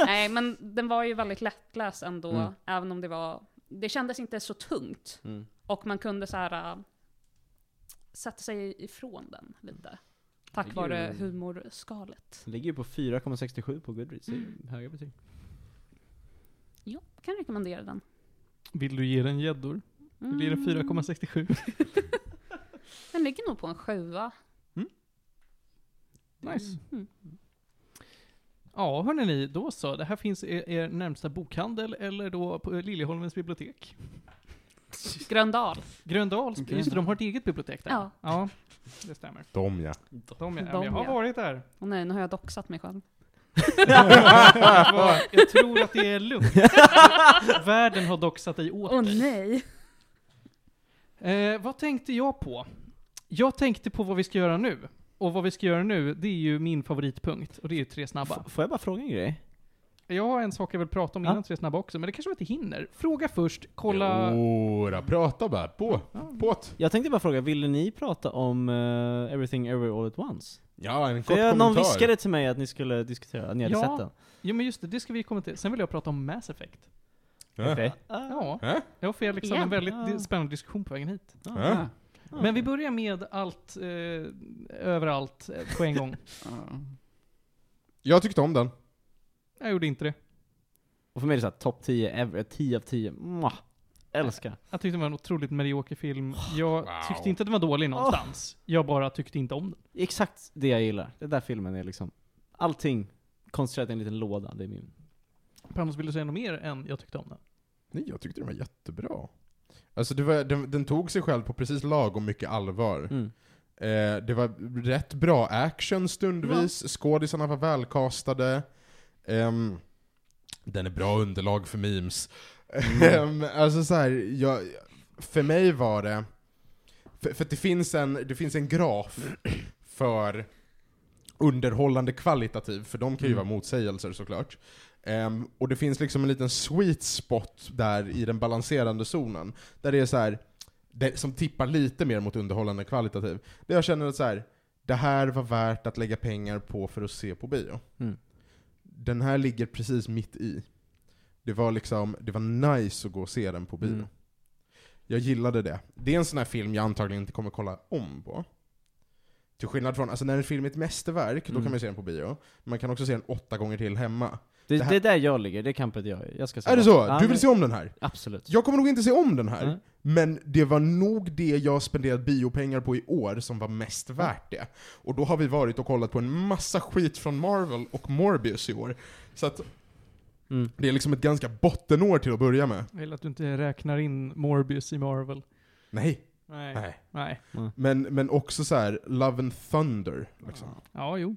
C: Nej, men den var ju väldigt lättläst ändå, även om det var... Det kändes inte så tungt.
G: Mm.
C: Och man kunde så här äh, sätta sig ifrån den lite. Tack
G: Det är
C: vare
G: ju-
C: humorskalet.
G: Den ligger ju på 4,67 på Goodreads,
A: Mm.
G: det är ju höga betyg.
C: Ja, kan rekommendera den. Mm.
A: Vill du ge den gäddor? Det blir en 4,67.
C: Den ligger nog på en sjua.
A: Nice.
C: Mm.
A: Ja, hörni ni, då så. Det här finns i er närmsta bokhandel eller då på Liljeholmens bibliotek.
C: Gröndal.
A: Gröndals,
D: Gröndal.
A: just det, de har ett eget bibliotek där.
C: Ja.
A: ja det stämmer.
B: De ja.
A: De är,
C: De,
A: jag har
C: ja.
A: varit där.
C: Åh nej, nu har jag doxat mig själv.
A: jag tror att det är lugnt. Världen har doxat dig åt
C: Åh
A: dig.
C: nej!
A: Eh, vad tänkte jag på? Jag tänkte på vad vi ska göra nu. Och vad vi ska göra nu, det är ju min favoritpunkt. Och det är ju tre snabba.
G: F- får jag bara fråga en grej?
A: Jag har en sak jag vill prata om innan tre snabba också, men det kanske vi inte hinner. Fråga först, kolla...
B: Jodå, prata bara. På. På't.
G: Jag tänkte bara fråga, ville ni prata om eh, Everything Everywhere All At Once?
B: Ja, en kort
G: För jag, någon
B: kommentar.
G: viskade till mig att ni skulle diskutera, att ni hade
A: Ja.
G: sett den.
A: Jo men just det, det ska vi komma till. Sen vill jag prata om Mass Effect.
B: Ja.
G: Okej.
C: Ah.
A: Ja,
B: Äh?
A: jag och Felix hade
C: Igen?
A: liksom, en väldigt
G: Ja.
A: spännande diskussion på vägen hit.
B: Ja.
D: Ja.
C: Ah.
A: Men vi börjar med allt, eh, överallt, eh, på en gång.
C: Ah.
D: Ja.
B: Jag tyckte om den.
A: Jag gjorde inte det.
G: Och för mig är det såhär, topp 10 ever, 10 av 10. Mwah. Älskar.
A: Jag tyckte det var en otroligt medioker film.
G: Oh,
A: Jag
B: Wow.
A: tyckte inte att den var dålig någonstans. Jag bara tyckte inte om den.
G: Exakt det jag gillar. Den där filmen är liksom, allting konstruerat i en liten låda. Det är min.
A: Panos, vill du säga något mer än jag tyckte om den?
B: Nej, jag tyckte den var jättebra. Alltså det var, den, den tog sig själv på precis lagom mycket allvar.
G: Mm.
B: Eh, det var rätt bra action stundvis, skådisarna var välkastade. Ehm, den är bra underlag för memes. Ehm, alltså så här, jag, för mig var det... För, för att det finns en, det finns en graf för underhållande kvalitativ, för de kan ju
G: Mm.
B: vara motsägelser såklart. Ehm, och det finns liksom en liten sweet spot där i den balanserande zonen, där det är så här det, som tippar lite mer mot underhållande kvalitativ. Där jag känner att så här, det här var värt att lägga pengar på för att se på bio.
G: Mm.
B: Den här ligger precis mitt i. Det var liksom, det var nice att gå och se den på bio.
G: Mm.
B: Jag gillade det. Det är en sån här film jag antagligen inte kommer kolla om på. Till skillnad från, alltså när en film är ett mästerverk, då
G: Mm.
B: kan man ju se den på bio. Men man kan också se den åtta gånger till hemma.
G: Det,
B: Det
G: det,
B: här-
G: är där jag ligger, det är campet jag är. Jag ska säga
B: Är det så?
G: Ja,
B: Du
G: men-
B: vill se om den här?
G: Absolut.
B: Jag kommer nog inte se om den här,
G: Nej.
B: men det var nog det jag spenderat biopengar på i år som var mest värt det. Och då har vi varit och kollat på en massa skit från Marvel och Morbius i år. Så att
G: Mm.
B: det är liksom ett ganska bottenår till att börja med.
A: Jag vill att du inte räknar in Morbius i Marvel.
B: Nej.
A: Nej.
B: Nej.
A: Nej.
B: Men, men också så här, Love and Thunder. Liksom.
A: Ja, jo.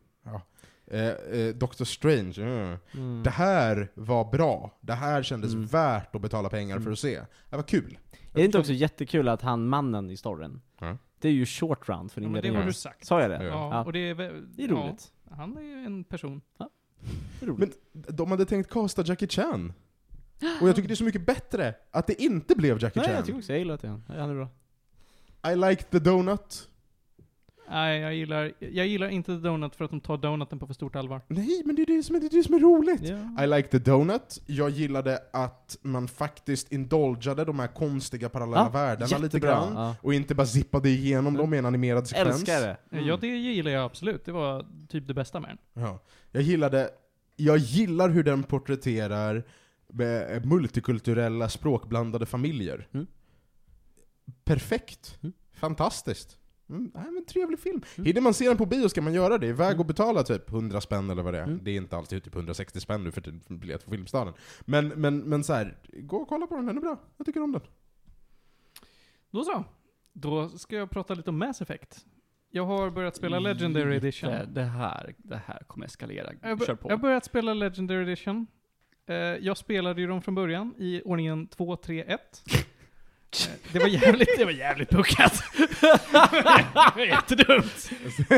B: Eh, eh, Doctor Strange. eh.
G: Mm.
B: Det här var bra. Det här kändes
G: Mm.
B: värt att betala pengar för
G: Mm.
B: att se. Det var kul.
G: Är det inte också jättekul att han, mannen i storyn,
B: Ja.
G: det är ju short round för
A: Ja, men det har
G: inledningen.
A: du sagt.
G: Sa jag det?
B: Ja.
A: Ja, och det är, vä-
G: Det är roligt.
A: Ja, han är ju en person.
G: Det är roligt.
B: Men de hade tänkt casta Jackie Chan. Och jag tycker det är så mycket bättre att det inte blev Jackie
G: Nej, jag
B: Chan.
G: tycker också jag gillar det. Ja, han är bra.
B: I like the donut.
A: Nej, jag gillar, jag gillar inte The Donut för att de tar Donuten på för stort allvar.
B: Nej, men det är det som är, det är, det som är roligt.
G: Ja.
B: I like the donut. Jag gillade att man faktiskt indulgade de här konstiga parallella
G: Ja,
B: världarna lite
G: jättebra.
B: grann.
G: Ja.
B: Och inte bara zippade igenom dem i en animerad sekvens.
G: Älskar det. Mm.
A: Ja, det gillar jag absolut. Det var typ det bästa med den.
B: Ja. Jag gillade, jag gillar hur den porträtterar eh, multikulturella språkblandade familjer.
G: Mm.
B: Perfekt.
G: Mm.
B: Fantastiskt. Mm, nej, men trevlig film. Hinner man se den på bio ska man göra det. Iväg och betala typ 100 spänn eller vad det är.
G: Mm.
B: Det är inte alltid typ 160 spänn nu för till- för en biljett på Filmstaden. Men, men, men så här, gå och kolla på den, den är bra. Jag tycker om den.
A: Då så. Då ska jag prata lite om Mass Effect. Jag har börjat spela Legendary Edition.
D: Det, det, här, det här kommer eskalera.
A: Jag
D: Kör
A: har
D: på.
A: jag har börjat spela Legendary Edition. Eh, jag spelade ju dem från början i ordningen 2, 3, 1. Eh, det var jävligt, det var jävligt puckat. Det var Jättedumt.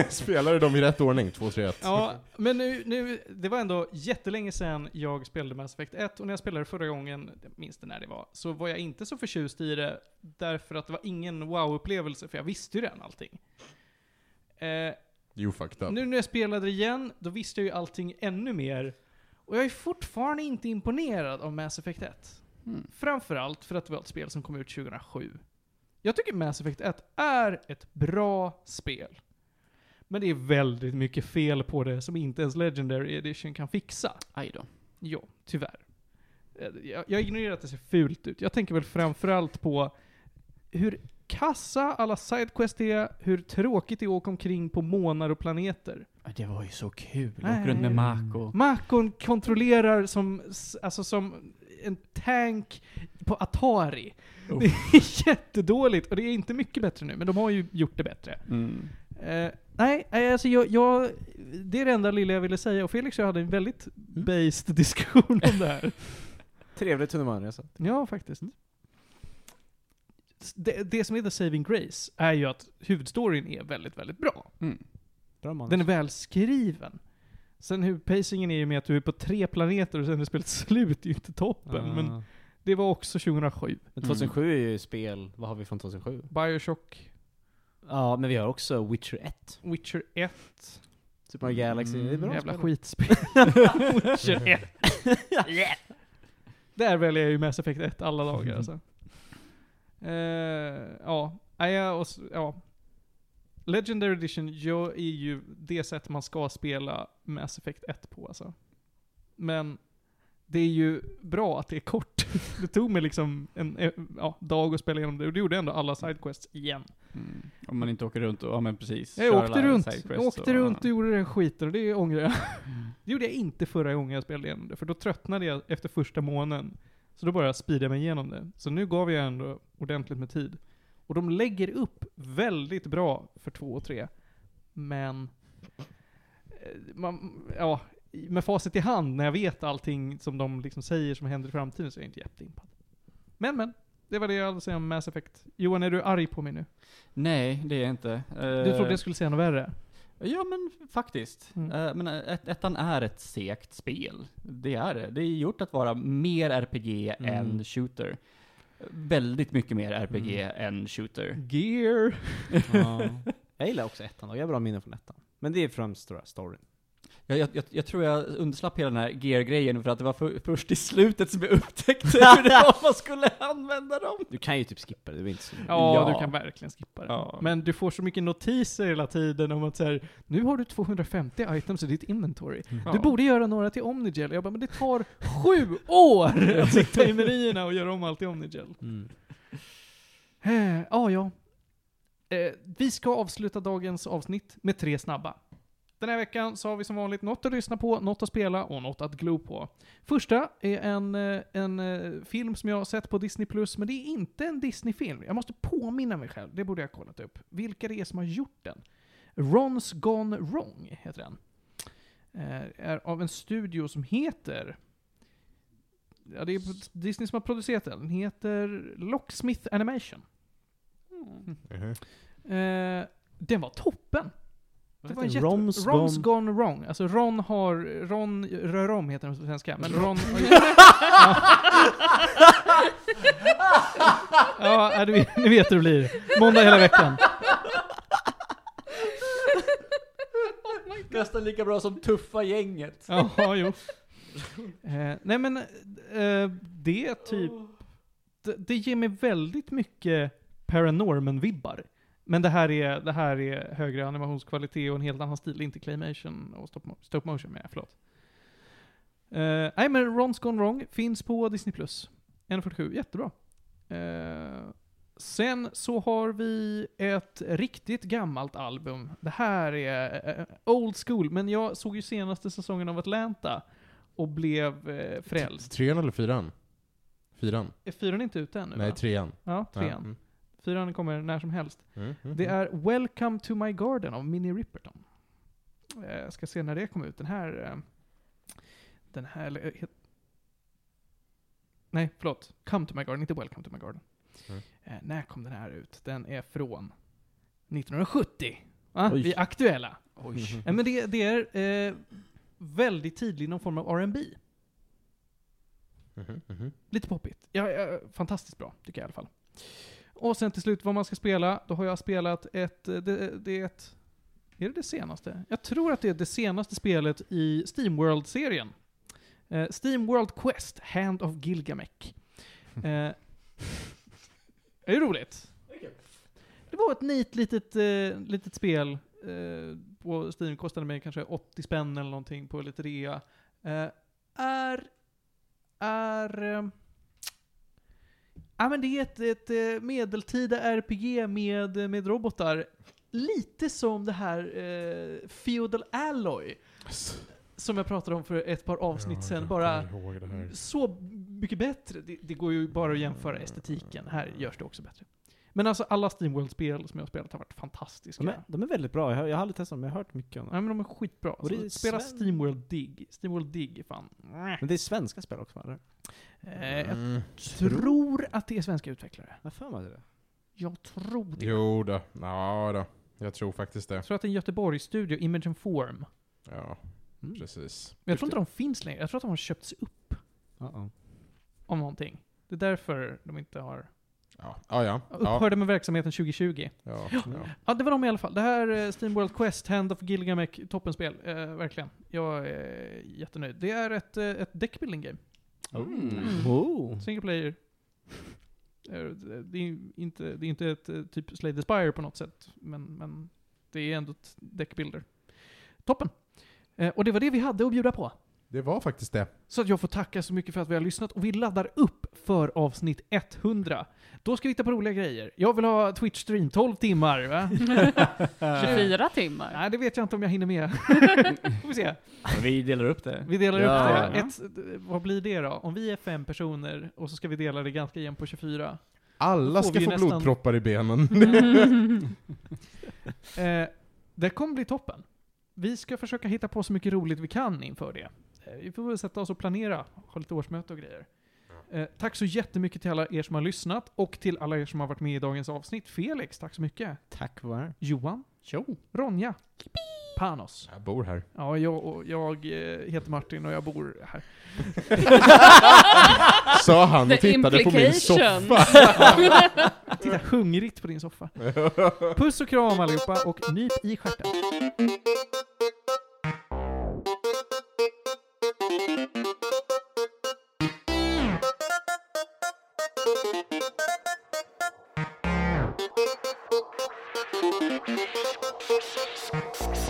B: Spelar du dem i rätt ordning? 2, 3, 1.
A: Ja, men nu, nu, det var ändå jättelänge sedan jag spelade Mass Effect 1 och när jag spelade förra gången, jag minns det när det var, så var jag inte så förtjust i det därför att det var ingen wow-upplevelse för jag visste ju redan allting. Eh,
B: You fucked up.
A: nu när jag spelade igen, då visste jag ju allting ännu mer. Och jag är fortfarande inte imponerad av Mass Effect 1.
D: Mm.
A: Framförallt för att det var ett spel som kom ut 2007. Jag tycker Mass Effect 1 är ett bra spel. Men det är väldigt mycket fel på det som inte ens Legendary Edition kan fixa.
D: Aj då.
A: Ja, tyvärr. Eh, Jag, jag ignorerar att det ser fult ut. Jag tänker väl framförallt på hur kassa alla sidequests är, hur tråkigt det är att åka omkring på månar och planeter.
D: Det var ju så kul.
A: Nej.
D: Åker runt med Mako.
A: Makon kontrollerar som, s- alltså som en tank på Atari.
D: Uff.
A: Det är jättedåligt och det är inte mycket bättre nu, men de har ju gjort det bättre.
D: Mm.
A: Eh, nej, nej, alltså jag, jag, det är det enda lilla jag ville säga och Felix och jag hade en väldigt based diskussion om det här.
G: Trevligt hundemanresa.
A: Ja, faktiskt. S- Det, det som är the saving grace är ju att huvudstoryn är väldigt, väldigt bra.
D: Mm.
G: Bra manus.
A: Den är välskriven. Sen hur pacingen är ju med att du är på tre planeter och sen är spelet slut, det är ju inte toppen.
G: Ah.
A: Men det var också 2007.
G: Men 2007 är ju spel, vad har vi från 2007?
A: Bioshock,
G: Ja, men vi har också Witcher 1.
A: Witcher 1,
G: Super Mario Galaxy, det är bra
A: jävla
G: spel.
A: skitspel. Witcher 1. Där väljer jag ju Mass Effect 1 alla dagar alltså. Eh, ja, Nej, jag- och, s- ja. Legendary Edition jag är ju det sätt man ska spela Mass Effect 1 på alltså. Men det är ju bra att det är kort. Det tog mig liksom en eh, ja, dag att spela igenom det och det gjorde ändå alla sidequests igen.
D: Mm. Om man inte åker runt och, ja men precis.
A: Jag
D: Kör
A: åkte
D: alla
A: runt,
D: sidequests
A: jag åkte
D: och-
A: runt och gjorde den skiten och det ångrar jag. Det gjorde jag inte förra gången jag spelade igenom det, för då tröttnade jag efter första månaden. Så då började jag speeda mig igenom det. Så nu gav jag ändå ordentligt med tid. Och de lägger upp väldigt bra för två och tre. Men... eh, Man, ja, i- med facit i hand, när jag vet allting som de liksom säger som händer i framtiden, så är jag inte jätteimpad. Men men, det var det jag hade att säga om Mass Effect. Johan, är du arg på mig nu?
D: Nej, det är jag inte. Eh,
A: Du trodde jag skulle säga något värre?
D: Ja men faktiskt.
A: Mm.
D: Eh, men eh, ett, ettan är ett segt spel. Det är det. Det är gjort att vara mer RPG
G: Mm.
D: än shooter. Väldigt mycket mer RPG än shooter.
A: Gear.
G: Ja. Jag gillar också ettan, och jag har bra minnen från ettan. Men det är främst tror jag, storyn.
D: Jag, jag, jag, jag tror jag undslapp hela den här gear-grejen för att det var för, först i slutet som jag upptäckte hur det var man skulle använda dem.
I: Du kan ju typ skippa det, det är väl inte så
A: Ja,
D: Ja.
A: du kan verkligen skippa det.
D: Ja.
A: Men du får så mycket notiser hela tiden om att så här, nu har du 250 items i ditt inventory. Du borde göra några till Omnigel. Jag bara, men det tar sju år att sitta i menyerna och göra om allt i Omnigel.
G: Mm.
A: Eh, ja, ja. Eh, vi ska avsluta dagens avsnitt med tre snabba. Den här veckan så har vi som vanligt något att lyssna på, något att spela och något att glo på. Första är en, eh, en eh, film som jag har sett på Disney+, Plus, men det är inte en Disney-film. Jag måste påminna mig själv, det borde jag ha kollat upp. Vilka det är som har gjort den. Ron's Gone Wrong heter den. Eh, är av en studio som heter... Ja, det är Disney som har producerat den. Den heter Locksmith Animation.
C: Mm.
B: Mhm.
A: Eh, den var toppen! Det var en jätte...
G: Rom's
A: Ron's
G: Gone-
A: gone wrong. Alltså Ron har... Ron rör om heter den på svenska, men Ron... ja, ja du, ni vet hur det blir. Måndag hela veckan.
C: oh my god.
D: Nästan lika bra som tuffa gänget.
A: Ja, jo. Eh, nej men, eh, det är typ... Det, det ger mig väldigt mycket Paranorman-vibbar. Men det här, är, det här är högre animationskvalitet och en helt annan stil. Inte claymation och stop, mo- stop motion menar jag, förlåt. Eh, nej men Ron's Gone Wrong finns på Disney+. Plus. 1.47, jättebra. Eh, sen så har vi ett riktigt gammalt album. Det här är eh, old school, men jag såg ju senaste säsongen av Atlanta och blev eh, frälst.
B: Trean eller fyran? Fyran?
A: Är fyran inte ute ännu?
B: Nej,
A: va?
B: trean.
A: ja, trean.
B: Ja. Mm.
A: Fyran kommer när som helst.
B: Mm, mm,
A: Det
B: mm.
A: är Welcome to my garden av Minnie Riperton. Eh, Jag ska se när det kom ut. Den här... eh, Den här... eller, eh, het- Nej, förlåt. Come to my garden, inte Welcome to my garden.
B: Mm.
A: Eh, När kom den här ut? Den är från 1970. Va?
G: Oj.
A: Vi är aktuella. Nej, men det, det är eh, väldigt tidigt någon form av R&B.
B: Mhm, mhm.
A: Lite poppigt. Ja, ja, fantastiskt bra, tycker jag i alla fall. Och sen till slut vad man ska spela. Då har jag spelat ett... eh, Det, det är ett... Är det det senaste? Jag tror att det är det senaste spelet i Steamworld-serien. Eh, Steamworld Quest, Hand of Gilgamesh. Eh, är det roligt? Det var ett nit litet, eh, litet spel eh, på Steam. Kostade mig kanske 80 spänn eller någonting på lite rea. Eh, är är... eh, Ja men det är ett, ett eh, medeltida RPG med, med robotar. Lite som det här eh, Feudal Alloy.
B: Mm-hmm.
A: Som jag pratade om för ett par avsnitt
B: Ja,
A: sen.
B: jag
A: Bara
B: kommer ihåg det här.
A: så mycket bättre. Det, det går ju bara att jämföra estetiken. Här görs det också bättre. Men alltså alla Steamworld-spel som jag har spelat har varit fantastiska.
G: De, är, de är väldigt bra, jag har, jag har aldrig testat dem, men jag har hört mycket om
A: Ja,
G: dem.
A: men de är skitbra.
G: Och det är
A: Alltså, spela
G: Sven-
A: Steamworld Dig. Steamworld Dig är fan...
G: Men det är svenska spel också eller?
A: Eh, jag
B: Mm.
A: tror att det är svenska utvecklare.
G: Jag har för mig det.
A: Jag tror det.
B: Jo då. Ja, då. Jag tror faktiskt det.
A: Jag tror att det är en Göteborgsstudio, Image and Form.
B: Ja,
A: Mm.
B: precis.
A: Men jag tror inte de finns längre. Jag tror att de har köpts upp
G: Uh-oh.
A: av någonting. Det är därför de inte har...
B: Ja, ja. ja. ja.
A: Upphörde med verksamheten 2020.
B: ja. ja.
A: Ja, det var de i alla fall. Det här eh, Steamworld Quest, Hand of Gilgamesh, toppenspel. Eh, verkligen. Jag eh, är jättenöjd. Det är ett, eh, ett deckbuilding game. Mm.
G: Oh.
A: Single player. Eh, Det det är inte, det är inte ett eh, typ Slay the Spire på något sätt, men, men det är ändå ett deckbuilder. Toppen! Eh, Och det var det vi hade att bjuda på.
B: Det var faktiskt det.
A: Så att jag får tacka så mycket för att vi har lyssnat och vi laddar upp för avsnitt 100. Då ska vi hitta på roliga grejer. Jag vill ha Twitch-stream 12 timmar, va?
C: 24 Mm. timmar.
A: Nej, det vet jag inte om jag hinner med. får vi se.
D: Vi delar upp det.
A: Vi delar
I: Ja.
A: upp det. Ett, vad blir det då? Om vi är fem personer och så ska vi dela det ganska jämnt på 24.
B: Alla
A: Då får
B: ska
A: vi
B: få
A: ju nästan-
B: blodproppar i benen.
A: Eh, det kommer bli toppen. Vi ska försöka hitta på så mycket roligt vi kan inför det. Eh, vi får väl sätta oss och planera, ha lite årsmöte och grejer. Eh, tack så jättemycket till alla er som har lyssnat och till alla er som har varit med i dagens avsnitt. Felix, tack så mycket.
G: Tack vare.
A: Johan. Ronja. Panos.
B: Jag bor här.
A: Ja, jag, och jag eh, heter Martin och jag bor här.
B: Sa han och
C: The
B: tittade på min
C: implication.
B: soffa.
A: Titta hungrigt på din soffa. Puss och kram allihopa och nyp i stjärten.
J: Thank you.